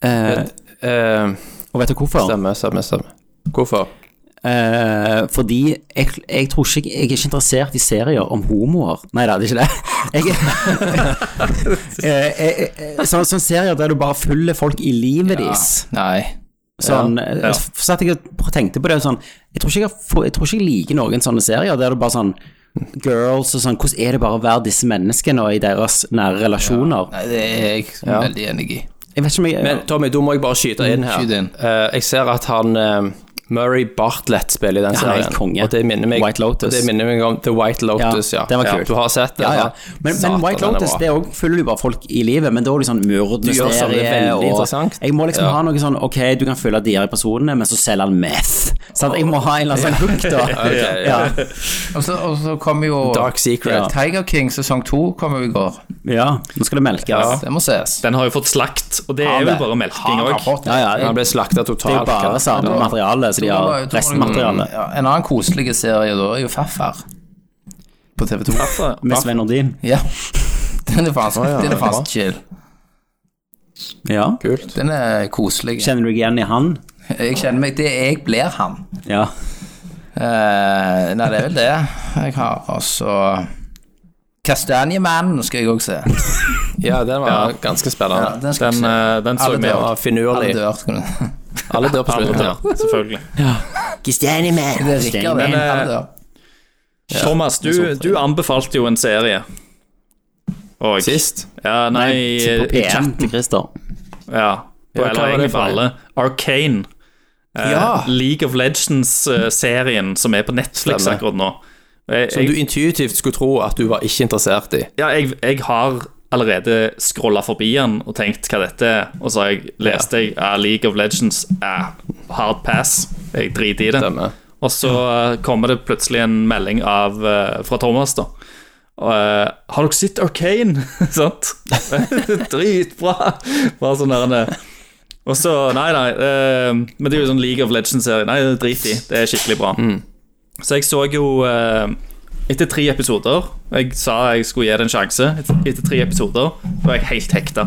Speaker 4: Eh,
Speaker 6: Eh,
Speaker 4: og vet du hvorfor?
Speaker 6: stemmer, stemmer, stemmer. Hvorfor?
Speaker 4: Eh, fordi jeg, jeg tror ikke Jeg er ikke interessert i serier om homoer. Nei da, det er ikke det. Jeg, eh, eh, eh, sånn, sånn serier der du bare følger folk i livet deres.
Speaker 5: Nei.
Speaker 4: Sånn, eh, f- Satt jeg og tenkte på det sånn Jeg tror ikke jeg, får- jeg, tror ikke jeg liker noen sånne serier der det bare sånn Girls og sånn Hvordan er det bare å være disse menneskene og i deres nære relasjoner?
Speaker 5: Nei, det er jeg veldig enig i.
Speaker 4: Jeg vet ikke om jeg Mm,
Speaker 6: Men Tommy, da må jeg bare skyte inn her.
Speaker 5: skyt inn.
Speaker 6: Eh, jeg ser at han eh, Murray Bartlett spiller i den
Speaker 4: Ja, han er
Speaker 6: serien.
Speaker 4: helt konge.
Speaker 6: Og det minner meg,
Speaker 4: White Lotus.
Speaker 6: Og det minner meg om The White Lotus, ja.
Speaker 4: Ja, den var
Speaker 6: Ja,
Speaker 4: kul.
Speaker 6: Du har sett det?
Speaker 4: Ja, ja.
Speaker 6: da.
Speaker 4: Men,
Speaker 6: Satan,
Speaker 4: men White
Speaker 6: den er
Speaker 4: Lotus
Speaker 6: bra.
Speaker 4: det er også, følger du bare folk i livet, men da er det sånn mord,
Speaker 6: Du gjør sånn, det er
Speaker 4: mysterier
Speaker 6: veldig interessant.
Speaker 4: Jeg må liksom
Speaker 6: Ja.
Speaker 4: ha noe sånn Ok, du kan følge de her personene, men så selger han meth. Sant? Jeg må ha en eller annen sånn hook, da.
Speaker 6: Ok,
Speaker 4: ja.
Speaker 5: Og så, og så kommer jo
Speaker 6: Dark Secret.
Speaker 5: Ja. Tiger King sesong to kommer jo i går.
Speaker 4: ja. Nå skal det melkes. Ja,
Speaker 5: Det må ses.
Speaker 7: Den har jo fått slakt, og det
Speaker 5: Har
Speaker 7: er
Speaker 5: det.
Speaker 7: vel bare melking
Speaker 5: Har
Speaker 7: òg.
Speaker 5: fått det.
Speaker 4: ja. det
Speaker 6: Han ble slakta
Speaker 4: det er
Speaker 6: totalt.
Speaker 4: jo bare samme materiale, så de
Speaker 5: Da var
Speaker 4: har
Speaker 5: jo- da var det jo-
Speaker 4: restmateriale.
Speaker 5: Ja, en annen koselig serie da er jo Faffer på TV2.
Speaker 4: Med Svein Nordin.
Speaker 5: Ja. Den er fast, den er fast chill.
Speaker 4: Ja.
Speaker 6: Kult.
Speaker 5: Den er koselig.
Speaker 4: Kjenner du deg igjen i han?
Speaker 5: Jeg kjenner meg Det jeg blir han.
Speaker 4: Ja.
Speaker 5: Eh, nei, det er vel det jeg har. Og så Kastanjemannen skal jeg òg se.
Speaker 6: Ja, den var ganske spennende.
Speaker 5: Den skal
Speaker 7: Den,
Speaker 5: jeg se.
Speaker 7: eh, den så
Speaker 5: Alle
Speaker 7: jeg med.
Speaker 5: dør.
Speaker 6: Ja,
Speaker 5: Alle
Speaker 6: Finurlig.
Speaker 5: dør. skal du-
Speaker 6: Alle dør på slutten. ja.
Speaker 7: Selvfølgelig.
Speaker 5: Det er Rikard.
Speaker 7: Men, eh,
Speaker 5: Alle dør.
Speaker 7: Thomas, du, du anbefalte jo en serie. Og,
Speaker 6: Sist.
Speaker 7: Ja, nei,
Speaker 4: På
Speaker 7: i
Speaker 4: P1 til Christer.
Speaker 7: Ja, på,
Speaker 6: Ja, hva
Speaker 7: eller
Speaker 6: var det
Speaker 7: egentlig
Speaker 6: for Ah.
Speaker 7: for alle. Arcane. Eh,
Speaker 6: Ja.
Speaker 7: League of Legends-serien som er på Netflix
Speaker 6: Stemmer.
Speaker 7: akkurat nå. Jeg,
Speaker 6: Som du
Speaker 7: jeg,
Speaker 6: intuitivt skulle tro at du var ikke interessert i.
Speaker 7: ja, jeg, jeg har allerede scrolla forbi den og tenkt hva dette er, og så har jeg leste jeg ja, League of Legends eh, hard pass. Jeg driter i det.
Speaker 6: Stemmer.
Speaker 7: Og så eh, kommer det plutselig en melding av, eh, fra Thomas, da. Og, eh, har dere sett Arcane? Sant? Dritbra! Bare sånn der eh, Og så Nei, nei. eh, men det er jo sånn League of Legends-serie. Nei, det er drit i. Det er skikkelig bra. Så jeg så jo eh, Etter tre episoder Jeg sa jeg skulle gi det en sjanse. Et- Etter tre episoder var jeg helt hekta.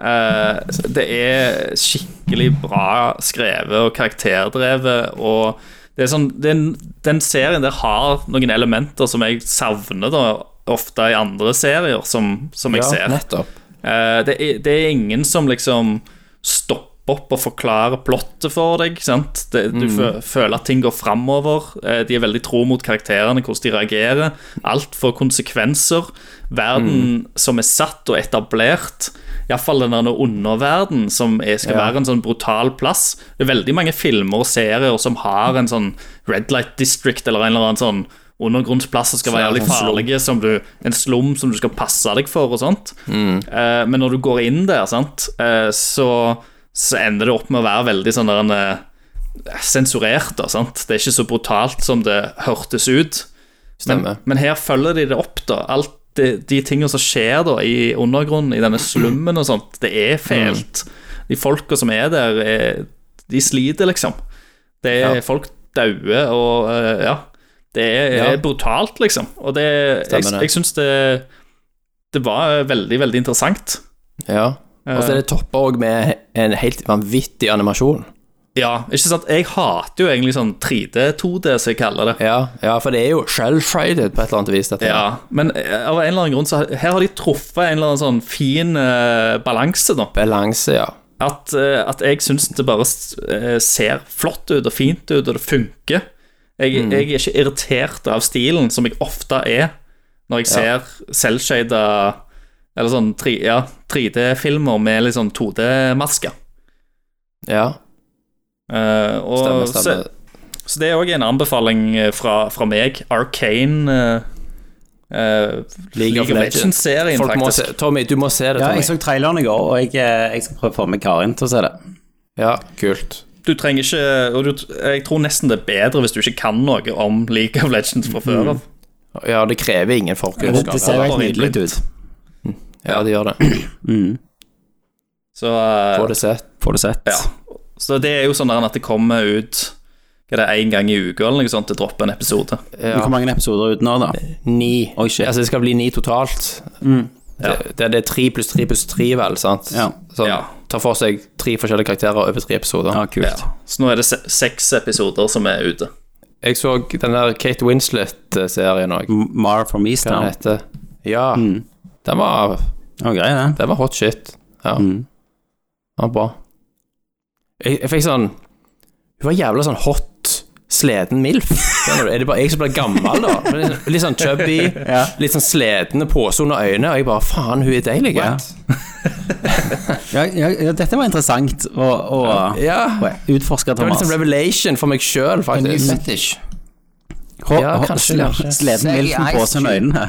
Speaker 7: Eh, det er skikkelig bra skrevet og karakterdrevet. Og det er sånn, den, den serien der har noen elementer som jeg savner da ofte i andre serier som, som jeg ser.
Speaker 6: nettopp.
Speaker 7: Eh, det, er, det er ingen som liksom stopper opp og forklarer plottet for deg. sant? Det, du fø- føler at ting går framover. Eh, de er veldig tro mot karakterene, hvordan de reagerer. Alt får konsekvenser. Verden som er satt og etablert. Iallfall den der underverden som er, skal være en sånn brutal plass. Det er veldig mange filmer og serier som har en sånn Red Light District eller en eller annen sånn undergrunnsplass som skal være jævlig farlige, som du, en slum som du skal passe deg for og sånt. Eh, men når du går inn der, sant, eh, så, så ender det opp med å være veldig sånn der en eh, sensurert, da, sant. Det er ikke så brutalt som det hørtes ut.
Speaker 6: Stemmer.
Speaker 7: Men her følger de det opp, da. Alt de, de tingene som skjer da i undergrunnen, i denne slummen og sånt, det er fælt.
Speaker 6: Mm.
Speaker 7: De folka som er der, er, de sliter, liksom. Det er
Speaker 6: Ja.
Speaker 7: folk daue og eh, Ja. Det er,
Speaker 6: Ja.
Speaker 7: er brutalt, liksom. Og det Jeg,
Speaker 6: Stemmer det.
Speaker 7: jeg syns det Det var veldig, veldig interessant.
Speaker 6: Ja. Og så er det
Speaker 4: Eh.
Speaker 6: toppa òg med en helt vanvittig animasjon.
Speaker 7: Ja, ikke sant? Jeg hater jo egentlig sånn 3D, 2D, som jeg kaller det.
Speaker 6: Ja, ja for det er jo shell-frided på et eller annet vis, dette.
Speaker 7: Ja, Men eh, av en eller annen grunn så her har de truffet en eller annen sånn fin eh, balanse, da.
Speaker 6: Balanse, ja.
Speaker 7: at, eh, at jeg syns det bare s- eh, ser flott ut og fint ut, og det funker.
Speaker 6: Mm.
Speaker 7: Jeg, jeg er ikke irritert av stilen, som jeg ofte er når jeg ser selvshada Eller sånn tre- ja, 3D-filmer med litt sånn 2D-masker.
Speaker 6: ja.
Speaker 7: Eh, og
Speaker 6: Stemmer, stemmer.
Speaker 7: Så, så det er òg en anbefaling eh, fra, fra meg. Arcane eh, eh, League of Legends-serien,
Speaker 6: Folk må se,
Speaker 7: faktisk.
Speaker 6: Tommy, du må se det,
Speaker 4: Ja,
Speaker 6: Tommy.
Speaker 4: jeg så traileren i går, og jeg, eh, jeg skal prøve å få med Karin til å se det.
Speaker 6: Ja, kult.
Speaker 7: Du trenger ikke og du, Jeg tror nesten det er bedre hvis du ikke kan noe om League of Legends fra før av.
Speaker 6: Ja, det krever
Speaker 4: Det,
Speaker 6: ingen
Speaker 4: det ser
Speaker 6: forkunnskap.
Speaker 4: jo
Speaker 7: bare
Speaker 4: helt nydelig ut.
Speaker 6: Ja, det gjør det.
Speaker 7: Så, eh,
Speaker 6: Få det sett.
Speaker 4: Får du sett.
Speaker 7: ja. så det er jo sånn der at det kommer ut Hva er det, en gang i uka eller noe sånt, det dropper en episode.
Speaker 4: Men Hvor mange episoder er ute nå, da?
Speaker 6: Ni.
Speaker 4: Oi, shit. Mm.
Speaker 6: Altså, det skal bli ni totalt. Det, det, det er tre pluss tre pluss tre, vel, sant?
Speaker 4: Ja.
Speaker 6: Sånn,
Speaker 7: Ja.
Speaker 6: Ta for seg tre forskjellige karakterer over tre episoder.
Speaker 4: Ja, Ah, kult.
Speaker 7: Ja. Så nå er det se seks episoder som er ute.
Speaker 6: Jeg så den der Kate Winslet-serien òg.
Speaker 4: M- Mar from
Speaker 6: Hva den
Speaker 4: Easttown.
Speaker 6: heter Ja.
Speaker 4: Mm.
Speaker 6: Den, var,
Speaker 4: Det var grei, det.
Speaker 6: den var hot shit. Ja.
Speaker 4: Mm.
Speaker 6: Den var bra. Jeg, jeg fikk sånn Hun var jævla sånn hot sliten MILF. Skjønner du? Er det bare jeg som blir gammel, da? Men litt sånn- Litt sånn chubby, litt sånn sletne pose under øynene, og jeg bare Faen, hun er deilig. Ja.
Speaker 4: Ja, ja, ja, dette var interessant å, å å
Speaker 6: ja.
Speaker 4: utforske,
Speaker 6: Det var litt
Speaker 4: Thomas.
Speaker 6: sånn revelation for meg sjøl,
Speaker 7: altså,
Speaker 5: En ny
Speaker 6: faktisk.
Speaker 5: fetish.
Speaker 4: Hå-
Speaker 6: Ja,
Speaker 4: hå-
Speaker 6: kanskje,
Speaker 4: sle-
Speaker 6: kanskje.
Speaker 4: Sleden milfen på seg med øynene.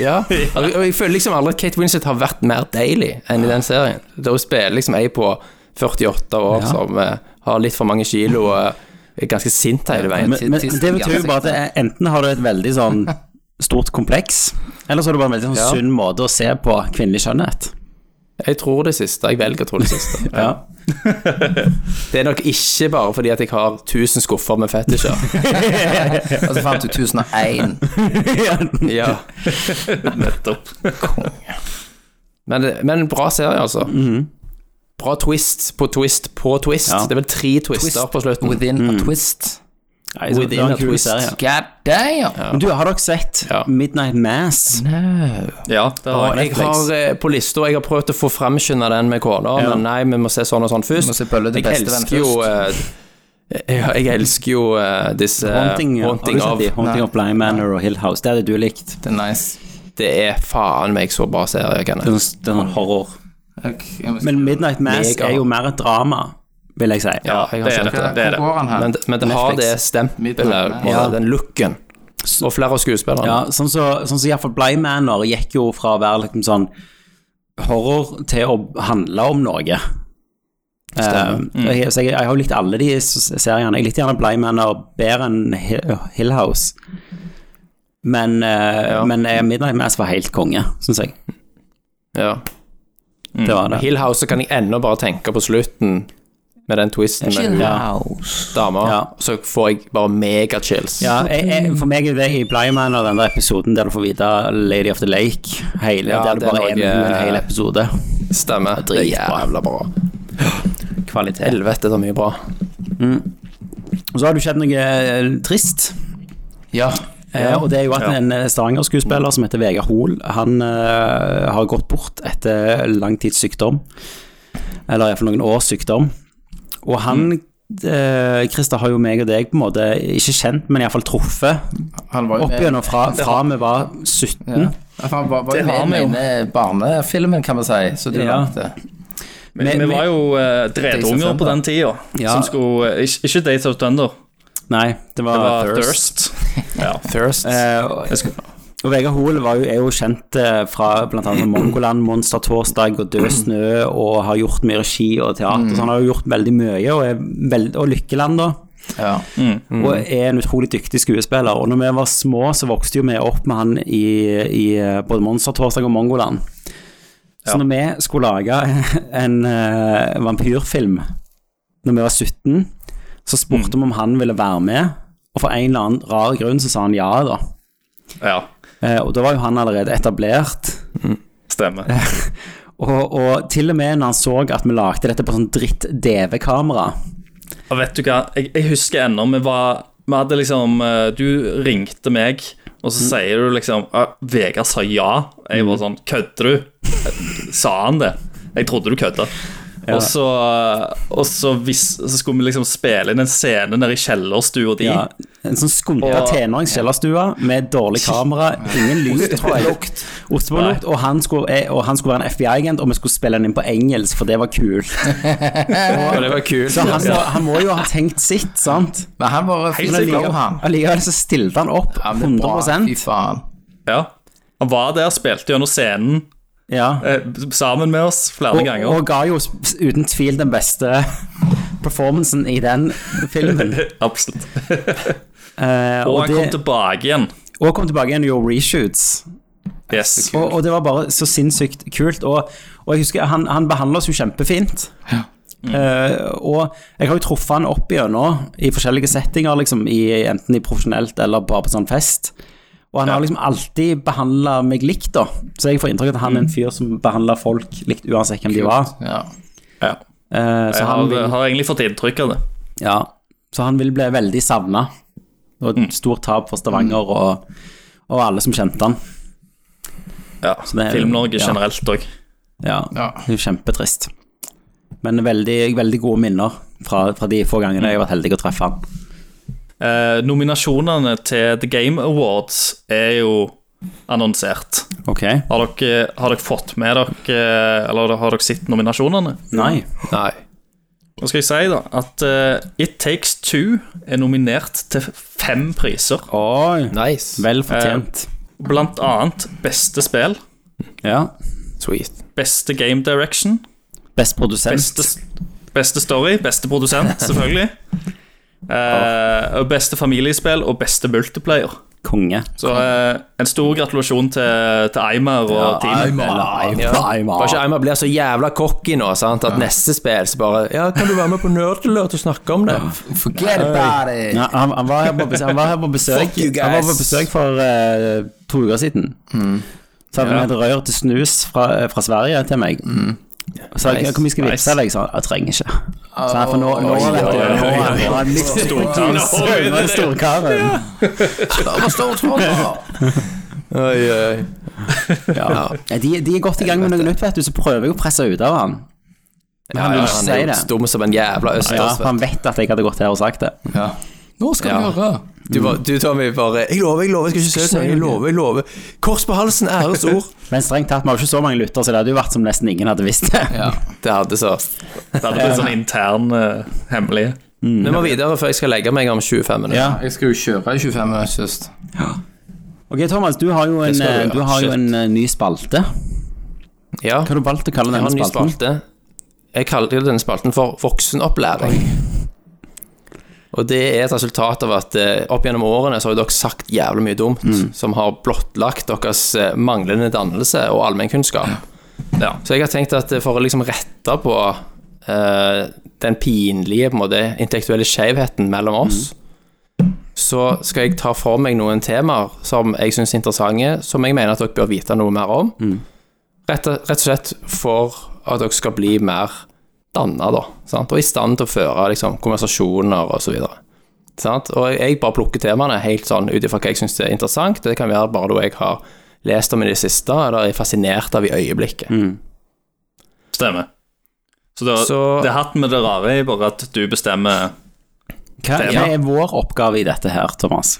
Speaker 6: Ja. Og og jeg føler liksom aldri at Kate Winslet har vært mer deilig enn i den serien. Da hun spiller liksom ei på 48 år som eh, har litt for mange kilo og er ganske sint hele veien.
Speaker 4: Men, men det betyr jo bare at det er- enten har du et veldig sånn stort kompleks, eller så har du bare en veldig sånn
Speaker 6: Ja.
Speaker 4: sunn måte å se på kvinnelig skjønnhet.
Speaker 6: Jeg tror det siste. Jeg velger å tro det siste.
Speaker 4: Ja.
Speaker 6: Det er nok ikke bare fordi at jeg har 1000 skuffer med fetisjer.
Speaker 5: Og så fant du 1001.
Speaker 6: Ja.
Speaker 7: Nettopp.
Speaker 6: Men, men bra serie, altså. Bra twist på twist på twist. Det er vel tre twister på slutten. Mm.
Speaker 5: Within a twist.
Speaker 4: Nei, så det
Speaker 6: Within
Speaker 4: var en
Speaker 6: a
Speaker 4: kul
Speaker 6: twist.
Speaker 4: serie.
Speaker 5: God damn!
Speaker 4: Men du, har dere sett
Speaker 6: Ja.
Speaker 4: Midnight Mass?
Speaker 7: Ja, det har
Speaker 6: Og
Speaker 7: jeg.
Speaker 6: jeg har eh, på lista Jeg har prøvd å få framskynda den med kona, men nei, vi må se sånn og sånn først.
Speaker 5: Må se Bølle din
Speaker 6: jeg
Speaker 5: beste venn
Speaker 6: elsker jo eh, ja, jeg elsker jo eh, disse eh,
Speaker 4: Haunting, har du
Speaker 6: Haunting
Speaker 4: sett
Speaker 6: of
Speaker 4: de? Haunting of Blind Manor og Hill House. Det hadde du likt.
Speaker 5: Det er nice.
Speaker 6: Det er faen meg så bra serie, kan
Speaker 4: Det er
Speaker 6: jeg.
Speaker 4: sånn- det er sånn horror.
Speaker 5: Ok, jeg må-
Speaker 4: Men Midnight Mass
Speaker 6: Mega.
Speaker 4: er jo mer et drama, vil jeg si.
Speaker 6: Ja, jeg har
Speaker 7: det er
Speaker 6: sett
Speaker 7: det.
Speaker 6: det.
Speaker 5: Hvor går han her?
Speaker 6: Men, men det har
Speaker 5: Netflix.
Speaker 6: det stempelet,
Speaker 5: Midnight,
Speaker 6: og
Speaker 5: ja.
Speaker 6: den looken. Og flere av skuespillerne.
Speaker 4: Ja, sånn som så, sånn så iallfall Blind Manor gikk jo fra å være liksom sånn horror til å handle om noe. Um, jeg, så jeg, jeg har jo likt alle de s- seriene. Jeg likte gjerne Blind Manor bedre enn Hi- Hill House. Men, eh, men eh, Midnight Mass var helt konge, syns jeg.
Speaker 6: Ja.
Speaker 4: Det var det.
Speaker 6: Mm. Hill House så kan jeg ennå bare tenke på slutten, med den twisten med hun
Speaker 5: House.
Speaker 6: dama,
Speaker 4: Ja.
Speaker 6: så får jeg bare megachills.
Speaker 4: Ja, jeg, jeg, for meg er det i Blind Manor, den der episoden der du får vite Lady of the Lake hele,
Speaker 6: Ja,
Speaker 4: Der det
Speaker 6: det er
Speaker 4: bare er en,
Speaker 6: noe-
Speaker 4: en hel episode.
Speaker 6: Stemmer. Det er
Speaker 4: dritbra.
Speaker 6: jævla bra.
Speaker 4: Kvalitet.
Speaker 6: Helvete, det er mye bra.
Speaker 4: Og så har det jo skjedd noe eh, trist.
Speaker 5: Ja.
Speaker 4: Eh, og det er jo at en eh, Stavanger-skuespiller som heter Vegard Hoel, han eh, har gått bort etter lang tids sykdom. Eller iallfall noen års sykdom. Og han
Speaker 6: Mm.
Speaker 4: eh, Christer har jo meg og deg på en måte ikke kjent, men iallfall truffet
Speaker 5: Han var jo
Speaker 4: opp
Speaker 5: med-
Speaker 4: gjennom fra, fra vi var 17.
Speaker 5: Ja. Han var, var
Speaker 7: Det
Speaker 5: jo
Speaker 7: har
Speaker 5: med
Speaker 7: vi
Speaker 5: i
Speaker 7: jo.
Speaker 5: den ene barnefilmen, kan man si, så du
Speaker 4: Ja.
Speaker 5: lagde.
Speaker 7: Vi, vi var jo eh, dredunger på den tida.
Speaker 4: Ja.
Speaker 7: Som skulle eh, Ikke, ikke Days of Thunder,
Speaker 4: Nei, det var,
Speaker 7: det var
Speaker 4: Thirst.
Speaker 7: Thirst. Ja.
Speaker 6: Thirst.
Speaker 4: Eh, og, og Vegard Hoel var jo, er jo kjent eh, fra bl.a. Mongoland, Monster Torsdag og Død snø, og har gjort mye regi og teater, så han har jo gjort veldig mye, og, er veld, og Lykkeland, da.
Speaker 5: Ja.
Speaker 4: Og er en utrolig dyktig skuespiller. Og når vi var små, så vokste jo vi opp med han i, i eh, både Monster Torsdag og Mongoland. Så når vi skulle lage en eh, vampyrfilm når vi var 17, så spurte vi om han ville være med, og for en eller annen rar grunn så sa han ja, da.
Speaker 7: ja,
Speaker 4: Eh, og da var jo han allerede etablert.
Speaker 7: stemmer.
Speaker 4: Og, og til og med når han så at vi lagde dette på sånn dritt DV-kamera
Speaker 7: Og vet du hva, jeg, jeg husker ennå vi var Vi hadde liksom eh, Du ringte meg, og
Speaker 4: Mm.
Speaker 7: så sier du liksom «Ja, Vegard sa ja. Jeg var sånn Kødder du? Sa han det? Jeg trodde du kødda. Og så, og så, vis, så skulle vi liksom spille inn en scene nede i kjellerstua di.
Speaker 4: ja, En sånn skumpa
Speaker 7: Og-
Speaker 4: tenåringskjellerstue med dårlig kamera, ingen lyd, lukt, ostebollukt, og, han skulle- eh, og han skulle være en FBI-agent, og vi skulle spille den inn på engelsk, for det var kult.
Speaker 6: og det var kult.
Speaker 4: Så han, må- han må jo ha tenkt sitt, sant?
Speaker 5: Men han var
Speaker 7: Helt
Speaker 5: fin å
Speaker 7: sikkert.
Speaker 5: love, han.
Speaker 4: Allikevel så stilte han opp
Speaker 5: Ja, men det er bra,
Speaker 4: 100
Speaker 5: Fy faen.
Speaker 7: Ja. Han var der, spilte gjennom scenen
Speaker 4: ja.
Speaker 7: eh, sammen med oss flere
Speaker 4: og,
Speaker 7: ganger.
Speaker 4: og ga jo s- uten tvil den beste performancen i den filmen.
Speaker 7: Absolutt.
Speaker 4: Eh,
Speaker 7: Og
Speaker 4: og,
Speaker 7: han
Speaker 4: det,
Speaker 7: kom tilbake igjen.
Speaker 4: og kom tilbake igjen og gjorde reshoots.
Speaker 7: Yes.
Speaker 4: Og, og det var bare så sinnssykt kult. Og, og jeg husker han, han behandler oss jo kjempefint. Eh, og jeg har jo truffet han opp igjennom i forskjellige settinger, liksom, i, enten i profesjonelt eller bare på sånn fest. Og han har liksom alltid behandla meg likt, da. Så jeg får inntrykk av at han er en fyr som behandler folk likt uansett hvem de var.
Speaker 5: Ja.
Speaker 7: Ja.
Speaker 4: Eh, så,
Speaker 7: Jeg
Speaker 4: han
Speaker 7: har,
Speaker 4: vil,
Speaker 7: har egentlig fått inntrykk av det.
Speaker 4: ja, så han vil bli veldig savna. Og et stort tap for Stavanger og, og alle som kjente han.
Speaker 7: Ja.
Speaker 4: det er-
Speaker 7: Film-Norge
Speaker 4: ja.
Speaker 7: generelt òg.
Speaker 4: Ja,
Speaker 5: Ja.
Speaker 4: det er jo kjempetrist. Men veldig, veldig gode minner fra, fra de få gangene jeg har vært heldig å treffe han.
Speaker 7: Eh, nominasjonene til The Game Awards er jo annonsert.
Speaker 4: Ok.
Speaker 7: Har dere, har dere fått med dere Eller har dere sett nominasjonene?
Speaker 4: Nei.
Speaker 6: Nei.
Speaker 7: Nå skal jeg si da at eh, It Takes Two er nominert til fem priser.
Speaker 4: Oi. Eh,
Speaker 6: Nice.
Speaker 4: Vel fortjent.
Speaker 7: Blant annet beste spill,
Speaker 4: ja.
Speaker 6: Sweet.
Speaker 7: beste game direction,
Speaker 4: Best produsent.
Speaker 7: beste, beste story, beste produsent, selvfølgelig. Eh, og beste familiespill og beste multiplayer.
Speaker 4: Konge.
Speaker 7: Så eh, en stor gratulasjon til, til Eimer og teamet.
Speaker 4: Eller Aymar.
Speaker 6: Bare ikke Eimar blir så jævla cocky nå, sant, at neste spill så bare Ja, kan du være med på Nerdlert og snakke om det?
Speaker 5: Forget about it.
Speaker 4: Ja, han, han, var her på besøk, han var her på besøk,
Speaker 6: Fuck you guys.
Speaker 4: han var på besøk for eh, to uker siden. Så hadde han et rør til snus fra, eh, fra Sverige til meg. Så jeg,
Speaker 6: Nice,
Speaker 4: hvor mye skal vi
Speaker 7: nice.
Speaker 4: vippse deg? Så han, jeg trenger ikke. Så han, for nå, nå,
Speaker 5: Oi,
Speaker 4: vet du,
Speaker 5: oi,
Speaker 4: nå
Speaker 5: oi,
Speaker 4: er han- nå er han midt i
Speaker 7: Storkaren.
Speaker 4: nå er han storkaren.
Speaker 5: Større, større, større.
Speaker 6: Oi, oi.
Speaker 4: Ja. De, de er godt i gang med noe nytt, vet du, så prøver jeg å presse ut av han. Men han vil ikke si
Speaker 6: jo
Speaker 4: det.
Speaker 6: Dum som en jævla
Speaker 4: Ja,
Speaker 6: østers.
Speaker 4: for han vet at jeg hadde gått her og sagt det.
Speaker 5: Ja. Nå skal
Speaker 6: Ja.
Speaker 5: vi høre.
Speaker 6: Du, var- du, Tommy, bare 'Jeg lover, jeg lover, jeg skal ikke se ut sånn, Jeg lover, jeg lover. Kors på halsen, æresord.
Speaker 4: Men strengt tatt, vi har jo ikke så mange lyttere, så det hadde jo vært som nesten ingen hadde visst det.
Speaker 5: Ja.
Speaker 6: Det hadde så.
Speaker 7: Det hadde blitt sånn intern eh, hemmelig.
Speaker 6: Vi må videre, for jeg skal legge meg om 25 minutter.
Speaker 4: Ja.
Speaker 5: Jeg skal jo kjøre i 25 minutter sist.
Speaker 4: Ok, Thomas, du har jo en,
Speaker 6: skal du
Speaker 4: eh,
Speaker 6: gjøre.
Speaker 4: du har jo
Speaker 6: Shit.
Speaker 4: en eh, ny spalte.
Speaker 6: Ja.
Speaker 4: Hva har du valgt å kalle
Speaker 6: Jeg har
Speaker 4: denne
Speaker 6: en ny
Speaker 4: spalten?
Speaker 6: spalte. Jeg kaller jo denne spalten for voksenopplæring. Og det er et resultat av at eh, opp gjennom årene så har jo dere sagt jævlig mye dumt som har blottlagt deres eh, manglende dannelse og allmennkunnskap. Ja. Så jeg har tenkt at eh, for å liksom rette på eh, den pinlige på en måte, intellektuelle skjevheten mellom oss, så skal jeg ta for meg noen temaer som jeg syns er interessante, som jeg mener at dere bør vite noe mer om rett, rett og slett for at dere skal bli mer danna, da. Sant? Og i stand til å føre liksom, konversasjoner og så videre. Sant? Og jeg bare plukker temaene helt sånn ut ifra hva jeg syns er interessant. Det kan være bare noe jeg har lest om i det siste, eller er fascinert av i øyeblikket.
Speaker 7: Stemmer. Så det,
Speaker 6: Så-
Speaker 7: det er hatten med det rare i bare at du bestemmer
Speaker 4: Hva, hva
Speaker 7: Tema.
Speaker 4: er vår oppgave i dette her, Thomas?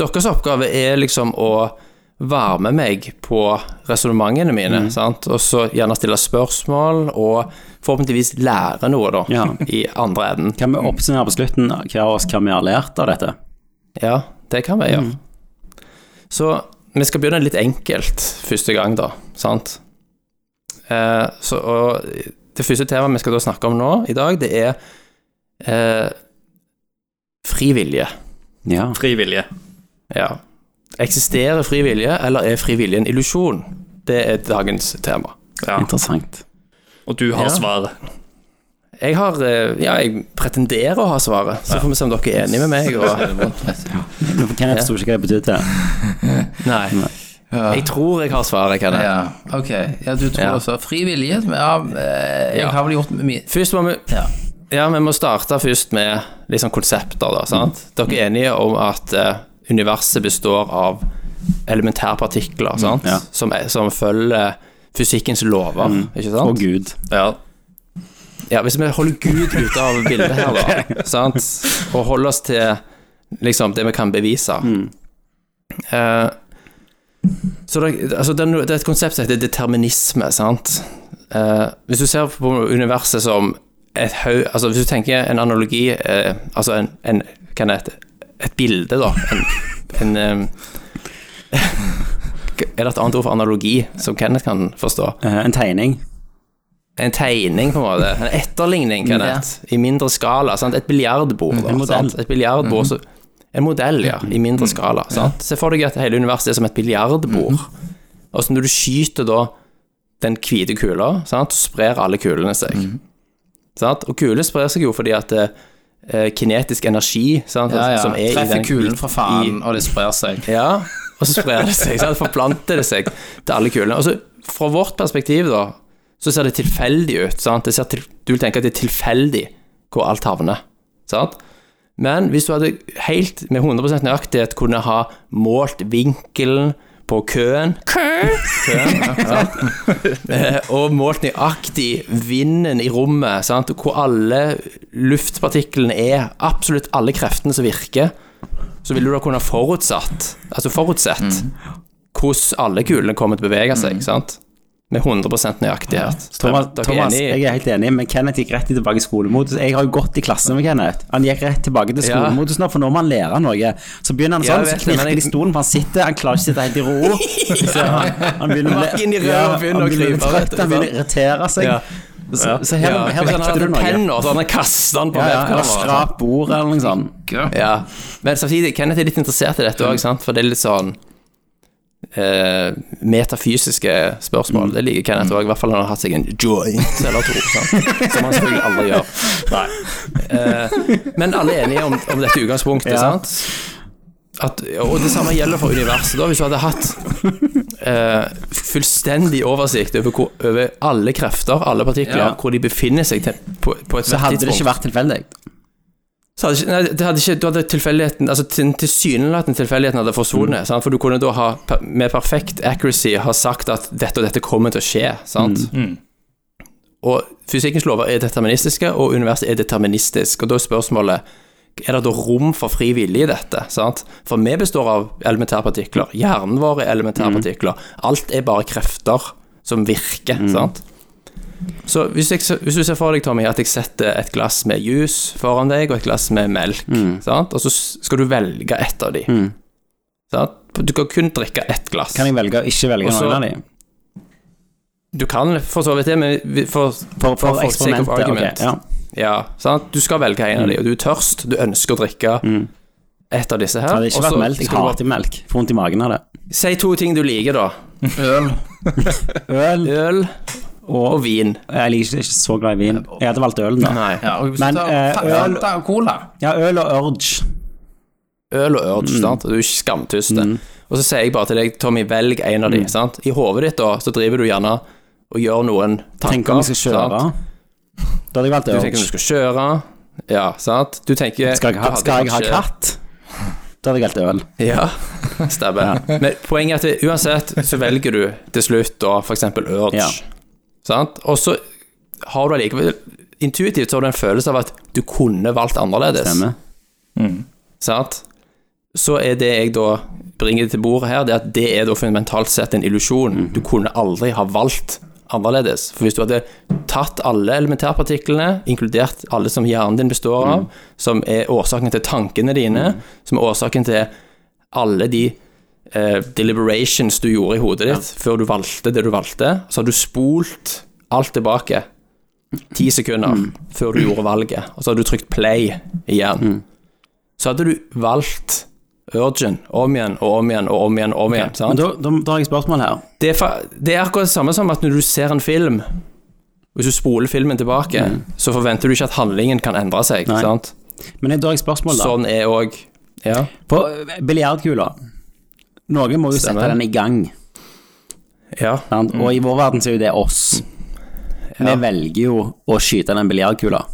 Speaker 6: Deres oppgave er liksom å varme meg på resonnementene mine, sant? og så gjerne stille spørsmål, og forhåpentligvis lære noe, da,
Speaker 4: Ja.
Speaker 6: i andre enden.
Speaker 4: Kan vi oppsummere på slutten hver av oss hva vi har lært av dette? Mm.
Speaker 6: Ja, det kan vi gjøre. Så vi skal begynne litt enkelt første gang, da. Sant? Eh, så, og det første temaet vi skal da snakke om nå i dag, det er eh, fri vilje.
Speaker 4: Ja.
Speaker 7: frivillige.
Speaker 6: Ja. Eksisterer fri vilje, eller er fri vilje en illusjon? Det er dagens tema.
Speaker 7: Ja.
Speaker 4: Interessant.
Speaker 7: Og du har
Speaker 6: Ja.
Speaker 7: svaret.
Speaker 6: Jeg har eh, Ja, jeg pretenderer å ha svaret, så får vi se om dere er enige med meg. Og,
Speaker 4: Men Kenneth forsto ikke hva det betydde.
Speaker 6: nei.
Speaker 5: Ja.
Speaker 6: Jeg tror jeg har svaret, kan jeg.
Speaker 5: Ja, ok. Ja, du tror
Speaker 6: Ja.
Speaker 5: altså Fri vilje? Ja, eh, jeg
Speaker 6: Ja.
Speaker 5: har vel gjort mye
Speaker 6: Først må vi
Speaker 5: Ja.
Speaker 6: ja. vi må starte først med liksom konsepter, da. sant? Dere er enige om at eh, universet består av elementærpartikler, sant?
Speaker 4: ja.
Speaker 6: Som, er, som følger fysikkens lover, ikke sant?
Speaker 4: Å, gud.
Speaker 7: Ja.
Speaker 6: Ja, hvis vi holder Gud ute av bildet her, da, sant? og holder oss til liksom, det vi kan bevise Eh, Så det, altså, det, er no- det er et konsept som heter determinisme, sant. Eh, hvis du ser på universet som et haug altså, Hvis du tenker en analogi, eh, altså en, en hva er det, et bilde, da. En, en eh, Er det et annet ord for analogi som Kenneth kan forstå?
Speaker 4: Eh, en tegning.
Speaker 6: En tegning, på en måte. En etterligning, Kenneth. I mindre skala. Sant? Et biljardbord. da,
Speaker 4: Mm, En modell. Mm.
Speaker 6: Sant? Et biljardbord så- En modell, ja. I mindre skala. Sant? Se for deg at hele universet er som et biljardbord.
Speaker 4: Mm.
Speaker 6: Og så når du skyter da den hvite kula, sant? så sprer alle kulene seg.
Speaker 4: Mm.
Speaker 6: Sant? Og kuler sprer seg jo fordi at eh, kinetisk energi sant?
Speaker 5: Ja, ja.
Speaker 6: som er i
Speaker 5: Treffer
Speaker 6: den
Speaker 5: kulen for faen,
Speaker 6: i-
Speaker 5: og det sprer seg.
Speaker 6: ja, og så sprer det seg, sant? forplanter det seg til alle kulene. Og så fra vårt perspektiv, da, så ser det tilfeldig ut. Sant? Det ser til, du vil tenke at det er tilfeldig hvor alt havner. Sant? Men hvis du hadde helt med 100 nøyaktighet kunne ha målt vinkelen på køen Køen, ja, sant? Eh, Og målt nøyaktig vinden i rommet, sant? hvor alle luftpartiklene er, absolutt alle kreftene som virker så ville du da kunne forutsatt Altså forutsett hvordan alle kulene kommer til å bevege seg, sant? Med 100 nøyaktighet.
Speaker 4: Thomas,
Speaker 6: Dere er
Speaker 4: Thomas
Speaker 6: enige?
Speaker 4: jeg er helt enig, men Kenneth gikk rett tilbake i skolemodus. Jeg har jo gått i klasse med Kenneth. Han gikk rett tilbake til
Speaker 6: Ja.
Speaker 4: skolemodus nå, for nå må han lære noe. Så begynner han
Speaker 6: Ja,
Speaker 4: sånn, så
Speaker 6: jeg vet det, men
Speaker 4: knirker det i
Speaker 6: jeg-
Speaker 4: stolen, for han sitter, han klarer ikke å sitte helt i ro. Så han, han begynner å
Speaker 6: Nakken inn i
Speaker 4: le-
Speaker 6: røret
Speaker 4: Ja,
Speaker 6: og
Speaker 4: han
Speaker 6: begynner å
Speaker 4: bli
Speaker 6: krype, vet
Speaker 4: trøtt,
Speaker 6: du,
Speaker 4: han begynner å irritere seg.
Speaker 6: Ja.
Speaker 4: Så, så her, her
Speaker 6: ja, hvis han
Speaker 4: vekker
Speaker 6: hadde
Speaker 4: du noe.
Speaker 6: penner, så hadde han kastet den på
Speaker 4: Ja,
Speaker 6: altså.
Speaker 4: ja,
Speaker 6: webkameraet.
Speaker 4: eller skrap bordet eller noe sånt.
Speaker 6: Ja. Men samtidig, Kenneth er litt interessert i dette
Speaker 4: Mm.
Speaker 6: òg, sant? For det er litt sånn eh, metafysiske
Speaker 4: Mm.
Speaker 6: spørsmål. Det liker Kenneth òg, i hvert fall når han har hatt seg en joint eller to, sant? som han selvfølgelig aldri gjør. Eh, men alle er enige om, om dette utgangspunktet, sant? At, og det samme gjelder for universet. da Hvis du hadde hatt eh, fullstendig oversikt over, hvor, over alle krefter, alle partikler,
Speaker 4: Ja.
Speaker 6: hvor de befinner seg til, på, på et
Speaker 4: Så
Speaker 6: hvert
Speaker 4: hadde det
Speaker 6: tidspunkt
Speaker 4: ikke vært tilfeldig.
Speaker 6: så hadde ikke, nei, det hadde ikke, du hadde tilfeldigheten Altså til- tilsynelatende tilfeldigheten hadde forsvunnet. Sant? For du kunne da ha, per- med perfekt accuracy ha sagt at dette og dette kommer til å skje. Sant? Og fysikkens lover er deterministiske, og universet er deterministisk. Og da er spørsmålet er det da rom for fri vilje i dette? Sant? For vi består av elementærpartikler. Hjernen vår er
Speaker 4: Mm.
Speaker 6: elementærpartikler. Alt er bare krefter som virker.
Speaker 4: Mm.
Speaker 6: Sant? Så hvis, jeg, hvis du ser for deg, Tommy, at jeg setter et glass med juice foran deg, og et glass med melk,
Speaker 4: Mm.
Speaker 6: sant? og så s- skal du velge ett av de. Sant? Du kan kun drikke ett glass.
Speaker 4: Kan jeg velge å ikke velge
Speaker 6: Og så-
Speaker 4: noen av dem?
Speaker 6: Du kan for så vidt det, men vi- for,
Speaker 4: For,
Speaker 6: for
Speaker 4: for
Speaker 6: sake of
Speaker 4: eksperimentet, ok.
Speaker 6: argument.
Speaker 4: Ja.
Speaker 6: ja, sant? Du skal velge en av
Speaker 4: Mm.
Speaker 6: de, og du er tørst, du ønsker å drikke ett av disse her.
Speaker 4: Hadde Mm. det ikke
Speaker 6: og så
Speaker 4: vært melk, jeg
Speaker 6: skal du
Speaker 4: hater melk. Får vondt i magen av det.
Speaker 6: bare- Si to ting du liker, da.
Speaker 5: Øl.
Speaker 4: Øl
Speaker 6: Øl og vin.
Speaker 4: Jeg liker ikke, ikke så glad i vin. Jeg hadde valgt ølen, da.
Speaker 6: Nei.
Speaker 5: Ja, og hvis
Speaker 4: Men,
Speaker 5: du tar
Speaker 4: eh,
Speaker 5: fa-
Speaker 4: øl-
Speaker 5: Fanta og cola
Speaker 4: Ja, øl og urge.
Speaker 6: øl og urge,
Speaker 4: Mm.
Speaker 6: sant? og du er skamtyste. Og så sier jeg bare til deg, Tommy, velg en av de,
Speaker 4: Mm.
Speaker 6: sant? I hovedet ditt da, så driver du gjerne og gjør noen tanker.
Speaker 4: Tenk om jeg skal kjøre.
Speaker 6: sant?
Speaker 4: Da hadde jeg valgt
Speaker 6: Du tenker om
Speaker 4: urge.
Speaker 6: du skal kjøre, ja, sant? Du tenker...
Speaker 4: Skal jeg ha,
Speaker 6: du hadde
Speaker 4: skal jeg ha
Speaker 6: kanskje-
Speaker 4: katt? Da hadde jeg valgt øl.
Speaker 6: Ja, stemmer. Men poenget er at uansett så velger du til slutt da for eksempel urge,
Speaker 4: Ja.
Speaker 6: sant? Og så har du allikevel... Intuitivt så har du en følelse av at du kunne valgt annerledes.
Speaker 4: Stemmer.
Speaker 6: sant? Så er det jeg da bringer til bordet her, det er at det er da fundamentalt sett en
Speaker 4: Mhm.
Speaker 6: illusjon. Du kunne aldri ha valgt annerledes. For hvis du hadde tatt alle elementærpartiklene, inkludert alle som hjernen din består av,
Speaker 4: Mhm.
Speaker 6: som er årsaken til tankene dine, som er årsaken til alle de eh, deliberations du gjorde i hodet ditt før du valgte det du valgte, så har du spolt alt tilbake ti sekunder
Speaker 4: Mm.
Speaker 6: før du gjorde valget, og så har du trykt play igjen
Speaker 4: Mm.
Speaker 6: så hadde du valgt Urgen om igjen og om igjen og om igjen. og om igjen
Speaker 4: Men
Speaker 6: sant?
Speaker 4: da, da, da har jeg et spørsmål her.
Speaker 6: det, er fa det er akkurat det samme som at når du ser en film Hvis du spoler filmen tilbake, så forventer du ikke at handlingen kan endre seg.
Speaker 4: Mm. Nei.
Speaker 6: Sant?
Speaker 4: Men jeg- da har jeg et spørsmål, da.
Speaker 6: Sånn er òg ja.
Speaker 4: På eh, biljardkula Noen må jo sette
Speaker 6: Stemmer.
Speaker 4: den i gang.
Speaker 6: ja.
Speaker 4: Sant? Og i vår verden så er jo det oss. Vi velger jo å skyte den biljardkula.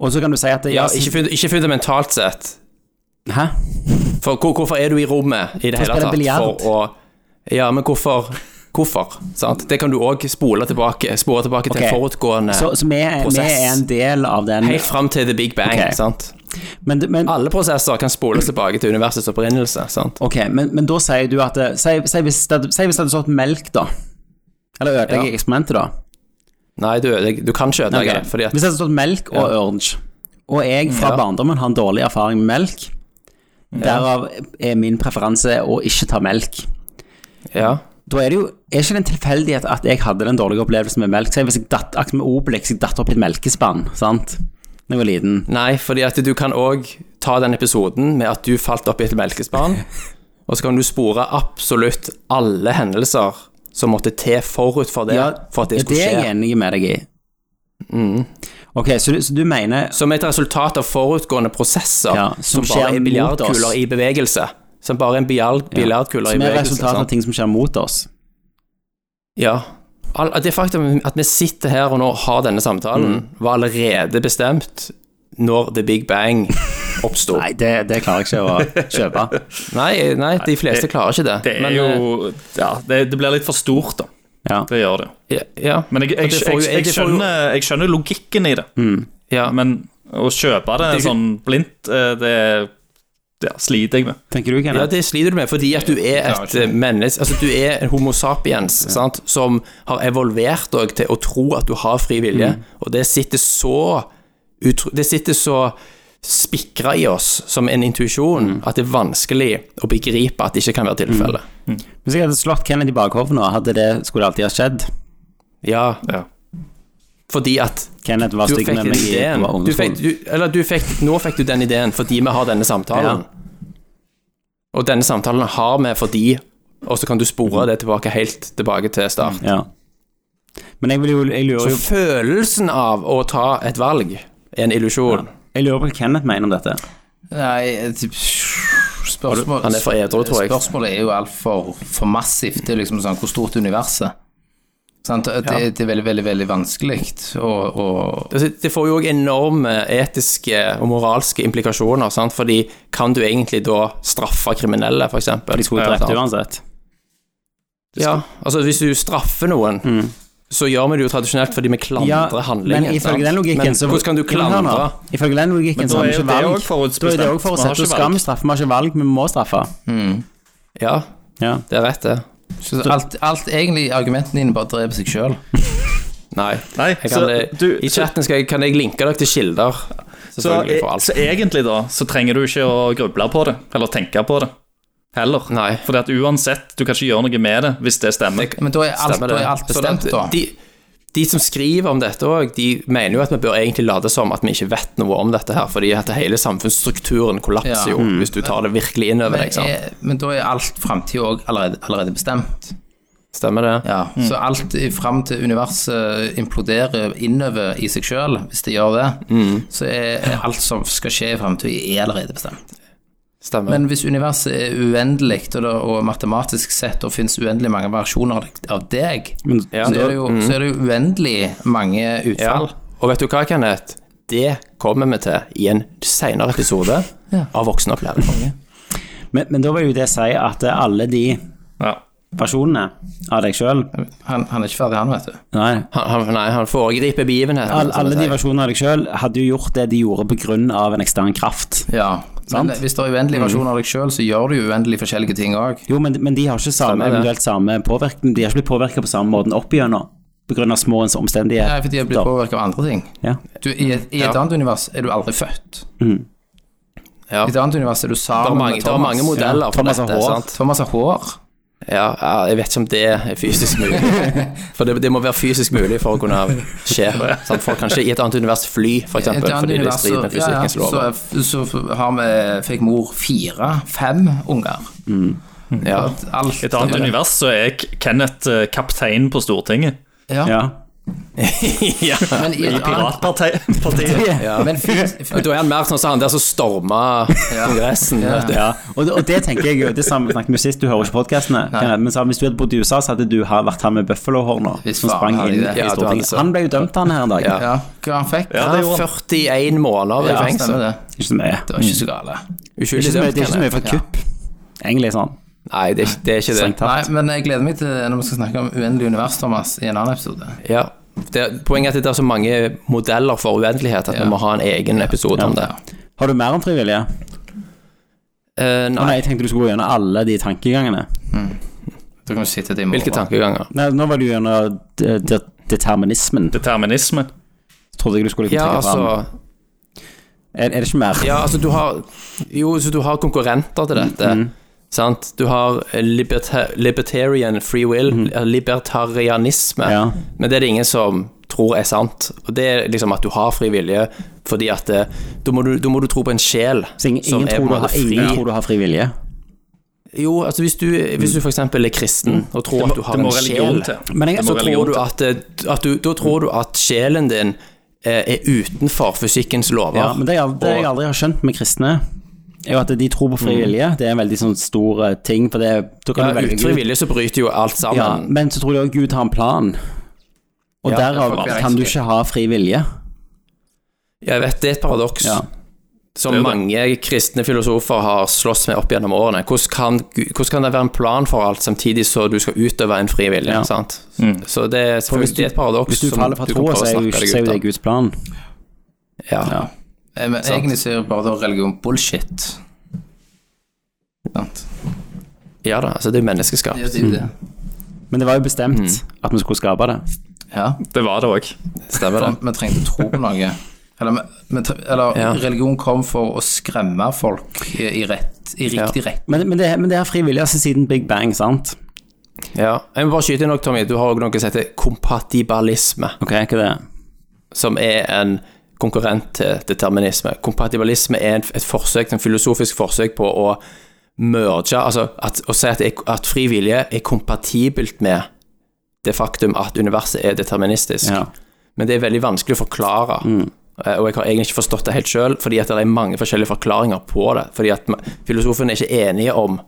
Speaker 4: Og så kan du si at det,
Speaker 6: ja ikke, fun ikke fundamentalt sett.
Speaker 4: Hæ?
Speaker 6: For hvor, hvorfor er du i rommet i det
Speaker 4: For å
Speaker 6: hele
Speaker 4: spille
Speaker 6: tatt?
Speaker 4: biljard.
Speaker 6: For å Ja, men hvorfor? Hvorfor? Sant? Det kan du òg spole tilbake. Spore tilbake til
Speaker 4: Ok.
Speaker 6: en forutgående
Speaker 4: Så, så vi, er, vi
Speaker 6: prosess.
Speaker 4: er en del av den
Speaker 6: Helt fram til the big bang.
Speaker 4: Ok.
Speaker 6: Sant?
Speaker 4: Men, det- men,
Speaker 6: Alle prosesser kan spoles tilbake til universets opprinnelse, sant?
Speaker 4: Ok, men, men da sier du at eh, Si, si, hvis, det, si hvis det hadde stått melk, da. Eller ødelegger jeg
Speaker 6: Ja.
Speaker 4: eksperimentet, da?
Speaker 6: Nei, du, ødelegger- du kan ikke ødelegge
Speaker 4: Ok.
Speaker 6: det, fordi at
Speaker 4: Hvis det hadde stått melk og
Speaker 6: Ja.
Speaker 4: orange, og jeg fra
Speaker 6: Ja.
Speaker 4: barndommen har en dårlig erfaring med melk, derav er min preferanse å ikke ta melk.
Speaker 6: Ja,
Speaker 4: Da er det jo Er ikke det en tilfeldighet at jeg hadde den dårlige opplevelsen med melk? Si hvis jeg datt akkurat med Obelix, jeg datt opp i et melkespann, sant? Da jeg var liten.
Speaker 6: Nei, fordi at du kan òg ta den episoden med at du falt opp i et melkespann, og så kan du spore absolutt alle hendelser som måtte til forut for det, for at det skulle
Speaker 4: er jeg
Speaker 6: skje. Mm.
Speaker 4: enig med deg i. Ok, så, du- så du mener
Speaker 6: Som et resultat av forutgående prosesser
Speaker 4: Ja, som
Speaker 6: som,
Speaker 4: skjer
Speaker 6: bare er
Speaker 4: mot
Speaker 6: biljardkuler
Speaker 4: oss.
Speaker 6: i bevegelse. Som bare er en biljard- biljardkuler i
Speaker 4: Som er
Speaker 6: bevegelse.
Speaker 4: resultatet av
Speaker 6: sant?
Speaker 4: ting som skjer mot oss?
Speaker 6: Ja. All, det faktum at vi sitter her og nå har denne samtalen,
Speaker 4: Mm.
Speaker 6: var allerede bestemt når The Big Bang oppsto.
Speaker 4: Nei, det, det klarer jeg ikke å kjøpe.
Speaker 6: nei, nei, de fleste klarer ikke det.
Speaker 7: Det er
Speaker 6: men,
Speaker 7: jo Ja, det, det blir litt for stort, da.
Speaker 4: Ja.
Speaker 7: Det gjør det.
Speaker 6: eh, Ja.
Speaker 7: Men jeg,
Speaker 6: Og
Speaker 7: jeg,
Speaker 6: det
Speaker 7: jeg,
Speaker 6: får jo-
Speaker 7: jeg,
Speaker 6: det får jo-
Speaker 7: skjønner, jeg skjønner logikken i det,
Speaker 6: ja,
Speaker 7: men å kjøpe det
Speaker 6: Det er ikke-
Speaker 7: sånn blindt, eh, det ja, sliter jeg med.
Speaker 4: Tenker du,
Speaker 6: Ja,
Speaker 4: Kenneth?
Speaker 6: det sliter du med, fordi at du er
Speaker 5: klarer
Speaker 6: et
Speaker 5: ikke.
Speaker 6: eh, menneske Altså, du er en homo sapiens sant? som har evolvert deg til å tro at du har fri vilje, og det sitter så utro- Det sitter så spikra i oss som en intuisjon at det er vanskelig å begripe at det ikke kan være tilfellet.
Speaker 4: Hvis jeg hadde slått Kenneth i bakhovet nå, hadde det, skulle det alltid ha skjedd.
Speaker 6: Ja,
Speaker 7: Ja.
Speaker 6: fordi at
Speaker 4: Kenneth var
Speaker 6: du
Speaker 4: stygg
Speaker 6: fikk
Speaker 4: med
Speaker 6: den
Speaker 4: meg i
Speaker 6: ideen
Speaker 4: på
Speaker 6: du fikk,
Speaker 4: ungdomsskolen.
Speaker 6: du, Eller du fikk, nå fikk du den ideen fordi vi har denne samtalen. Og denne samtalen har vi fordi Og så kan du spore det tilbake helt tilbake til start.
Speaker 4: Ja. Men jeg, vil jo, jeg, lurer
Speaker 6: Så
Speaker 4: jo,
Speaker 6: følelsen av å ta et valg er en illusjon.
Speaker 4: jeg lurer på hva Kenneth mener om dette.
Speaker 5: Nei, typ, spørsmål,
Speaker 6: Han er for edru, tror jeg.
Speaker 5: Spørsmålet er jo altfor for massivt. Det er liksom sånn, hvor stort er universet? Sant? Det, det er veldig, veldig, veldig vanskelig å, å
Speaker 6: Altså, Det får jo òg enorme etiske og moralske implikasjoner, sant? fordi kan du egentlig da straffe kriminelle, f.eks.?
Speaker 4: De skulle
Speaker 6: ja,
Speaker 4: drept
Speaker 6: sant?
Speaker 4: uansett.
Speaker 6: Ja, altså hvis du straffer noen, så gjør vi det jo tradisjonelt fordi vi klandrer handlingen.
Speaker 4: men ifølge
Speaker 6: sant?
Speaker 4: den logikken
Speaker 6: Men
Speaker 4: så
Speaker 6: hvordan kan du
Speaker 4: Men hør nå,
Speaker 6: klandre?
Speaker 4: Ifølge den logikken så har
Speaker 7: da
Speaker 4: vi
Speaker 7: er
Speaker 4: ikke
Speaker 7: jo det
Speaker 4: valg.
Speaker 7: også forutbestemt.
Speaker 4: Da er det også
Speaker 7: Man har
Speaker 4: forutsett.
Speaker 7: ikke
Speaker 4: Da skal
Speaker 7: valg.
Speaker 4: vi straffe, vi har ikke valg, vi må straffe.
Speaker 6: Ja,
Speaker 4: Ja.
Speaker 6: det er rett, det.
Speaker 5: så alt, alt egentlig argumentene dine bare dreper seg sjøl.
Speaker 6: Nei.
Speaker 7: Nei,
Speaker 6: Jeg kan,
Speaker 7: så,
Speaker 6: eh,
Speaker 7: du,
Speaker 6: I
Speaker 7: så,
Speaker 6: chatten skal jeg, kan jeg linke dere til kilder.
Speaker 7: så, eh,
Speaker 6: Selvfølgelig for alt.
Speaker 7: så egentlig, da, så trenger du ikke å gruble på det, eller tenke på det, heller.
Speaker 6: Nei.
Speaker 7: Fordi at uansett, du kan ikke gjøre noe med det hvis det stemmer.
Speaker 5: Men da er alt,
Speaker 6: Stemmer det.
Speaker 5: da er alt bestemt,
Speaker 6: Sånn
Speaker 5: da.
Speaker 6: at De, de som skriver om dette òg, de mener jo at vi bør egentlig late som at vi ikke vet noe om dette her, fordi at hele samfunnsstrukturen
Speaker 5: Ja.
Speaker 6: kollapser jo hvis du tar det virkelig inn over
Speaker 5: Men,
Speaker 6: deg. sant?
Speaker 5: er, men da er alt framtid òg allerede, allerede bestemt.
Speaker 6: Stemmer det?
Speaker 5: Ja, Så
Speaker 6: Mm.
Speaker 5: alt i- fram til universet imploderer innover i seg sjøl, hvis det gjør det,
Speaker 6: Mm.
Speaker 5: så er er alt som skal skje i framtida, allerede bestemt.
Speaker 6: Stemmer.
Speaker 5: Men hvis universet er uendelig, og, det- og matematisk sett og finnes uendelig mange versjoner av deg- av deg,
Speaker 6: Ja.
Speaker 5: så, er det jo, så er det jo uendelig mange
Speaker 6: Ja.
Speaker 5: utfall.
Speaker 6: Og vet du hva, Kenneth? Det kommer vi til i en senere episode
Speaker 5: Ja.
Speaker 6: av Voksenopplæring.
Speaker 4: Men, men da vil jo det si at eh, alle de
Speaker 7: Ja.
Speaker 4: versjonene av deg sjøl
Speaker 5: Han, han er ikke ferdig, han, vet du.
Speaker 4: Nei.
Speaker 6: Han, han, nei, han foregriper begivenheten.
Speaker 4: All,
Speaker 6: som
Speaker 4: alle
Speaker 6: jeg
Speaker 4: de
Speaker 6: sier.
Speaker 4: versjonene av deg sjøl hadde jo gjort det de gjorde på grunn av en ekstern kraft.
Speaker 5: Ja, men
Speaker 4: Sant.
Speaker 5: hvis det er uendelig versjon av deg sjøl, så gjør du jo uendelig forskjellige ting òg.
Speaker 4: Jo, men, men de har ikke samme,
Speaker 6: Stemmer det.
Speaker 4: eventuelt samme påvirkning. De har ikke blitt påvirka på samme måten opp igjennom på grunn av små omstendigheter.
Speaker 5: Nei, for de har blitt påvirka av andre ting.
Speaker 4: Ja.
Speaker 5: Du, I et, i et annet univers er du aldri født.
Speaker 6: Ja.
Speaker 5: I et annet univers er du
Speaker 6: Det er
Speaker 5: sammen
Speaker 6: mange,
Speaker 5: med
Speaker 6: det er mange
Speaker 5: Thomas.
Speaker 6: modeller for
Speaker 4: Thomas har
Speaker 6: dette.
Speaker 4: hår.
Speaker 6: sant?
Speaker 5: Thomas har hår.
Speaker 6: Ja, ja, jeg vet ikke om det er fysisk mulig. For det, det må være fysisk mulig for å kunne skje. Sant? Folk kan ikke i et annet univers fly, for
Speaker 5: I et
Speaker 6: eksempel,
Speaker 5: annet
Speaker 6: fordi det
Speaker 5: univers så,
Speaker 6: strider med
Speaker 5: ja, ja,
Speaker 6: fysikkens
Speaker 5: så,
Speaker 6: lover.
Speaker 5: så har vi, fikk mor fire, fem unger. Mm.
Speaker 6: Ja.
Speaker 5: Alt,
Speaker 7: I et annet univers så er K- Kenneth eh, kaptein på Stortinget.
Speaker 5: Ja.
Speaker 4: Ja.
Speaker 6: ja.
Speaker 5: Men i
Speaker 7: I
Speaker 5: et annet
Speaker 7: Piratpartiet.
Speaker 5: men fint,
Speaker 6: Og da er han mer sånn som han der som storma Kongressen. vet du.
Speaker 4: ja. Og, det- og det tenker jeg jo, det samme vi snakket med sist, du hører ikke podkastene. Men så, hvis du hadde bodd i USA, så hadde du ha- vært han med bøffelhår nå,
Speaker 5: Hvis
Speaker 4: som
Speaker 5: faen
Speaker 4: sprang
Speaker 5: hadde
Speaker 4: inn
Speaker 5: det.
Speaker 4: i
Speaker 6: Ja, du hadde
Speaker 4: Stortinget.
Speaker 6: så.
Speaker 4: Han ble jo dømt, han her en dag.
Speaker 6: Ja.
Speaker 5: ja, hva han fikk?
Speaker 6: Ja,
Speaker 5: Ja,
Speaker 6: det er jo 41 måneder i fengsel.
Speaker 5: stemmer det.
Speaker 4: Ikke så mye.
Speaker 5: Det var ikke så gale.
Speaker 4: Det er
Speaker 6: Uskyldig
Speaker 4: ikke så mye,
Speaker 6: dømt.
Speaker 4: det er ikke så mye
Speaker 6: Kenneth.
Speaker 4: for kupp, egentlig, sånn.
Speaker 6: Nei, det er, ikke- det er ikke det.
Speaker 4: Strengt tatt.
Speaker 5: Nei, men jeg gleder meg til når vi skal snakke om uendelig univers, Thomas, i en annen episode.
Speaker 6: Ja. Det, poenget er at det er så mange modeller for uendelighet at vi må ha en egen episode om det.
Speaker 4: Har du mer om frivillige?
Speaker 6: Eh,
Speaker 4: Å nei,
Speaker 6: nei,
Speaker 4: jeg tenkte du skulle gå gjennom alle de tankegangene.
Speaker 5: Da kan vi sitte til i
Speaker 6: hvilke
Speaker 5: morgen.
Speaker 6: tankeganger?
Speaker 4: Nei, nå var du gjennom de, de, determinismen.
Speaker 7: Determinisme.
Speaker 4: Trodde jeg du skulle liksom
Speaker 6: Ja,
Speaker 4: trekke fram.
Speaker 6: altså
Speaker 4: Er, er det ikke mer?
Speaker 6: Ja, altså du har Jo, så du har konkurrenter til dette.
Speaker 4: Mhm.
Speaker 6: Sant? Du har eh, liberta libertarian free will, eh, libertarianisme.
Speaker 4: Mhm. Ja.
Speaker 6: Men det er det ingen som tror er sant. Og det er liksom at du har fri vilje, fordi at eh, da må, du- da må du tro på en sjel
Speaker 4: Så ingen, ingen, tror du har, ingen tror du har fri vilje?
Speaker 6: Jo, altså hvis du, hvis du for eksempel er kristen og tror at du har
Speaker 7: Mm. Det må
Speaker 6: en
Speaker 7: religion
Speaker 6: sjel
Speaker 7: til.
Speaker 4: Men jeg-
Speaker 7: Det må
Speaker 6: så tror
Speaker 7: religion
Speaker 6: du
Speaker 7: til.
Speaker 6: at, eh, at du, Da tror du at sjelen din eh, er utenfor fysikkens lover.
Speaker 4: Ja, men det, er, det jeg aldri har skjønt med kristne, er jo at de tror på fri vilje. Det er en veldig sånn stor eh, ting, for det da kan
Speaker 6: Mm. Ja,
Speaker 4: du velge
Speaker 6: uten fri vilje så bryter jo alt sammen.
Speaker 4: Ja, men så tror de også Gud har en plan. Og
Speaker 6: Ja,
Speaker 4: derav
Speaker 5: for-
Speaker 4: kan du ikke ha fri vilje.
Speaker 6: Jeg vet, det er et paradoks
Speaker 4: Ja.
Speaker 6: som
Speaker 7: Det er det.
Speaker 6: mange kristne filosofer har slåss med opp gjennom årene. Hvordan kan, hvordan kan det være en plan for alt samtidig så du skal utøve en fri vilje?
Speaker 4: Ja.
Speaker 6: Sant?
Speaker 7: Mm.
Speaker 6: Så det er selvfølgelig det er et paradoks
Speaker 4: Hvis du
Speaker 6: som
Speaker 4: faller fra
Speaker 6: du kan
Speaker 4: troa,
Speaker 6: prøve
Speaker 4: så
Speaker 6: å
Speaker 4: er jo
Speaker 6: snakke
Speaker 4: så er
Speaker 6: deg
Speaker 4: jo
Speaker 6: ut
Speaker 4: det
Speaker 6: av.
Speaker 4: Guds plan.
Speaker 6: Ja.
Speaker 5: Eh, Men egentlig så er jo bare da religion bullshit.
Speaker 6: Ja da, altså det er jo menneskeskapt.
Speaker 5: Ja, det er jo det.
Speaker 4: Men det var jo bestemt
Speaker 6: Mm.
Speaker 4: at vi skulle skape det.
Speaker 5: Ja.
Speaker 7: Det var det òg.
Speaker 6: Stemmer det?
Speaker 5: Vi trengte tro på noe. Eller, vi- vi tre- eller
Speaker 6: Ja.
Speaker 5: religion kom for å skremme folk i, rett, i riktig rett.
Speaker 4: Men, men, det, men det er frivillig altså, siden Big Bang, sant?
Speaker 6: Ja. Jeg må bare skyte inn noe, Tommy. Du har òg noe som heter kompatibalisme,
Speaker 4: Ok, hva er det?
Speaker 6: som er en konkurrent til determinisme. Kompatibalisme er en, et forsøk, en filosofisk forsøk på å merge Altså at, å si at, det er- at fri vilje er kompatibelt med det faktum at universet er deterministisk.
Speaker 4: Ja.
Speaker 6: Men det er veldig vanskelig å forklare. Eh, Og jeg har egentlig ikke forstått det helt sjøl, fordi at det er mange forskjellige forklaringer på det. Fordi at ma- filosofene er ikke enige om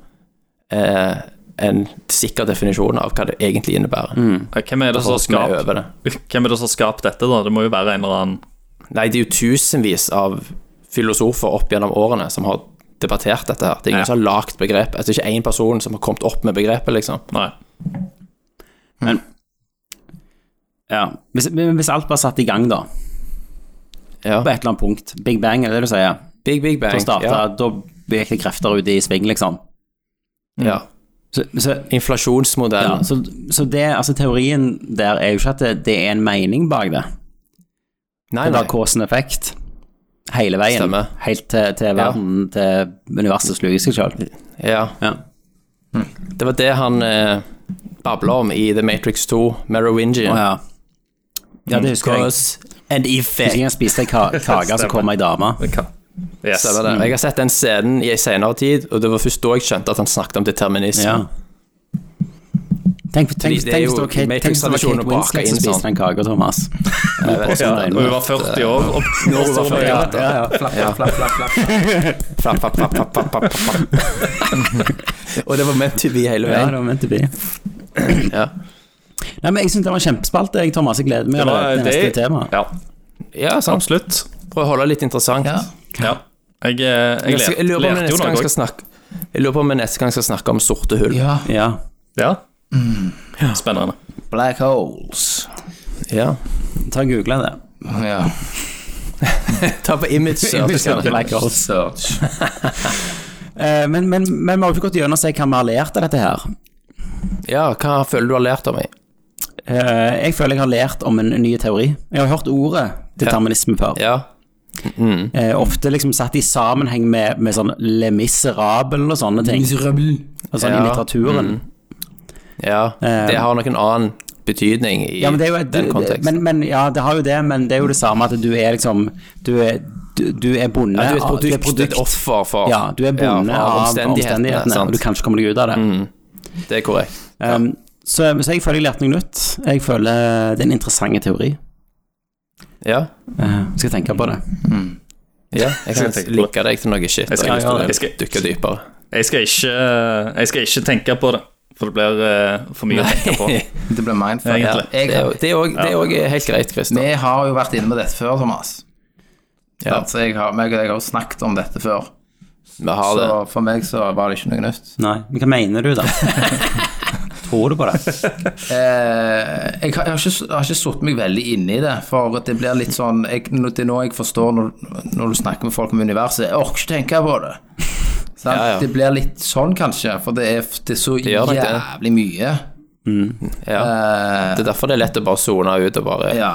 Speaker 6: eh, en sikker definisjon av hva det egentlig innebærer.
Speaker 7: Hvem er det som har
Speaker 6: Folk som er
Speaker 7: skapt
Speaker 6: over det.
Speaker 7: Hvem er det som har skapt dette, da? Det må jo være en eller annen
Speaker 6: Nei, det er jo tusenvis av filosofer opp gjennom årene som har debattert dette her. Det er ingen
Speaker 7: Ja.
Speaker 6: som har lagd begrepet. Altså, Det er ikke én person som har kommet opp med begrepet, liksom.
Speaker 7: Nei.
Speaker 4: Ja. Hvis, men hvis alt bare satt i gang, da,
Speaker 6: Ja.
Speaker 4: på et eller annet punkt Big Bang, er det det du sier?
Speaker 6: Big, big bang.
Speaker 4: Da startet,
Speaker 6: Ja.
Speaker 4: da gikk det krefter ut i sving, liksom.
Speaker 6: Ja.
Speaker 4: Så, så, ja,
Speaker 6: Inflasjonsmodellen.
Speaker 4: så, så det, altså teorien der er jo ikke at det, det er en mening bak det.
Speaker 6: Nei,
Speaker 4: Det
Speaker 6: nei.
Speaker 4: var cause and effect hele veien.
Speaker 6: Stemmer.
Speaker 4: Helt til, til verden, til universet sluker seg sjøl.
Speaker 6: Ja.
Speaker 4: Ja.
Speaker 6: Det var det han eh, babla om i The Matrix 2, Merovingian.
Speaker 4: Å, ja. ja, det husker jeg.
Speaker 6: Cause and
Speaker 4: Husker
Speaker 6: effect.
Speaker 4: jeg spiste ei ka kake, så kom ei dame.
Speaker 7: Yes.
Speaker 6: Stemmer
Speaker 4: Mm.
Speaker 6: det. Jeg har sett den scenen i en senere tid, og det var først da jeg skjønte at han snakket om determinisme.
Speaker 4: Ja. Tenk, tenk,
Speaker 6: Fordi det er
Speaker 4: tenk hvis
Speaker 6: jo
Speaker 4: det var Kate, tenk hvis det var Kate
Speaker 6: Matrix-tradisjonen å bake
Speaker 4: Winslet
Speaker 6: inn
Speaker 4: som spiste
Speaker 6: sånn.
Speaker 4: den kaka, Thomas. Nå påstår jeg
Speaker 7: Og
Speaker 4: det.
Speaker 7: hun var
Speaker 6: eh,
Speaker 7: 40 år. Og, og så var
Speaker 4: Ja,
Speaker 7: det-
Speaker 4: ja, ja.
Speaker 5: Flapp, flapp, flapp, flapp, flapp.
Speaker 6: Flapp, flapp, flapp, flapp, flapp, flapp, flapp. og det var meant to be hele
Speaker 4: Ja,
Speaker 6: veien.
Speaker 4: det var meant to be.
Speaker 6: Ja.
Speaker 4: Nei, men jeg syns det var en kjempespalte, jeg, Thomas. Jeg gleder meg
Speaker 7: det var-
Speaker 4: allerede til neste
Speaker 7: det-
Speaker 4: tema.
Speaker 7: Ja,
Speaker 6: Ja, sant.
Speaker 7: absolutt.
Speaker 6: Prøv å holde det litt interessant.
Speaker 5: Ja.
Speaker 7: Ja. Jeg, eh, jeg,
Speaker 6: Jeg, skal-
Speaker 7: lærte-
Speaker 6: jeg lurer på om jeg
Speaker 7: lærte jo
Speaker 6: neste gang
Speaker 7: noe.
Speaker 6: skal
Speaker 7: også.
Speaker 6: snakke jeg lurer på om jeg neste gang skal snakke om sorte hull.
Speaker 5: ja.
Speaker 4: Ja.
Speaker 7: Ja.
Speaker 6: Mm.
Speaker 7: Spennende.
Speaker 5: Black holes.
Speaker 6: Ja.
Speaker 4: Ta og Google det.
Speaker 5: Ja.
Speaker 6: Ta på image search.
Speaker 4: Black holes.
Speaker 5: Search.
Speaker 4: Eh, Men, men, men vi har jo ikke gått gjennom og sett hva vi har lært av dette her.
Speaker 6: Ja, hva føler du har lært av meg?
Speaker 4: Eh, Jeg føler jeg har lært om en ny teori. Jeg har hørt ordet determinisme før.
Speaker 6: Ja.
Speaker 4: Eh, Ofte liksom satt i sammenheng med, med sånn Le Miserable og sånne ting. Og sånn i
Speaker 6: Ja. Mm.
Speaker 4: litteraturen.
Speaker 6: Ja, det har nok en annen betydning i
Speaker 4: Ja, men det er jo et,
Speaker 6: den konteksten.
Speaker 4: Men, men, ja, det har jo det, men det er jo det samme at du er liksom Du er, du, du er bonde
Speaker 6: ja, du er et
Speaker 4: av-
Speaker 6: produkt, et offer for
Speaker 4: Ja, du er bonde
Speaker 6: ja,
Speaker 4: av
Speaker 6: for
Speaker 4: omstendighetene,
Speaker 6: sant. Mm.
Speaker 4: og du kan ikke komme deg ut av det.
Speaker 6: Det er korrekt.
Speaker 4: Um, så, så jeg føler jeg lærte noe nytt. Jeg føler det er en interessant teori.
Speaker 6: Ja,
Speaker 4: Uh, skal jeg tenke på det.
Speaker 6: ja. Jeg
Speaker 7: skal
Speaker 6: kan
Speaker 7: tenke på
Speaker 6: linke deg til noe shit.
Speaker 7: Jeg skal- ja,
Speaker 6: og
Speaker 7: ja,
Speaker 6: jeg
Speaker 7: jeg
Speaker 6: skal
Speaker 7: skal-
Speaker 6: dykke dypere.
Speaker 7: Jeg skal ikke, eh, jeg skal ikke tenke på det, for det blir eh, for mye å tenke på.
Speaker 5: Det ble mindfuck.
Speaker 6: Ja,
Speaker 7: Egentlig.
Speaker 6: det er
Speaker 5: Jeg,
Speaker 6: jo- det er òg- det er òg helt greit, Christer.
Speaker 5: vi har jo vært inne med dette før, Thomas.
Speaker 6: Ja.
Speaker 5: Så jeg har, meg og deg har jo snakket om dette før.
Speaker 6: Vi har det.
Speaker 5: Så for meg så var det ikke noe nytt.
Speaker 4: Nei, men hva mener du, da? Tror du på det?
Speaker 5: Eh, jeg, har, jeg har ikke, jeg har ikke satt meg veldig inn i det, for det blir litt sånn jeg, nå- Det er nå jeg forstår når, når du snakker med folk om universet. Jeg orker ikke tenke på det. Sant?
Speaker 6: Ja, ja.
Speaker 5: Det blir litt sånn, kanskje, for det er, det er så
Speaker 6: gjør nok det. Mm.
Speaker 5: jævlig mye. Eh,
Speaker 6: Ja. Det er derfor det er lett å bare sone ut og bare
Speaker 5: Ja.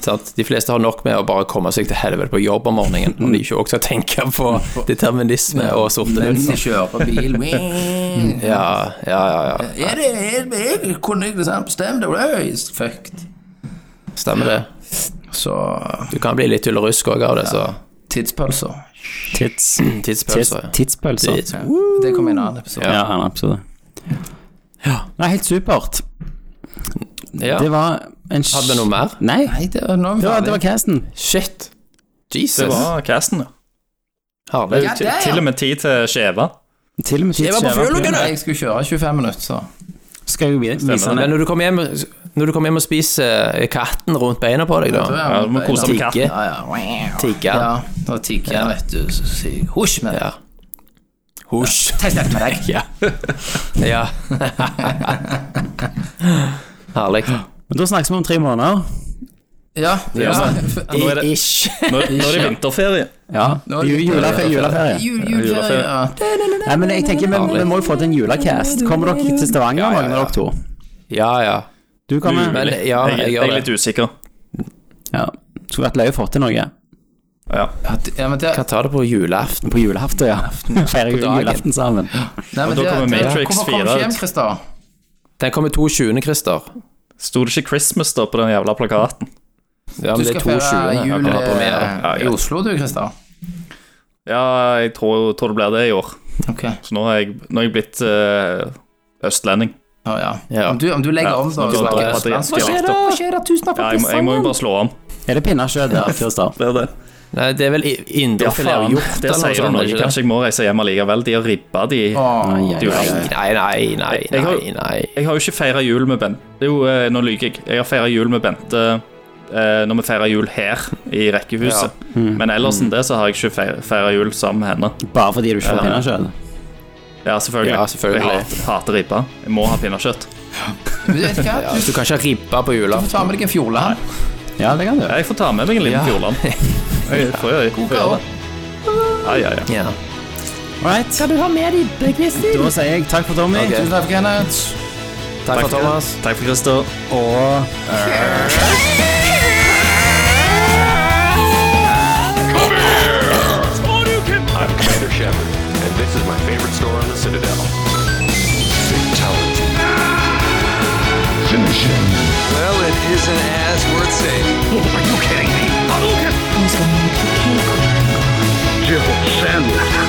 Speaker 6: sant? De fleste har nok med å bare komme seg til helvete på jobb om morgenen, når de ikke også tenker på determinisme og sorte
Speaker 5: Mens
Speaker 6: hull.
Speaker 5: de kjører på bil
Speaker 6: Ja, ja, ja, ja.
Speaker 5: Er det er det- jeg Kunne jeg liksom bestemt det? Oi, Fucked.
Speaker 6: Stemmer det.
Speaker 5: Så
Speaker 6: Du kan bli litt tullerusk òg av det, så
Speaker 5: Tidspølser.
Speaker 4: Tids, tids,
Speaker 6: tidspølser.
Speaker 4: tidspølser.
Speaker 6: Tids-
Speaker 5: Ja. Det kommer i en annen episode.
Speaker 4: Ja, en episode. Ja. Nei, helt supert.
Speaker 6: Ja.
Speaker 4: Det var en sj-
Speaker 6: Hadde vi noe mer?
Speaker 4: Nei,
Speaker 5: Nei, det var, nå er vi
Speaker 4: det var, det
Speaker 5: ferdig.
Speaker 4: var casten.
Speaker 6: Shit.
Speaker 7: Det
Speaker 6: Jesus.
Speaker 7: var casten, ja.
Speaker 6: Herlig.
Speaker 7: Til, til og med tid til skjeva.
Speaker 4: Til og med
Speaker 6: Jeg var på
Speaker 4: tidsskjeva.
Speaker 6: fjølungen,
Speaker 5: Nei,
Speaker 6: jeg.
Speaker 5: jeg skulle kjøre 25 minutter, så
Speaker 4: Skal jeg jo vise
Speaker 7: Sånn
Speaker 6: Men når du kommer hjem, når du kommer hjem og spiser eh, katten rundt beina på deg, da
Speaker 7: Ja, du må kose deg med katten.
Speaker 6: Tigge.
Speaker 5: Ja, ja.
Speaker 6: Tigge.
Speaker 5: Ja, da tigger jeg, vet du. Så sier jeg husj med deg.
Speaker 6: Ja. Husj.
Speaker 5: Ta snakk med deg.
Speaker 6: Ja. ja. Herlig.
Speaker 4: Men da snakkes vi om tre måneder.
Speaker 5: Ja, ja.
Speaker 7: Nå er det,
Speaker 4: Ish.
Speaker 7: nå, nå er det vinterferie.
Speaker 4: Ja.
Speaker 5: Nå er det-
Speaker 4: ju- Juleferie. juleferie.
Speaker 5: Jul, juleferie. Ja.
Speaker 4: Nei, men jeg tenker vi, vi må jo få til en julecast. Kommer dere til Stavanger,
Speaker 6: Ja, ja, ja.
Speaker 4: noen av dere to?
Speaker 6: Ja, ja.
Speaker 4: Du kommer.
Speaker 6: Men
Speaker 7: Mulig.
Speaker 6: ja,
Speaker 7: jeg,
Speaker 6: jeg
Speaker 7: jeg
Speaker 6: gjør
Speaker 7: er
Speaker 6: det.
Speaker 7: litt usikker.
Speaker 4: Ja. Skulle vært løye å få til noe.
Speaker 7: Ja.
Speaker 5: Ja, det- Ja, men det,
Speaker 6: Kan ta det på julaften.
Speaker 4: På julaften, ja. Feire
Speaker 6: dagen.
Speaker 4: julaften sammen.
Speaker 5: nei, men
Speaker 7: da
Speaker 5: det,
Speaker 7: kommer
Speaker 5: det-
Speaker 7: Matrix
Speaker 5: hvorfor
Speaker 7: 4
Speaker 5: kommer ikke
Speaker 7: ut.
Speaker 5: hjem, Christer?
Speaker 6: Den kommer 22., Christer.
Speaker 7: Sto det ikke 'Christmas' da på den jævla plakaten?
Speaker 6: Ja,
Speaker 5: Du
Speaker 6: men det er
Speaker 5: skal feire
Speaker 6: 22.
Speaker 5: jul
Speaker 6: Ja,
Speaker 5: eh,
Speaker 6: premiere.
Speaker 5: i Oslo, du, Christer.
Speaker 7: Ja, jeg tror, tror det blir det i år.
Speaker 5: Ok.
Speaker 7: Så nå har jeg, nå har jeg blitt eh, østlending.
Speaker 5: Ja, ja.
Speaker 6: Ja.
Speaker 5: Om, du, om du legger
Speaker 7: Ja,
Speaker 5: om,
Speaker 7: så
Speaker 5: da
Speaker 7: nå
Speaker 5: så
Speaker 7: drar jeg
Speaker 5: er
Speaker 7: på
Speaker 5: det
Speaker 7: det
Speaker 5: østlandsk.
Speaker 7: igjen.
Speaker 5: Hva skjer da? Tusen
Speaker 7: Ja, jeg, må, jeg må jo bare slå om.
Speaker 4: Er det pinnekjøtt der, Kristian?
Speaker 7: Det er det.
Speaker 6: Nei, det er vel i-
Speaker 7: Ja,
Speaker 6: indrefilet av
Speaker 7: faen.
Speaker 6: hjort
Speaker 7: Det
Speaker 6: eller noe
Speaker 7: sier du
Speaker 6: sånt?
Speaker 7: noe.
Speaker 6: er det ikke det?
Speaker 7: Kanskje jeg må reise hjem allikevel. De har ribba, de.
Speaker 5: Åh,
Speaker 7: de er jo-
Speaker 6: Nei, nei, nei,
Speaker 7: Jeg har-
Speaker 6: nei, nei.
Speaker 7: Jeg har jo ikke feira jul med Bente. Jo, eh, nå lyver jeg. Jeg har feira jul med Bente eh, når vi feira jul her i rekkehuset.
Speaker 6: Hmm.
Speaker 7: Men ellers enn det så har jeg ikke feira jul sammen med henne.
Speaker 4: Bare fordi du ikke får
Speaker 7: Ja.
Speaker 4: pinnekjøtt?
Speaker 7: Ja, selvfølgelig.
Speaker 6: Ja, selvfølgelig.
Speaker 7: Jeg hater, hater ribba. Jeg må ha pinnekjøtt.
Speaker 5: men vet du hva?
Speaker 6: Ja,
Speaker 5: Du
Speaker 6: du kan ikke ha ribba på
Speaker 5: du får
Speaker 6: julaften.
Speaker 5: ta med deg en fjole.
Speaker 4: Ja, det kan du.
Speaker 7: Jeg får ta med meg en liten
Speaker 6: Ja.
Speaker 7: Fjordland. Jeg får gjøre- får gjøre det. Ja, ja, ja.
Speaker 6: Ja.
Speaker 4: Alright. Skal du ha mer ribbe, Kristin? Da sier jeg takk for Tommy.
Speaker 6: Ok.
Speaker 5: Tusen takk for Kenneth.
Speaker 6: Takk for Thomas.
Speaker 7: Takk for Christer.
Speaker 1: I'm Commander Shepard, and this is my favorite store on the Citadel. Fatality.
Speaker 9: Finish him.
Speaker 1: Well, it isn't as worth saying.
Speaker 9: Are you kidding me?
Speaker 10: Homeschool Mode for K-Core.
Speaker 9: Jill Sandler.